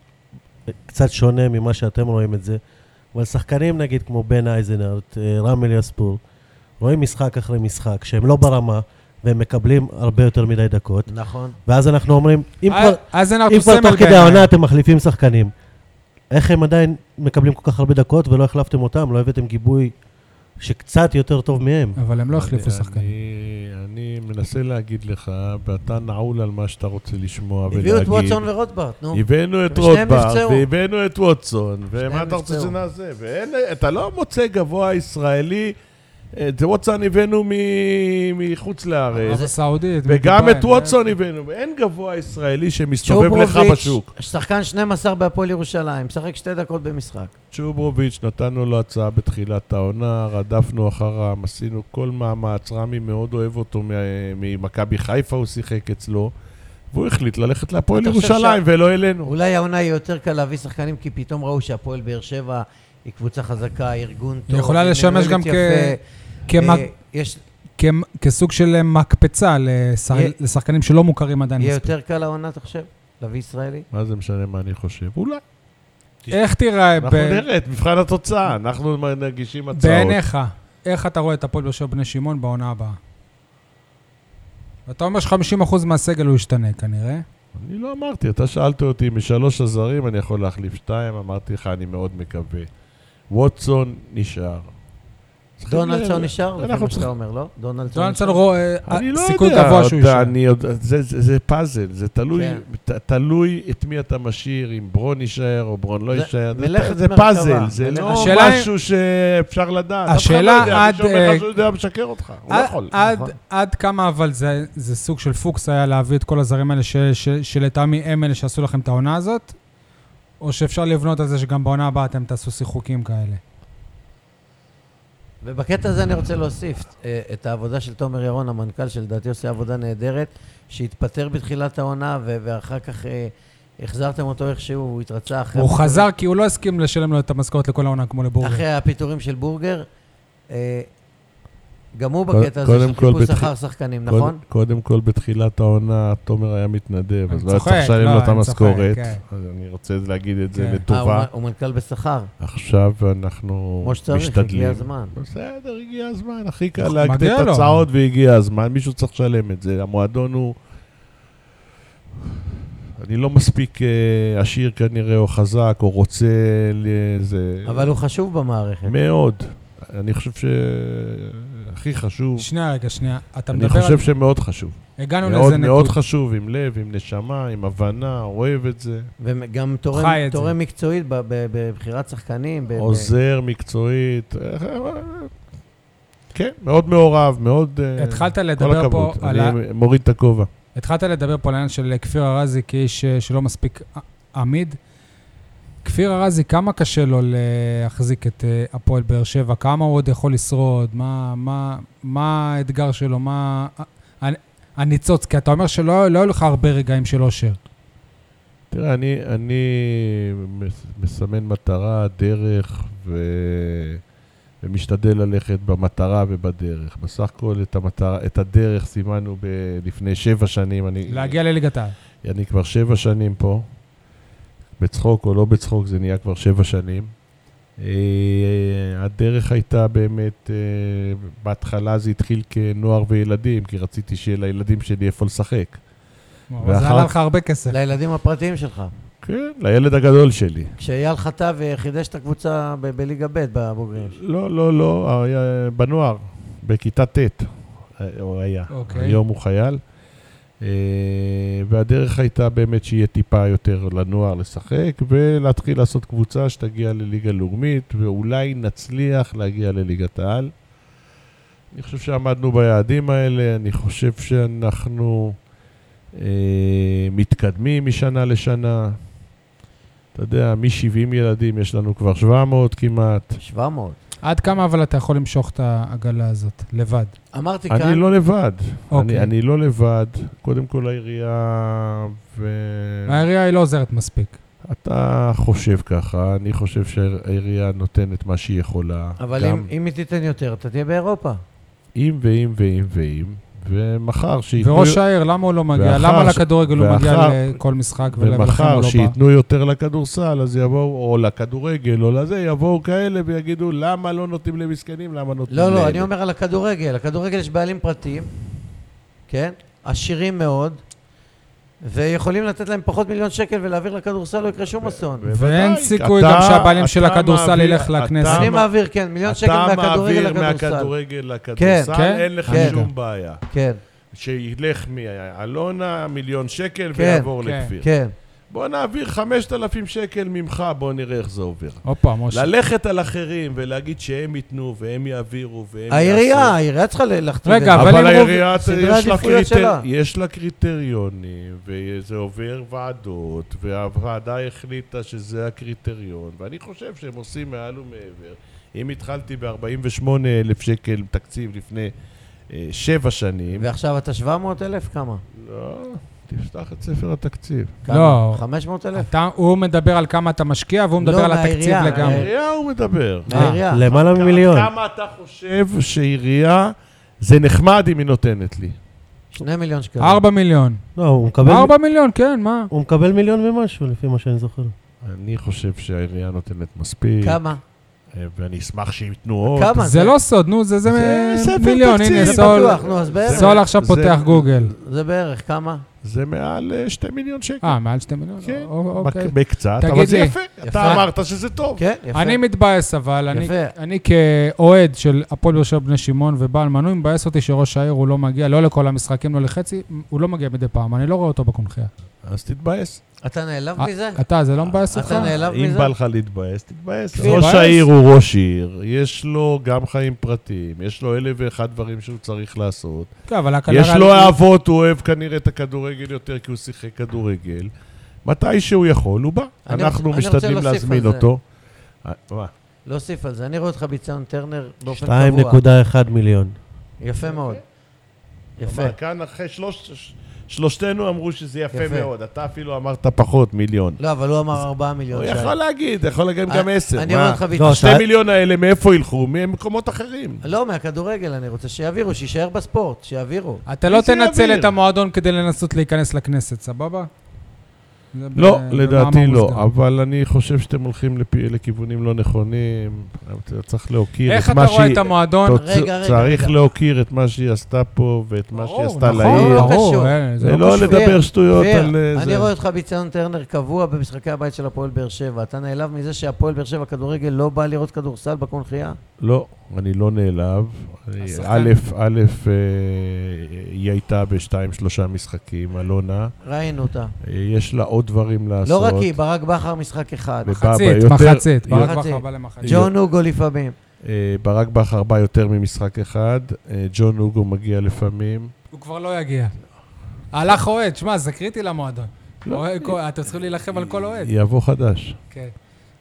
קצת שונה ממה שאתם רואים את זה, אבל שחקנים נגיד כמו בן אייזנארט, אה, רם אליאספור, רואים משחק אחרי משחק, שהם לא ברמה, והם מקבלים הרבה יותר מדי דקות, נכון. ואז אנחנו אומרים, אם אה, כבר, אז אין ארתור אם כבר סמל תוך כדי בעיניי. העונה אתם מחליפים שחקנים, איך הם עדיין מקבלים כל כך הרבה דקות ולא החלפתם אותם, לא הבאתם גיבוי שקצת יותר טוב מהם? אבל הם לא אני- החליפו שחקנים. אני- אני מנסה להגיד לך, ואתה נעול על מה שאתה רוצה לשמוע ולהגיד. הביאו את ווטסון ורוטברט, נו. הבאנו את ושניהם רוטברט, נפצעו. והבאנו את ווטסון, ומה אתה רוצה נפצעו. שנעשה? ואתה לא מוצא גבוה ישראלי, אה, את ווטסון הבאנו מ- מחוץ לארץ, ערב הסעודית. אה, וגם מדובאי, את ווטסון הבאנו, ואין גבוה ישראלי שמסתובב לך צ'ופרוביץ', בשוק. שחקן 12 בהפועל ירושלים, משחק שתי דקות במשחק. צ'וברוביץ', נתנו לו הצעה בתחילת העונה, רדפנו אחריו, עשינו כל מאמץ, רמי מאוד אוהב אותו, מה- ממכבי חיפה הוא שיחק אצלו, והוא החליט ללכת להפועל אתה חושב ירושלים ולא אלינו. אולי העונה היא יותר קל להביא שחקנים, כי פתאום ראו שהפועל באר שבע היא קבוצה חזקה, ארגון טוב. יכולה היא לשמש מנוהלת גם יפה. כ- אה, כמג- יש- כמ- כסוג של אה, מקפצה לשח- יהיה- לשחקנים שלא מוכרים עדיין. יהיה מספיק. יותר קל העונה, אתה חושב? להביא ישראלי? מה זה משנה מה אני חושב? אולי. איך תראה אנחנו ב- נראה את מבחן התוצאה, אנחנו מגישים הצעות. בעיניך, איך אתה רואה את הפועל באר שבע בני שמעון בעונה הבאה? אתה אומר ש-50% מהסגל הוא ישתנה כנראה. אני לא אמרתי, אתה שאלת אותי, משלוש הזרים אני יכול להחליף שתיים, אמרתי לך, אני מאוד מקווה. ווטסון נשאר. דונלדסון נשאר? לפי אנחנו מה שאתה צריכים... אומר, לא? דונלדסון דונלדסון נשאר? רואה אה, אני לא סיכוי יודע, גבוה שהוא אתה- יישאר. אני יודע, זה- זה זה פאזל, זה תלוי כן. ת- תלוי את מי אתה משאיר, אם ברון יישאר או ברון לא זה- יישאר. זה מלאכת פ- זה מרכבה. פאזל, זה לא השאלה אם- משהו שאפשר לדעת. השאלה עד, אף אחד לא יודע, מי שאומר אה, לך שהוא יודע משקר אותך, הוא לא עד- יכול. אה, עד- נכון. עד כמה אבל זה- זה סוג של פוקס היה להביא את כל הזרים האלה ש- ש- שלטעמי הם אלה שעשו לכם את העונה הזאת? או שאפשר לבנות על זה שגם בעונה הבאה אתם תעשו שיחוקים כאלה? ובקטע הזה אני רוצה להוסיף אה, את העבודה של תומר ירון, המנכ"ל, שלדעתי עושה עבודה נהדרת, שהתפטר בתחילת העונה, ו- ואחר כך אה, החזרתם אותו איכשהו, הוא התרצה כן. אחרי... הוא חזר כי הוא לא הסכים לשלם לו את המשכורת לכל העונה כמו לבורגר. אחרי הפיטורים של בורגר. אה, גם הוא בקטע הזה קודם של כל חיפוש בתח- אחר שחקנים, קוד- נכון? קודם כל, בתחילת העונה, תומר היה מתנדב, אני אז לא היה צוחק, צריך לשלם לא, לו את אני צוחק, המשכורת. כן. אז אני רוצה להגיד את זה כן. אה, הוא לטובה. מ- הוא מנכ"ל בשכר, עכשיו אנחנו כמו שצריך, הגיע משתדלים. הזמן. בסדר, הגיע הזמן, הכי קל נכון, להגדיל מגיע את לו. הצעות והגיע הזמן, מישהו צריך לשלם את זה. המועדון הוא... אני לא מספיק אה, עשיר כנראה, או חזק, או רוצה... ל- זה... אבל הוא חשוב במערכת. מאוד. אני חושב ש... הכי חשוב, שנייה, רגע, שנייה. אתה אני מדבר על... חושב שמאוד חשוב. הגענו מאוד לאיזה מאוד נקודה. חשוב, עם לב, עם נשמה, עם הבנה, אוהב את זה. וגם תורם- חי את זה. תורם מקצועית ב- ב- בבחירת שחקנים. ב- ב- עוזר מקצועית. אה, כן, מאוד מעורב, מאוד... אה, התחלת כל לדבר פה הכבוד, על ה... אני מוריד את הכובע. התחלת לדבר פה על העניין של כפיר ארזי כאיש אה, שלא מספיק ע- עמיד. כפיר ארזי, כמה קשה לו להחזיק את אה, הפועל באר שבע? כמה הוא עוד יכול לשרוד? מה, מה, מה האתגר שלו? מה ה- הניצוץ? כי אתה אומר שלא לא היו לך הרבה רגעים של אושר. תראה, אני, אני מס- מסמן מטרה, דרך, ו... ומשתדל ללכת במטרה ובדרך. בסך הכל את, המטרה, את הדרך סימנו ב... לפני שבע שנים. אני, להגיע לליגת העל. אני כבר שבע שנים פה. בצחוק או לא בצחוק, זה נהיה כבר שבע שנים. אה, הדרך הייתה באמת, אה, בהתחלה זה התחיל כנוער וילדים, כי רציתי שיהיה לילדים שלי איפה לשחק. אבל זה ואחר- עלה לך הרבה כסף. לילדים הפרטיים שלך. כן, לילד הגדול שלי. כשאייל חטב אה, חידש את הקבוצה ב- בליגה ב' בבוגרים. לא, לא, לא, היה בנוער, בכיתה ט', אה, הוא היה. אוקיי. היום הוא חייל. אה, והדרך הייתה באמת שיהיה טיפה יותר לנוער לשחק, ולהתחיל לעשות קבוצה שתגיע לליגה לאומית, ואולי נצליח להגיע לליגת העל. אני חושב שעמדנו ביעדים האלה, אני חושב שאנחנו אה, מתקדמים משנה לשנה. אתה יודע, מ-70 ילדים יש לנו כבר 700 כמעט. 700. עד כמה אבל אתה יכול למשוך את העגלה הזאת, לבד? אמרתי אני כאן, לא לבד. אוקיי. אני, אני לא לבד. קודם כל העירייה, ו... העירייה היא לא עוזרת מספיק. אתה חושב ככה, אני חושב שהעירייה נותנת מה שהיא יכולה. אבל גם אם- אם היא תיתן יותר, אתה תהיה באירופה. אם ואם ואם ואם, ומחר שייתנו... וראש העיר, למה הוא לא מגיע? ואחר למה ש- לכדורגל הוא מגיע ואחר- לכל משחק ול- ולכן הוא ומחר לא בא? שייתנו יותר לכדורסל, אז יבואו, או לכדורגל, או לזה, יבואו כאלה ויגידו, למה לא נותנים למסכנים, למה נותנים לא, לא, לאלה?" אני אומר על הכדורגל. הכדורגל יש בעלים פרטיים, כן? עשירים מאוד, ויכולים לתת להם פחות מיליון שקל ולהעביר לכדורסל, לא יקרה שום אסון. ואין בוודאי, סיכוי אתה- גם שהבעלים אתה של הכדורסל מעביר- ילך לכנסת. אתה אני מע- מעביר, כן, מיליון שקל מהכדורגל אתה מעביר לכדורסל. מהכדורגל לכדורסל, כן, אין לך כן. שום בעיה. כן, שילך מאלונה, מיליון שקל, כן, ויעבור כן. לכפיר. כן. בוא נעביר 5,000 שקל ממך, בוא נראה איך זה עובר. הופה, משה. ללכת על אחרים ולהגיד שהם ייתנו והם יעבירו והם יעשו. העירייה, העירייה צריכה ל- להכתיב את רגע, זה. אבל אבל אם העירייה, רוב- סדרי יש לה, העדיפויות קריטר... שלה. יש לה קריטריונים, וזה עובר ועדות, והוועדה החליטה שזה הקריטריון, ואני חושב שהם עושים מעל ומעבר. אם התחלתי ב-48 אלף שקל תקציב לפני אה, שבע שנים, ועכשיו אתה 700 אלף? כמה? לא, תפתח את ספר התקציב. כמה? לא. 500 אלף? אתה- הוא מדבר על כמה אתה משקיע, והוא מדבר לא, על התקציב מהעירייה, לגמרי. העירייה הוא מדבר. אה, העירייה. למעלה כמה- ממיליון. כמה אתה חושב שעירייה, זה נחמד אם היא נותנת לי. 2 מיליון כן. שקלים. ארבע מיליון. לא, הוא מקבל... ארבע מיליון, כן, מה? הוא מקבל מיליון ומשהו, לפי מה שאני זוכר. אני חושב שהעירייה נותנת מספיק, כמה? אה, ואני אשמח שייתנו עוד. כמה? זה לא סוד, נו, זה זה זה ספר מיליון, תקציב. הנה, זה סול. בטוח, נו, אז בערך. סול עכשיו זה- פותח גוגל. זה בערך, כמה? זה מעל אה, שתי מיליון שקל. אה, מעל שתי מיליון? כן, או- אוקיי. בק- בקצת, תגיד אבל זה לי. יפה. יפה. אתה אמרת שזה טוב. כן, יפה. אני מתבאס, אבל אני- יפה. אני כאוהד של הפועל באר שבע בני שמעון ובעל מנוי, מבאס אותי שראש העיר הוא לא מגיע, לא לכל המשחקים, לא לחצי, הוא לא מגיע מדי פעם, אני לא רואה אותו בקונחייה. אז תתבאס. אתה נעלב אה, מזה? אתה, זה לא מבאס אותך? אתה נעלב אה, אם מזה? בא לך להתבאס, תתבאס. כן. כפיר. ראש תתבאס. העיר הוא ראש עיר, יש לו גם חיים פרטיים, יש לו אלף ואחד דברים שהוא צריך לעשות. כן, אבל הכנראה... יש לו אהבות, הוא אוהב כנראה את הכדורגל יותר, כי הוא שיחק כדורגל. מתי שהוא יכול, הוא בא. אני אנחנו רוצה- אני משתדלים רוצה להוסיף להזמין על זה. אותו. אה, מה? להוסיף על זה. אני רואה אותך ביציון טרנר באופן קבוע. 2.1 מיליון. יפה אוקיי. מאוד. יפה. כלומר, כאן אחרי שלוש... שלושתנו אמרו שזה יפה יפה. מאוד, אתה אפילו אמרת פחות, מיליון. לא, אבל הוא אמר 4 הוא מיליון שקל. יכול להגיד, יכול להגיד גם אה, עשר. אני מה? רואה אותך ביציון. לא, שתי אתה- מיליון האלה, מאיפה ילכו? ממקומות אחרים. לא, מהכדורגל אני רוצה שיעבירו, שיישאר בספורט, שיעבירו. אתה לא איזה תנצל אוויר. את המועדון כדי לנסות להיכנס לכנסת, סבבה? זה ב- לא, במאמר לדעתי מוסגר. לא, אבל אני חושב שאתם הולכים לפי- לכיוונים לא נכונים, אתה צריך להוקיר איך את אתה מה רואה שהיא... את המועדון? אתה רגע, רגע, צריך רגע. להוקיר את מה שהיא עשתה פה ואת מה שהיא ברור, עשתה נכון, לעיר. לא ברור, קשור. אה, זה זה לא לא קשור. לדבר שטויות כפיר, על אה, אני זה. רואה אותך ביציון טרנר קבוע במשחקי הבית של הפועל באר שבע. אתה נעלב מזה שהפועל באר שבע כדורגל לא בא לראות כדורסל בקונחייה? לא, אני לא נעלב. אני- השחקן. א', א', אה, היא הייתה בשתיים, שלושה משחקים, אלונה. ראינו אותה. אה, יש לה עוד דברים לעשות. לא רק היא, ברק בכר משחק אחד. בב- מחצית, יותר- מחצית, ברק מחצית. בכר בא למחצית. ג'ון הוגו לפעמים. אה, ברק בכר בא יותר ממשחק אחד, אה, ג'ון הוגו מגיע לפעמים. הוא כבר לא יגיע. הלך אוהד, שמע, זה קריטי למועדון. לא. אוהד, כל- אתם צריכים להילחם על כל אוהד. יבוא חדש. כן.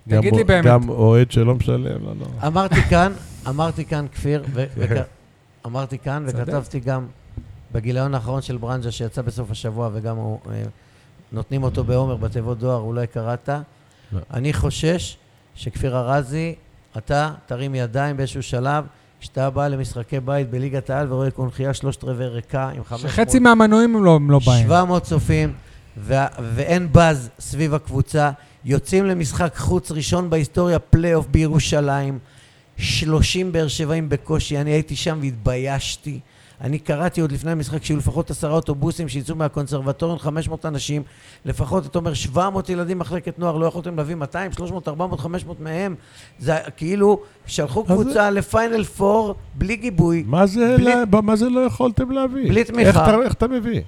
גם תגיד אוה- לי באמת. גם אוהד שלא משלם, לא, לא. אמרתי כאן, אמרתי כאן, כפיר, ו- וכ- אמרתי כאן, צודק. וכתבתי גם בגיליון האחרון של ברנז'ה שיצא בסוף השבוע, וגם הוא, אה, נותנים אותו בעומר בתיבות דואר, אולי קראת. לא. אני חושש שכפיר ארזי, אתה תרים ידיים באיזשהו שלב, כשאתה בא למשחקי בית בליגת העל ורואה קונכייה שלושת רבעי ריקה עם 500... שחצי מהמנויים הם לא- הם לא באים. 700 צופים, ו- ואין באז סביב הקבוצה. יוצאים למשחק חוץ ראשון בהיסטוריה, פלייאוף בירושלים. 30 באר שבעים בקושי, אני הייתי שם והתביישתי. אני קראתי עוד לפני המשחק שיהיו לפחות עשרה אוטובוסים שיצאו מהקונסרבטוריון, 500 אנשים, לפחות, אתה אומר, 700 ילדים מחלקת נוער, לא יכולתם להביא 200, 300, 400, 500 מהם. זה כאילו, שלחו אז- קבוצה לפיינל 4 בלי גיבוי, מה זה בלי- לה- מה זה לא יכולתם להביא? בלי תמיכה. איך אתה- איך אתה מביא?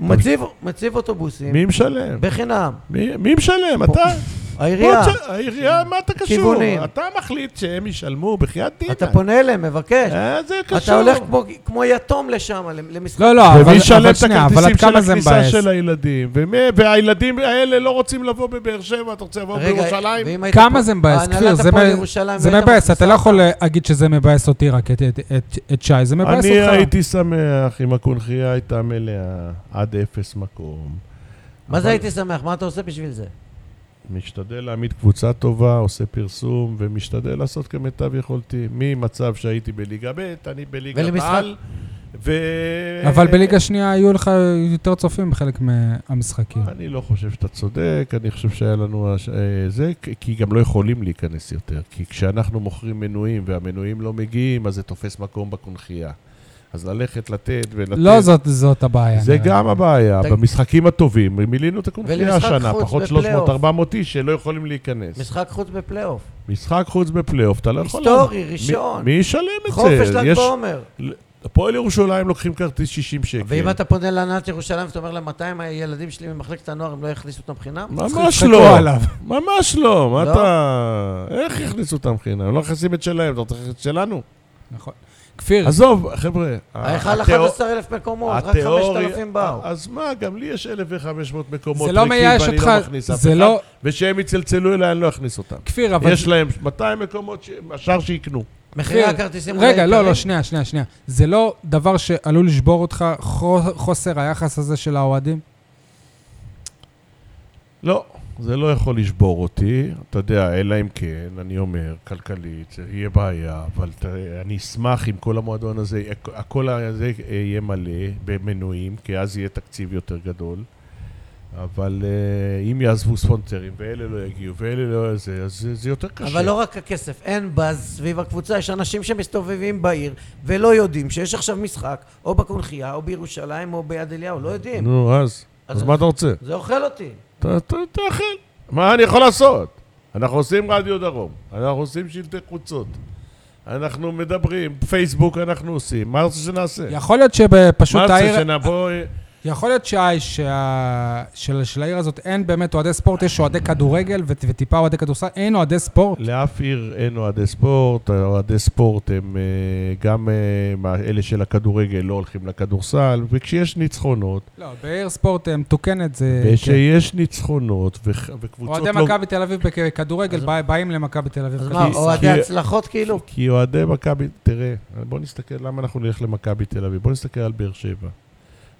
מציב, מציב אוטובוסים, מי משלם? בחינם, מי מי משלם? אתה? העירייה. בוא תש- העירייה, מה אתה קשור? כיוונים. אתה מחליט שהם ישלמו בחייאת דינא. אתה פונה אליהם, מבקש. אה, זה קשור. אתה הולך כמו, כמו יתום לשם, למשחק. לא, לא, אבל ומי ישלם אבל את שנייה, אבל הכרטיסים עד של כמה זה הכניסה מבאס? של הילדים? ומי- והילדים האלה לא רוצים לבוא בבאר שבע, אתה רוצה לבוא רגע, בירושלים? ואם היית פה- כמה זה מבאס, ההנהלת כפיר? זה הפועל מ- ירושלים זה והיית מבאס, אתה מכניסה לא יכול להגיד שזה מבאס אותי רק, את- את- את- את שי, זה מבאס אני אותך. הייתי שמח אם הקונכייה הייתה מלאה עד אפס מקום. מה זה אבל- הייתי שמח? מה אתה עושה בשביל זה? משתדל להעמיד קבוצה טובה, עושה פרסום, ומשתדל לעשות כמיטב יכולתי. ממצב שהייתי בליגה ב', אני בליגת ולמשחק- על, ו... אה, אבל בליגה שנייה היו לך יותר צופים בחלק מהמשחקים. אני לא חושב שאתה צודק, אני חושב שהיה לנו הש- אה, זה, כי- כי גם לא יכולים להיכנס יותר. כי כשאנחנו מוכרים מנויים והמנויים לא מגיעים, אז זה תופס מקום בקונכייה. אז ללכת לתת ולתת... לא זאת, זאת הבעיה. זה נראה לי. גם הבעיה. תגיד- במשחקים הטובים, מילינו את הקונכייה ולמשחק השנה, חוץ פחות בפלייאוף. 300-400 איש שלא יכולים להיכנס. משחק חוץ בפלייאוף. משחק חוץ בפלייאוף, אתה לא יכול... היסטורי, מי- ראשון. מי ישלם את זה? חופש ל"ג יש- בעומר. הפועל ירושלים לוקחים כרטיס 60 שקל. ואם אתה פונה להנהלת ירושלים ואתה אומר להם, 200 הילדים שלי ממחלקת הנוער, הם לא יכניסו אותם חינם? ממש יצחקו לא, עליו. ממש לא, מה לא? אתה... איך יכניסו אותם חינם? הם לא מכניסים את שלהם, אתה רוצה להכניס את שלנו? נכון. כפיר, עזוב, חבר'ה. ההיכל התיאור- 11,000 מקומות, רק התיאוריה- אה, 5,000 באו. אז מה, גם לי יש 1,500 מקומות זה לא ריקים מייאש ואני אותך, לא מכניס אף זה אחד, לא... ושהם יצלצלו אליי, אני לא אכניס אותם. כפיר, אבל... יש להם 200 מקומות, ש- השאר שיקנו. מחירי אופיר, הכרטיסים... עולה רגע, לא, יקרים. לא, שנייה, שנייה, שנייה. זה לא דבר שעלול לשבור אותך, חו- חוסר היחס הזה של האוהדים? לא, זה לא יכול לשבור אותי, אתה יודע, אלא אם כן, אני אומר, כלכלית, זה יהיה בעיה, אבל תראה, אני אשמח אם כל המועדון הזה, הכל הזה יהיה מלא במנויים, כי אז יהיה תקציב יותר גדול. אבל אה, אם יעזבו ספונסרים, ואלה לא יגיעו, ואלה לא זה, אז זה- זה יותר קשה. אבל לא רק הכסף, אין באז סביב הקבוצה, יש אנשים שמסתובבים בעיר ולא יודעים שיש עכשיו משחק, או בקונכייה, או בירושלים, או ביד אליהו, לא יודעים. נו, אז, אז מה אתה רוצה? זה אוכל אותי. ת- ת- תאכל. מה אני יכול לעשות? אנחנו עושים רדיו דרום, אנחנו עושים שלטי חוצות, אנחנו מדברים, פייסבוק אנחנו עושים, מה רוצה שנעשה? יכול להיות שפשוט כן. מה העיר... רוצה שנבוא... יכול להיות שה... שה... של, של העיר הזאת אין באמת אוהדי ספורט, יש אוהדי כדורגל ו... וטיפה אוהדי כדורסל, אין אוהדי ספורט. לאף עיר אין אוהדי ספורט, אוהדי ספורט הם אה, גם אה, מה- אלה של הכדורגל לא הולכים לכדורסל, וכשיש ניצחונות, לא, בעיר ספורט אה, מתוקנת זה... כן. וכשיש ניצחונות וח- וקבוצות אוהדי לא... מכבי תל אביב בכדורגל בא- באים למכבי תל אביב. אז מה, כדורסל. אוהדי כי- הצלחות כאילו? כי אוהדי מכבי, תראה, בוא נסתכל, למה אנחנו נלך למכבי תל אביב? בוא נסתכל על באר שבע.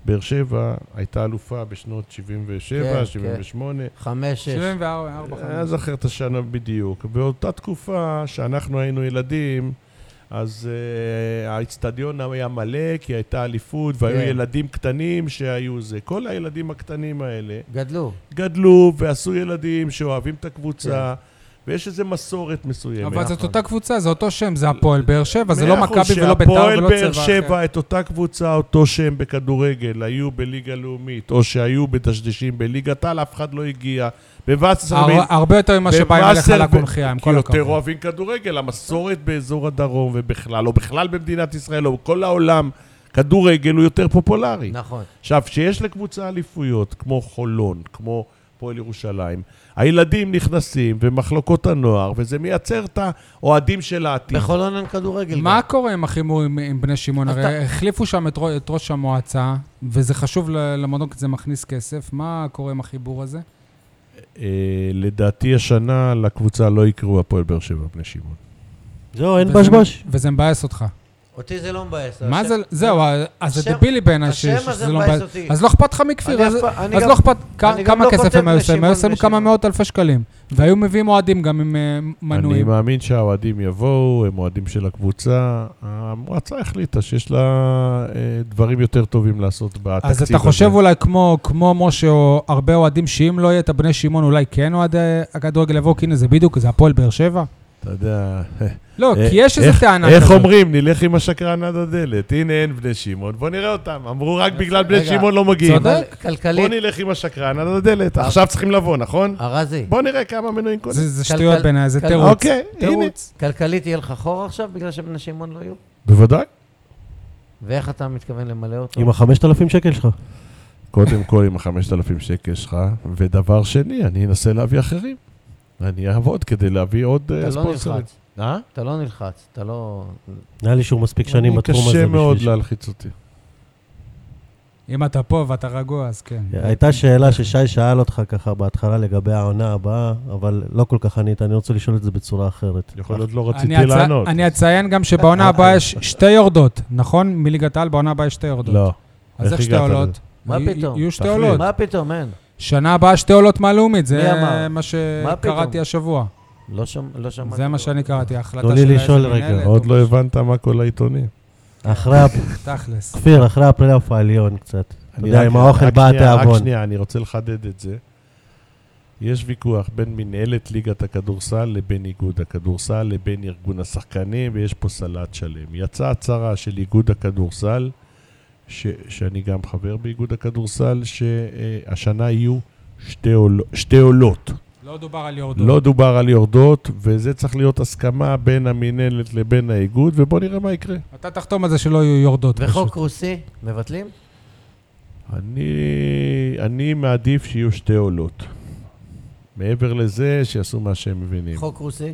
באר שבע הייתה אלופה בשנות 77, כן, 78. חמש, שש. 74, 4, 5. אני זוכר את השנה בדיוק. באותה תקופה שאנחנו היינו ילדים, אז uh, האיצטדיון היה מלא, כי הייתה אליפות, והיו כן. ילדים קטנים שהיו זה. כל הילדים הקטנים האלה גדלו. גדלו ועשו ילדים שאוהבים את הקבוצה, כן. ויש איזו מסורת מסוימת. אבל זאת אותה קבוצה, זה אותו שם, זה הפועל באר שבע, זה לא מאה אחוז, מכבי ולא כן. ביתר ולא שהפועל באר צבע אחר. שבע, את אותה קבוצה, אותו שם בכדורגל, היו בליגה לאומית, או שהיו בדשדשים בליגת על, אף אחד לא הגיע. בווסרמיל, הר- הרבה יותר ממה שבאים אליך בווסר- לקונחייה, עם כי כל יותר הכבוד. אוהבים כדורגל, המסורת באזור הדרום ובכלל, או בכלל במדינת ישראל, או בכל העולם, כדורגל הוא יותר פופולרי. נכון. עכשיו, כשיש לקבוצה אליפויות, כמו חולון, כמו פועל ירושלים, הילדים נכנסים, ומחלקות הנוער, וזה מייצר את האוהדים של העתיד. בחולון אין כדורגל. מה גם. קורה עם החימור עם- עם בני שמעון? אז הרי החליפו שם את רו- את ראש המועצה, וזה חשוב ל- למועדון כי זה מכניס כסף. מה קורה עם החיבור הזה? אה, לדעתי השנה לקבוצה לא יקראו הפועל באר שבע בני שמעון. זהו, אין וזה- בשבש. וזה מבאס אותך. אותי זה לא מבאס. מה השם- זה, זהו, אז זה השם- דבילי בעיניי ש- השם הזה שזה לא מבאס מבאס. אותי. אז לא אכפת לך אני מכפיר, אף אז- פעם- אני אז גם- לא אכפת, אני כ- גם כמה לא כסף כותב הם היו שמים? הם היו שמים לשמעון כמה בשמות. מאות אלפי שקלים. והיו מביאים אוהדים גם עם אה, אני מנויים. מאמין שהאוהדים יבואו, הם אוהדים של הקבוצה. המועצה החליטה שיש לה אה, דברים יותר טובים לעשות בתקציב הזה. אז אתה חושב אולי כמו, כמו משה או הרבה אוהדים, שאם לא יהיה את הבני שמעון, אולי כן אוהדי הכדורגל יבואו, כי הנה זה בדיוק, זה הפועל באר שבע? אתה יודע... לא, אה, כי יש איזו איך- טענה איך כזאת. אומרים? נלך עם השקרן עד הדלת. הנה אין בני שמעון, בוא נראה אותם. אמרו רק בגלל בני רגע, שמעון לא מגיעים. צודק. אבל בוא כלכלית, נלך עם השקרן עד הדלת. עכשיו צריכים לבוא, נכון? ארזי, בוא נראה כמה מנויים קונים. זה זה שטויות כלכל- בעיניי, זה כל- תירוץ. אוקיי, הנה. תירוץ. כלכלית יהיה לך חור עכשיו בגלל שבני שמעון לא יהיו? בוודאי. ואיך אתה מתכוון למלא אותו? עם החמשת אלפים שקל שלך. קודם כל עם ה-5,000 שקל שלך, ודבר שני, אני אנסה להביא אחרים. אני אעבוד כדי להביא עוד אה, אתה לא ספונסרים. נלחץ, אה? אתה לא נלחץ, אתה לא... נראה לי שהוא מספיק שנים אני בתחום הזה. קשה בשביל מאוד ש- להלחיץ אותי. אם אתה פה ואתה רגוע, אז כן. אה, הייתה שאלה ששי שאל אותך ככה בהתחלה לגבי העונה הבאה, אבל לא כל כך ענית, אני רוצה לשאול את זה בצורה אחרת. יכול להיות לא אני רציתי אצ- לענות. אה, אני אציין גם שבעונה הבאה יש שתי יורדות, נכון? מליגת העל בעונה הבאה יש שתי יורדות. לא. אז איך איך שתי הגעת לזה? עולות? מה י- פתאום? יהיו שתי תחליט. עולות. מה פתאום, אין. שנה הבאה שתי עולות מהלאומית, מי זה אמר? מה שקראתי פתאום? השבוע. לא שמעתי. זה מה שאני קראתי, ההחלטה תנו לי של לשאול איזה רגע, לא מנהלת. עוד לא הבנת מה כל העיתונים. אחרי, הפ- תכלס. כפיר, אחרי הפלייאוף העליון קצת. אתה אני יודע, רק- עם האוכל רק בא שנייה, רק התיאבון. שנייה, אני רוצה לחדד את זה. יש ויכוח בין מנהלת ליגת הכדורסל לבין איגוד הכדורסל לבין ארגון השחקנים, ויש פה סלט שלם. יצאה הצהרה של איגוד הכדורסל, ש, שאני גם חבר באיגוד הכדורסל, שהשנה יהיו שתי, עול, שתי עולות. לא דובר על אוקיי. יורדות. לא דובר על יורדות, וזה צריך להיות הסכמה בין המינהלת לבין האיגוד, ובואו נראה מה יקרה. אתה תחתום על זה שלא יהיו יורדות. וחוק פשוט. רוסי, מבטלים? אני, אני מעדיף שיהיו שתי עולות. מעבר לזה, שיעשו מה שהם מבינים. חוק, חוק רוסי?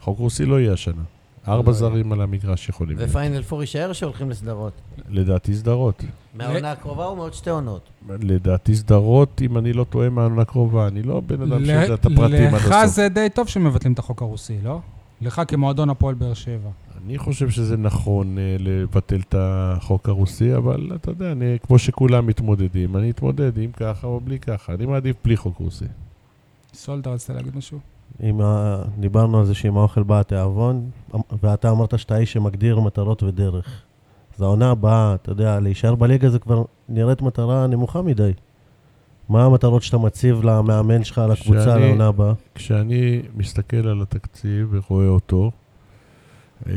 חוק רוסי לא יהיה השנה. ארבע לא זרים על המגרש יכולים להיות. ופיינל פור יישאר שהולכים לסדרות? לדעתי סדרות. מהעונה הקרובה או מעוד שתי עונות? לדעתי סדרות, אם אני לא טועה, מהעונה הקרובה. אני לא בן אדם שיודע את הפרטים עד לך הסוף. זה די טוב שמבטלים את החוק הרוסי, לא? לך כמועדון הפועל באר שבע. אני חושב שזה נכון אה, לבטל את החוק הרוסי, אבל אתה יודע, אני, כמו שכולם מתמודדים, אני אתמודד עם ככה או בלי ככה. אני מעדיף בלי חוק רוסי. סולדה, רצית להגיד משהו? עם ה... דיברנו על זה שעם האוכל בא התיאבון, ואתה אמרת שאתה האיש שמגדיר מטרות ודרך. אז העונה הבאה, אתה יודע, להישאר בליגה זה כבר נראית מטרה נמוכה מדי. מה המטרות שאתה מציב למאמן שלך, לקבוצה, שאני- לעונה הבאה? כשאני מסתכל על התקציב ורואה אותו, אה,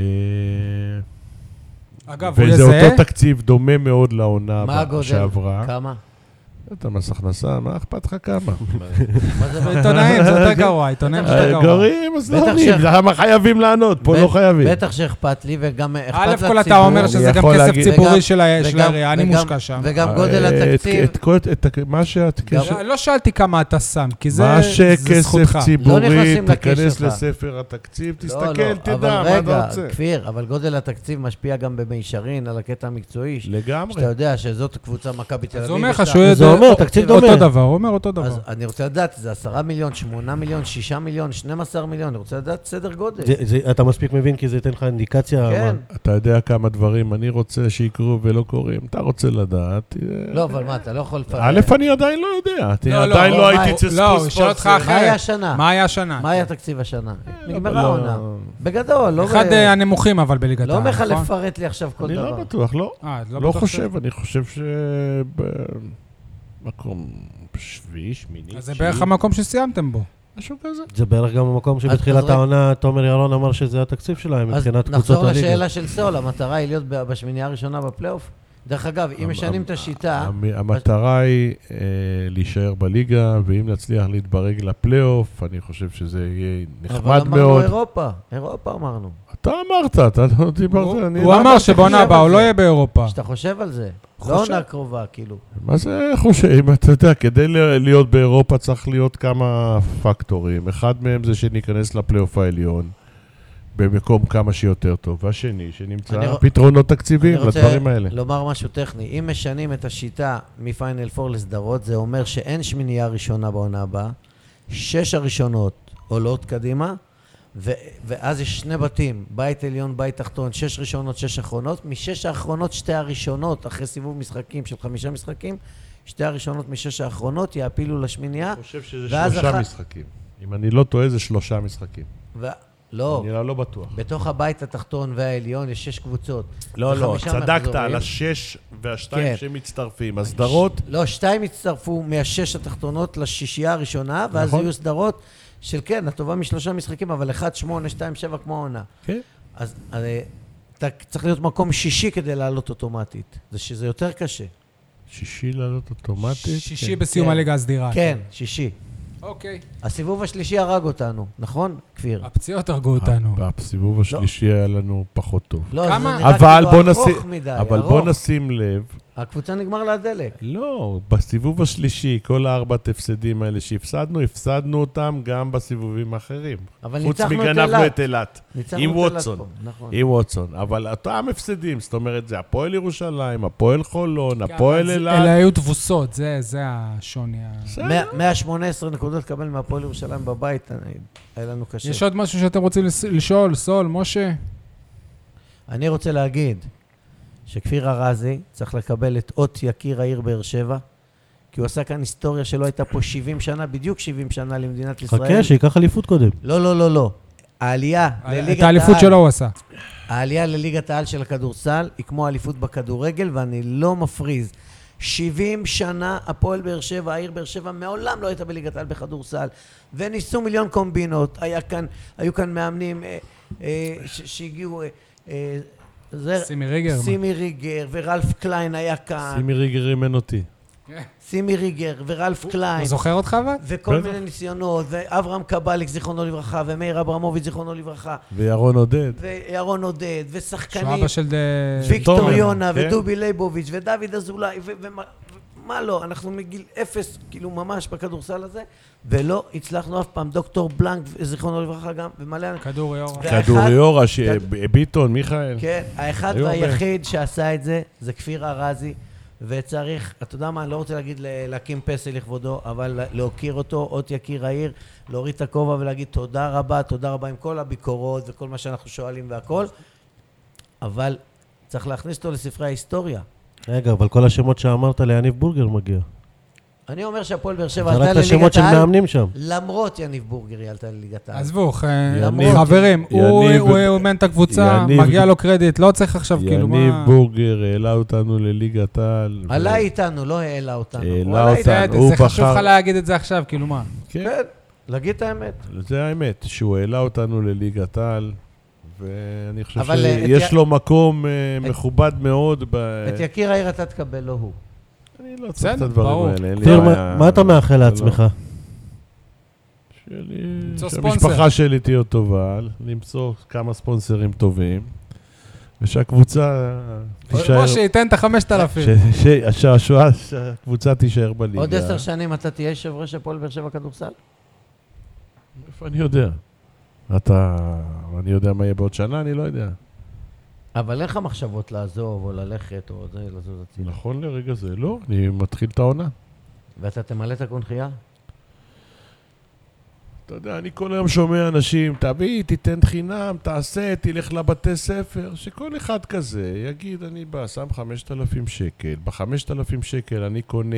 אגב, הוא וזה יזהה, אותו תקציב דומה מאוד לעונה מה הבא- הגודל? שעברה. כמה? אתה מס הכנסה, מה אכפת לך כמה? אה, מה זה עיתונאים, זה יותר גרוע, עיתונאים זה יותר גרוע. גרים, אז בטח נענים, ש- למה חייבים לענות? פה בט- לא חייבים. בטח שאכפת לי, וגם אכפת א' לציבור. כל אתה אומר שזה אני גם יכול כסף להגיד- ציבורי וגם- של ה- של וגם- העירייה, אני וגם- מושקע שם. אה, וגם גודל את- התקציב. את כל- את הכ- מה שהכסף... לא- לא שאלתי כמה אתה שם, כי זה מה זה זכותך. לא שכסף ציבורי, נכנסים לכיס תיכנס שלך. לספר התקציב, לא, תסתכל, לא, תדע, מה אתה אבל רוצה? רגע, כפיר, אבל גודל התקציב משפיע גם במישרין על הקטע המקצועי. ש- לגמרי. שאתה יודע שזאת קבוצה מכבי תל אביב. אז הוא אומר לך יש לה- שהוא זה יודע- אומר, תקציב דומה. אותו דבר, הוא אומר אותו דבר. אז אני רוצה לדעת, זה 10 מיליון, 8 מיליון, 6 מיליון, 12 מיליון, אני רוצה לדעת סדר גודל. זה, זה, אתה מספיק מבין כי זה ייתן לך אינדיקציה. כן. אבל- אתה יודע כמה דברים אני רוצה שיקרו ולא קורים. אתה רוצה לדעת. אה, לא, אבל מה, אתה לא יכול לפרט. א', אני עדיין לא יודע. תראה, לא, לא, עדיין לא, לא מה- הייתי צריך לא, ספוס הוא ישאל אותך ספוס. אחרי מה היה השנה? מה היה השנה? אה. מה היה תקציב השנה? נגמרה לא- העונה. בגדול, לא... אחד ב- אה, הנמוכים אבל בליגת לא העל, אומר לך נכון? לפרט לי עכשיו כל אני דבר. לא בטוח, לא. אה, אז לא בטוח ש- חושב, אני חושב שבמקום שביעי, שמיני, אז זה בערך המקום שסיימתם בו. משהו כזה. זה בערך גם המקום אז שבתחילת רגע. העונה תומר ירון אמר שזה התקציב שלהם אז מבחינת נחזור קבוצות הליגה. לשאלה של סול, המטרה היא להיות ב- בשמינייה הראשונה בפלייאוף. דרך אגב, אם המ- משנים את השיטה, המ- המטרה היא אה, להישאר בליגה, ואם נצליח להתברג לפלייאוף, אני חושב שזה יהיה אבל נחמד אמרנו מאוד. אירופה, אירופה אמרנו. אתה אמרת, אתה לא דיברת, הוא אני... הוא לא אמר אמרתי. שבעונה חושב הבאה על הוא לא זה. יהיה באירופה. כשאתה חושב על זה, לא חושב. עונה קרובה, כאילו. מה זה חושב? אתה יודע, כדי ל- להיות באירופה צריך להיות כמה פקטורים. אחד מהם זה שניכנס לפלייאוף העליון במקום כמה שיותר טוב, והשני, אני שנמצא רוצ- פתרונות תקציביים אני רוצה לדברים האלה. לומר משהו טכני, אם משנים את השיטה מפיינל 4 לסדרות, זה אומר שאין שמינייה ראשונה בעונה הבאה, שש הראשונות עולות קדימה, ו- ואז יש שני בתים, בית עליון, בית תחתון, שש ראשונות, שש אחרונות, משש האחרונות, שתי הראשונות, אחרי סיבוב משחקים של חמישה משחקים, שתי הראשונות משש האחרונות יעפילו לשמינייה, אני חושב שזה ואז שלושה אחת- משחקים. אם אני לא טועה, זה שלושה משחקים. ו... לא, אני לא בטוח. בתוך הבית התחתון והעליון יש שש קבוצות. לא, לא, וחמישה צדקת מחזורים. על השש והשתיים כן. שמצטרפים. הסדרות, לא, שתיים הצטרפו מהשש התחתונות לשישייה הראשונה, ואז נכון. יהיו סדרות של כן, הטובה משלושה משחקים, אבל 1, 8, 2, 7 כמו העונה. כן. אז אה, אתה צריך להיות מקום שישי כדי לעלות אוטומטית. זה שזה יותר קשה. אה, שישי לעלות אוטומטית. שישי כן. בסיום כן. הליגה הסדירה. כן, שישי. אוקיי. הסיבוב השלישי הרג אותנו, נכון, כפיר? אה, הפציעות הרגו אותנו. בסיבוב השלישי היה לנו פחות טוב. לא, זה כמה? נראה אבל כאילו בוא ארוך נשים- מדי, אבל ארוך. בוא נשים לב הקבוצה נגמר לה הדלק. לא, בסיבוב השלישי, כל הארבעת הפסדים האלה שהפסדנו, הפסדנו אותם גם בסיבובים האחרים. אבל חוץ ניצחנו את מגנבנו אילת. את אילת. ניצחנו עם את אילת ווטסון. פה, נכון. עם ווטסון. אבל אותם הפסדים, זאת אומרת, זה הפועל ירושלים, הפועל חולון, כן, הפועל אבל זה- אילת. אלה היו תבוסות, זה זה השוני. ה- בסדר. 118 נקודות לקבל מהפועל ירושלים בבית, אני- היה לנו קשה. יש עוד משהו שאתם רוצים לס- לשאול, סול, משה? אני רוצה להגיד שכפיר ארזי צריך לקבל את אות יקיר העיר באר שבע, כי הוא עשה כאן היסטוריה שלא הייתה פה 70 שנה, בדיוק 70 שנה למדינת ישראל. חכה, שייקח אליפות קודם. לא, לא, לא, לא. העלייה את לליגת האליפות העל- שלו הוא עשה. העלייה לליגת העל של הכדורסל היא כמו האליפות בכדורגל, ואני לא מפריז. 70 שנה הפועל באר שבע, העיר באר שבע, מעולם לא הייתה בליגת העל בכדורסל. וניסו מיליון קומבינות. היה כאן, היו כאן מאמנים אה, אה, ש- שהגיעו... אה, אה, זה- סימי ריגר. סימי ריגר, ורלף קליין היה כאן. סימי ריגר אימן אותי. סימי ריגר, ורלף הוא קליין. זוכר אותך אבל? וכל בטח. מיני ניסיונות, ואברהם קבליק, זיכרונו לברכה, ומאיר אברמוביץ', זיכרונו לברכה, וירון עודד. וירון עודד, ושחקנים. שהוא אבא של... אה, ויקטור תומר, יונה, כן. ודובי ליבוביץ', ודוד אזולאי, ו- ומה ומה לא, אנחנו מגיל אפס, כאילו ממש בכדורסל הזה, ולא הצלחנו אף פעם. דוקטור בלנק, זיכרונו לברכה גם, ומלא... אנ- כדור יאורה. ו- כדוריורה, ש- כד- ביטון, מיכאל. כן, האחד היו הרבה. והיחיד שעשה את זה, זה כפיר ארזי, וצריך, אתה יודע מה, אני לא רוצה להגיד ל- להקים פסל לכבודו, אבל להוקיר אותו, אות יקיר העיר, להוריד את הכובע ולהגיד תודה רבה, תודה רבה עם כל הביקורות וכל מה שאנחנו שואלים והכל, אבל צריך להכניס אותו לספרי ההיסטוריה. רגע, אבל כל השמות שאמרת ליניב בורגר מגיע. אני אומר שהפועל באר שבע עלתה זרקת שמות לליגת של העל, מאמנים שם. למרות יניב בורגר היא עלתה לליגת העל. עזבו, אה, יניב- חברים, הוא יניב- הוא אימן את הקבוצה, יניב- מגיע לו קרדיט, לא צריך עכשיו כאילו מה... יניב בורגר העלה אותנו לליגת העל. עלה איתנו, לא העלה אותנו. העלה הוא עלה אותנו. איתנו. בסדר, הוא זה חשוב בחר- לך להגיד את זה עכשיו, כאילו מה? כן, כן, להגיד את האמת. זה האמת, שהוא העלה אותנו לליגת העל, ואני חושב אבל, אה, את שיש י- לו מקום אה, את- מכובד מאוד ב... את יקיר העיר אתה תקבל, לא הוא. אני לא בסדר, צריך את הדברים ברור. האלה. אין לי כפיר, מה- בעיה. מה אתה מאחל לא. לעצמך? שלי- למצוא ספונסר. שהמשפחה שלי תהיה טובה, למצוא כמה ספונסרים טובים, ושהקבוצה תישאר... או שייתן את החמשת אלפים. ש- ש- שהשואה- שהקבוצה תישאר בליגה. עוד עשר שנים אתה תהיה יושב ראש הפועל באר שבע כדורסל? איפה אני יודע? אתה... אני יודע מה יהיה בעוד שנה? אני לא יודע. אבל אין לך מחשבות לעזוב או ללכת או זה, לזוז הצידה. נכון לרגע זה, לא. אני מתחיל את העונה. ואתה תמלא את הקונכייה? אתה יודע, אני כל היום שומע אנשים, תביא, תיתן חינם, תעשה, תלך לבתי ספר, שכל אחד כזה יגיד, אני בא, שם 5,000 שקל, ב-5,000 שקל אני קונה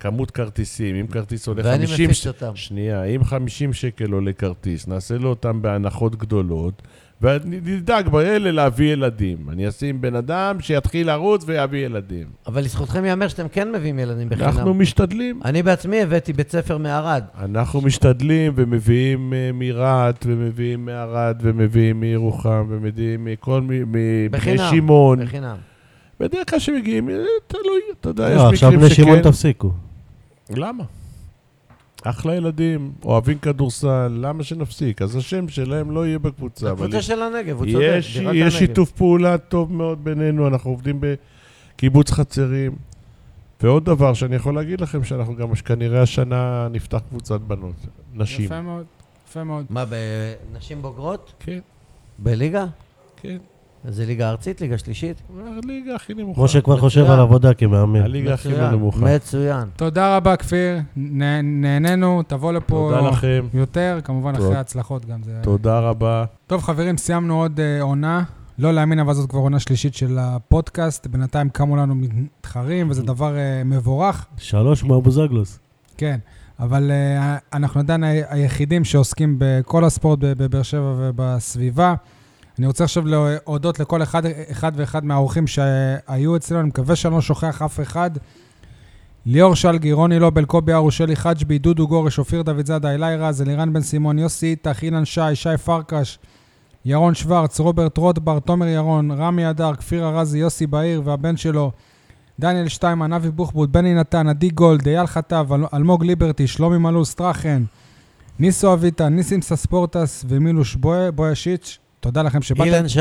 כמות כרטיסים, אם כרטיס עולה ואני 50 מפיץ אותם. שנייה, אם 50 שקל עולה כרטיס, נעשה לו אותם בהנחות גדולות, ונדאג באלה להביא ילדים. אני אשים בן אדם שיתחיל לרוץ ויביא ילדים. אבל לזכותכם ייאמר שאתם כן מביאים ילדים אנחנו בחינם. משתדלים. אני בעצמי הבאתי בית ספר מערד. אנחנו משתדלים ומביאים אה, מרהט, ומביאים מערד, ומביאים מירוחם, ומביאים מכל מ... מבני בחינם. שמעון. בחינם. בדרך כלל שמגיעים, אה, תלוי, אתה יודע, לא, יש עכשיו מקרים בני שמעון שכן. תפסיקו. למה? אחלה ילדים, אוהבים כדורסל, למה שנפסיק? אז השם שלהם לא יהיה בקבוצה. אבל הקבוצה של הנגב, הוא צודק. יש, בירת יש הנגב. שיתוף פעולה טוב מאוד בינינו, אנחנו עובדים בקיבוץ חצרים. ועוד דבר שאני יכול להגיד לכם, שאנחנו גם כנראה השנה נפתח קבוצת בנות, נשים. יפה מאוד, יפה מאוד. מה, בנשים בוגרות? כן, בליגה? כן. זה ליגה ארצית, ליגה שלישית? הליגה הכי נמוכה. משה כבר חושב מצוין. על עבודה כמאמן. הליגה הכי מצוין, נמוכה. מצוין. תודה רבה, כפיר. נה- נהנינו, תבוא לפה תודה לכם, יותר, כמובן אחרי תודה. ההצלחות גם. זה- תודה רבה. טוב, חברים, סיימנו עוד אה, עונה. לא להאמין, אבל זאת כבר עונה שלישית של הפודקאסט. בינתיים קמו לנו מתחרים, וזה דבר אה, מבורך. שלוש מאבוזגלוס. כן, אבל אה, אנחנו עדיין ה- היחידים שעוסקים בכל הספורט ב- בבאר שבע ובסביבה. אני רוצה עכשיו להודות לכל אחד, אחד ואחד מהאורחים שהיו אצלנו, אני מקווה שאני לא שוכח אף אחד. ליאור שלגי, רוני לובל, קובי ארו, שלי חג'בי, דודו גורש, אופיר דוידזאדה, אילי רז, אלירן בן סימון, יוסי איתך, אילן שי, שי פרקש, ירון שוורץ, רוברט רוטבר, תומר ירון, רמי אדר, כפיר ארזי, יוסי בהיר והבן שלו, דניאל שטיימן, אבי בוחבוט, בני נתן, עדי גולד, אייל חטב, אל- אלמוג ליברטי, שלומי מלול, סטרחן, ניסו אביטן, ניסים סספורטס ומילוש בויה, בויה שיץ', תודה לכם שבאתם. אילן שי.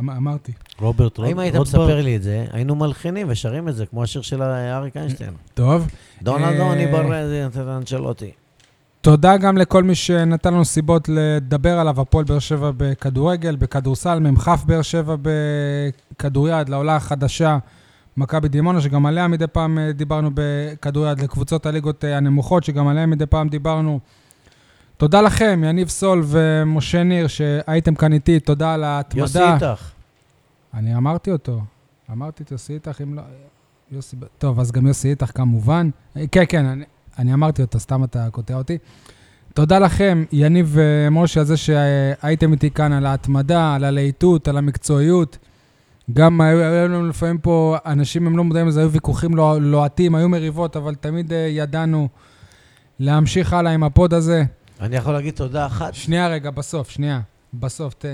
אמ- אמרתי. רוברט רוד- אם היית רוטברג. מספר לי את זה, היינו מלחינים ושרים את זה, כמו השיר של אריק איינשטיין. טוב. דונלד אה, דוני ברזי, נתן אנשלוטי. תודה גם לכל מי שנתן לנו סיבות לדבר עליו, הפועל באר שבע בכדורגל, בכדורסל, מ"כ באר שבע בכדוריד, לעולה החדשה, מכבי דימונה, שגם עליה מדי פעם אה, דיברנו בכדוריד, לקבוצות הליגות אה, הנמוכות, שגם עליה מדי פעם דיברנו. תודה לכם, יניב סול ומשה ניר, שהייתם כאן איתי, תודה על ההתמדה. יוסי איתך. אני אמרתי אותו. אמרתי את יוסי איתך, אם לא... יוסי... ב- טוב, אז גם יוסי איתך כמובן. אה, כן, כן, אני, אני אמרתי אותו, סתם אתה קוטע אותי. תודה לכם, יניב ומשה, על זה שהייתם איתי כאן, על ההתמדה, על הלהיטות, על המקצועיות. גם היו היו לנו לפעמים פה, אנשים, הם לא מודעים לזה, היו ויכוחים לוה- לוהטים, היו מריבות, אבל תמיד אה, ידענו להמשיך הלאה עם הפוד הזה. אני יכול להגיד תודה אחת? שנייה רגע, בסוף, שנייה. בסוף, ת-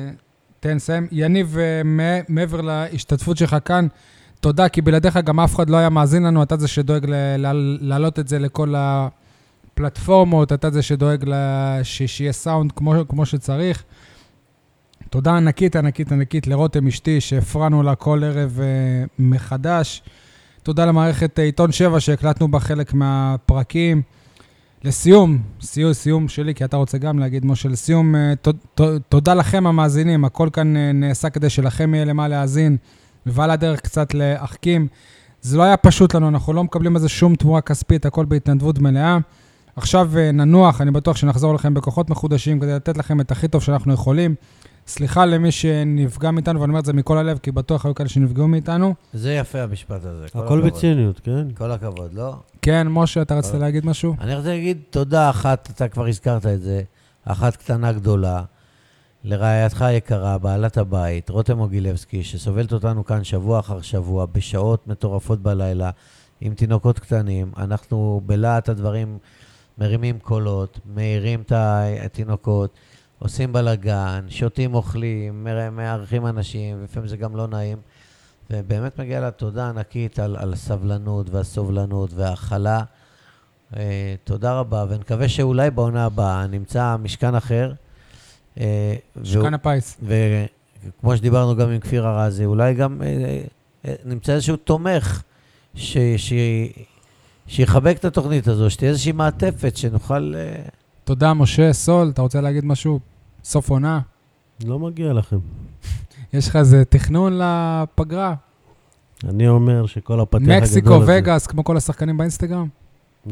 תן לסיים. יניב, אה, מע- מעבר להשתתפות שלך כאן, תודה, כי בלעדיך גם אף אחד לא היה מאזין לנו, אתה זה שדואג ל- ל- להעלות את זה לכל הפלטפורמות, אתה זה שדואג ל- ש- שיהיה סאונד כמו, כמו שצריך. תודה ענקית, ענקית, ענקית לרותם אשתי, שהפרענו לה כל ערב אה, מחדש. תודה למערכת אה, עיתון 7 שהקלטנו בה חלק מהפרקים. לסיום, סיום, סיום שלי, כי אתה רוצה גם להגיד, משה, לסיום, אה, ת- ת- תודה לכם המאזינים, הכל כאן אה, נעשה כדי שלכם יהיה למה להאזין, ועל הדרך קצת להחכים. זה לא היה פשוט לנו, אנחנו לא מקבלים על זה שום תמורה כספית, הכל בהתנדבות מלאה. עכשיו אה, ננוח, אני בטוח שנחזור לכם בכוחות מחודשים כדי לתת לכם את הכי טוב שאנחנו יכולים. סליחה למי שנפגע מאיתנו, ואני אומר את זה מכל הלב, כי בטוח היו כאלה שנפגעו מאיתנו. זה יפה המשפט הזה. כל הכל הכבוד. בציניות, כן? כל הכבוד, לא? כן, משה, אתה רצית להגיד משהו? אני רוצה להגיד תודה אחת, אתה כבר הזכרת את זה, אחת קטנה גדולה, לרעייתך היקרה, בעלת הבית, רותם מוגילבסקי, שסובלת אותנו כאן שבוע אחר שבוע, בשעות מטורפות בלילה, עם תינוקות קטנים. אנחנו בלהט הדברים מרימים קולות, מעירים את התינוקות, עושים בלאגן, שותים, אוכלים, מר- מארחים אנשים, ולפעמים זה גם לא נעים. ובאמת מגיעה לה תודה ענקית על, על הסבלנות והסובלנות וההכלה. אה, תודה רבה, ונקווה שאולי בעונה הבאה נמצא משכן אחר. אה, והוא- שכאן הפיס. וכמו שדיברנו גם עם כפיר ארזי, אולי גם אה, אה, נמצא איזשהו תומך ש, ש, שיחבק את התוכנית הזו, שתהיה איזושהי מעטפת שנוכל... אה, תודה, משה, סול, אתה רוצה להגיד משהו? סוף עונה? לא מגיע לכם. יש לך איזה תכנון לפגרה? אני אומר שכל הפתיח הגדול הזה... מקסיקו, וגאס, כמו כל השחקנים באינסטגרם?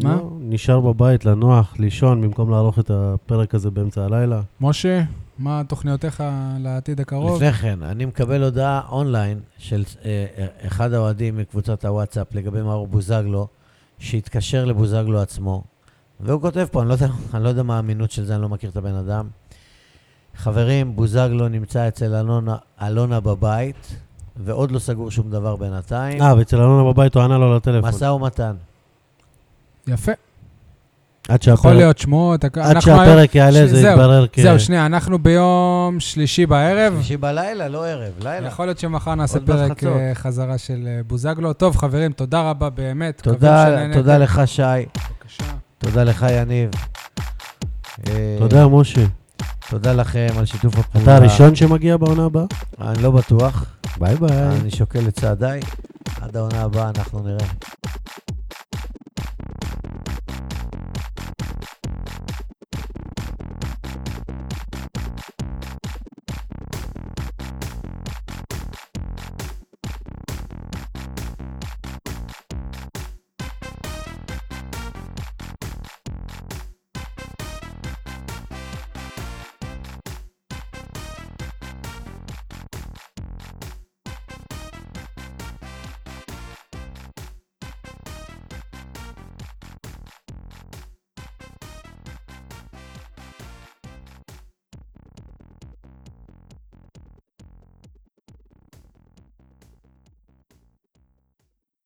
מה? לא, נשאר בבית, לנוח, לישון, במקום לערוך את הפרק הזה באמצע הלילה. כן. משה, מה תוכניותיך לעתיד הקרוב? לפני כן, אני מקבל הודעה אונליין של אה, אה, אחד האוהדים מקבוצת הוואטסאפ לגבי מאור בוזגלו, שהתקשר לבוזגלו עצמו, והוא כותב פה, אני לא, יודע, אני לא יודע מה האמינות של זה, אני לא מכיר את הבן אדם. חברים, בוזגלו נמצא אצל אלונה, אלונה בבית, ועוד לא סגור שום דבר בינתיים. אה, ואצל אלונה בבית הוא ענה לו לטלפון. משא ומתן. יפה. עד שהפרק- יכול להיות שמועות. הכ- עד אנחנו היום- שהפרק יעלה ש- זה זהו, יתברר כ... זהו, שנייה, אנחנו ביום שלישי בערב. כן. שלישי בלילה, לא ערב, לילה. נכון, יכול להיות שמחר נעשה עוד מעט פרק חצות. אה, חזרה של אה, בוזגלו. טוב, חברים, תודה רבה באמת. מקווים תודה, שנהניתם. תודה לך, שי. בבקשה. תודה לך, יניב. אה, תודה, משה. תודה לכם על שיתוף הפעולה. אתה הראשון שמגיע בעונה הבאה? אני לא בטוח. ביי ביי. אני שוקל את צעדיי. עד העונה הבאה אנחנו נראה.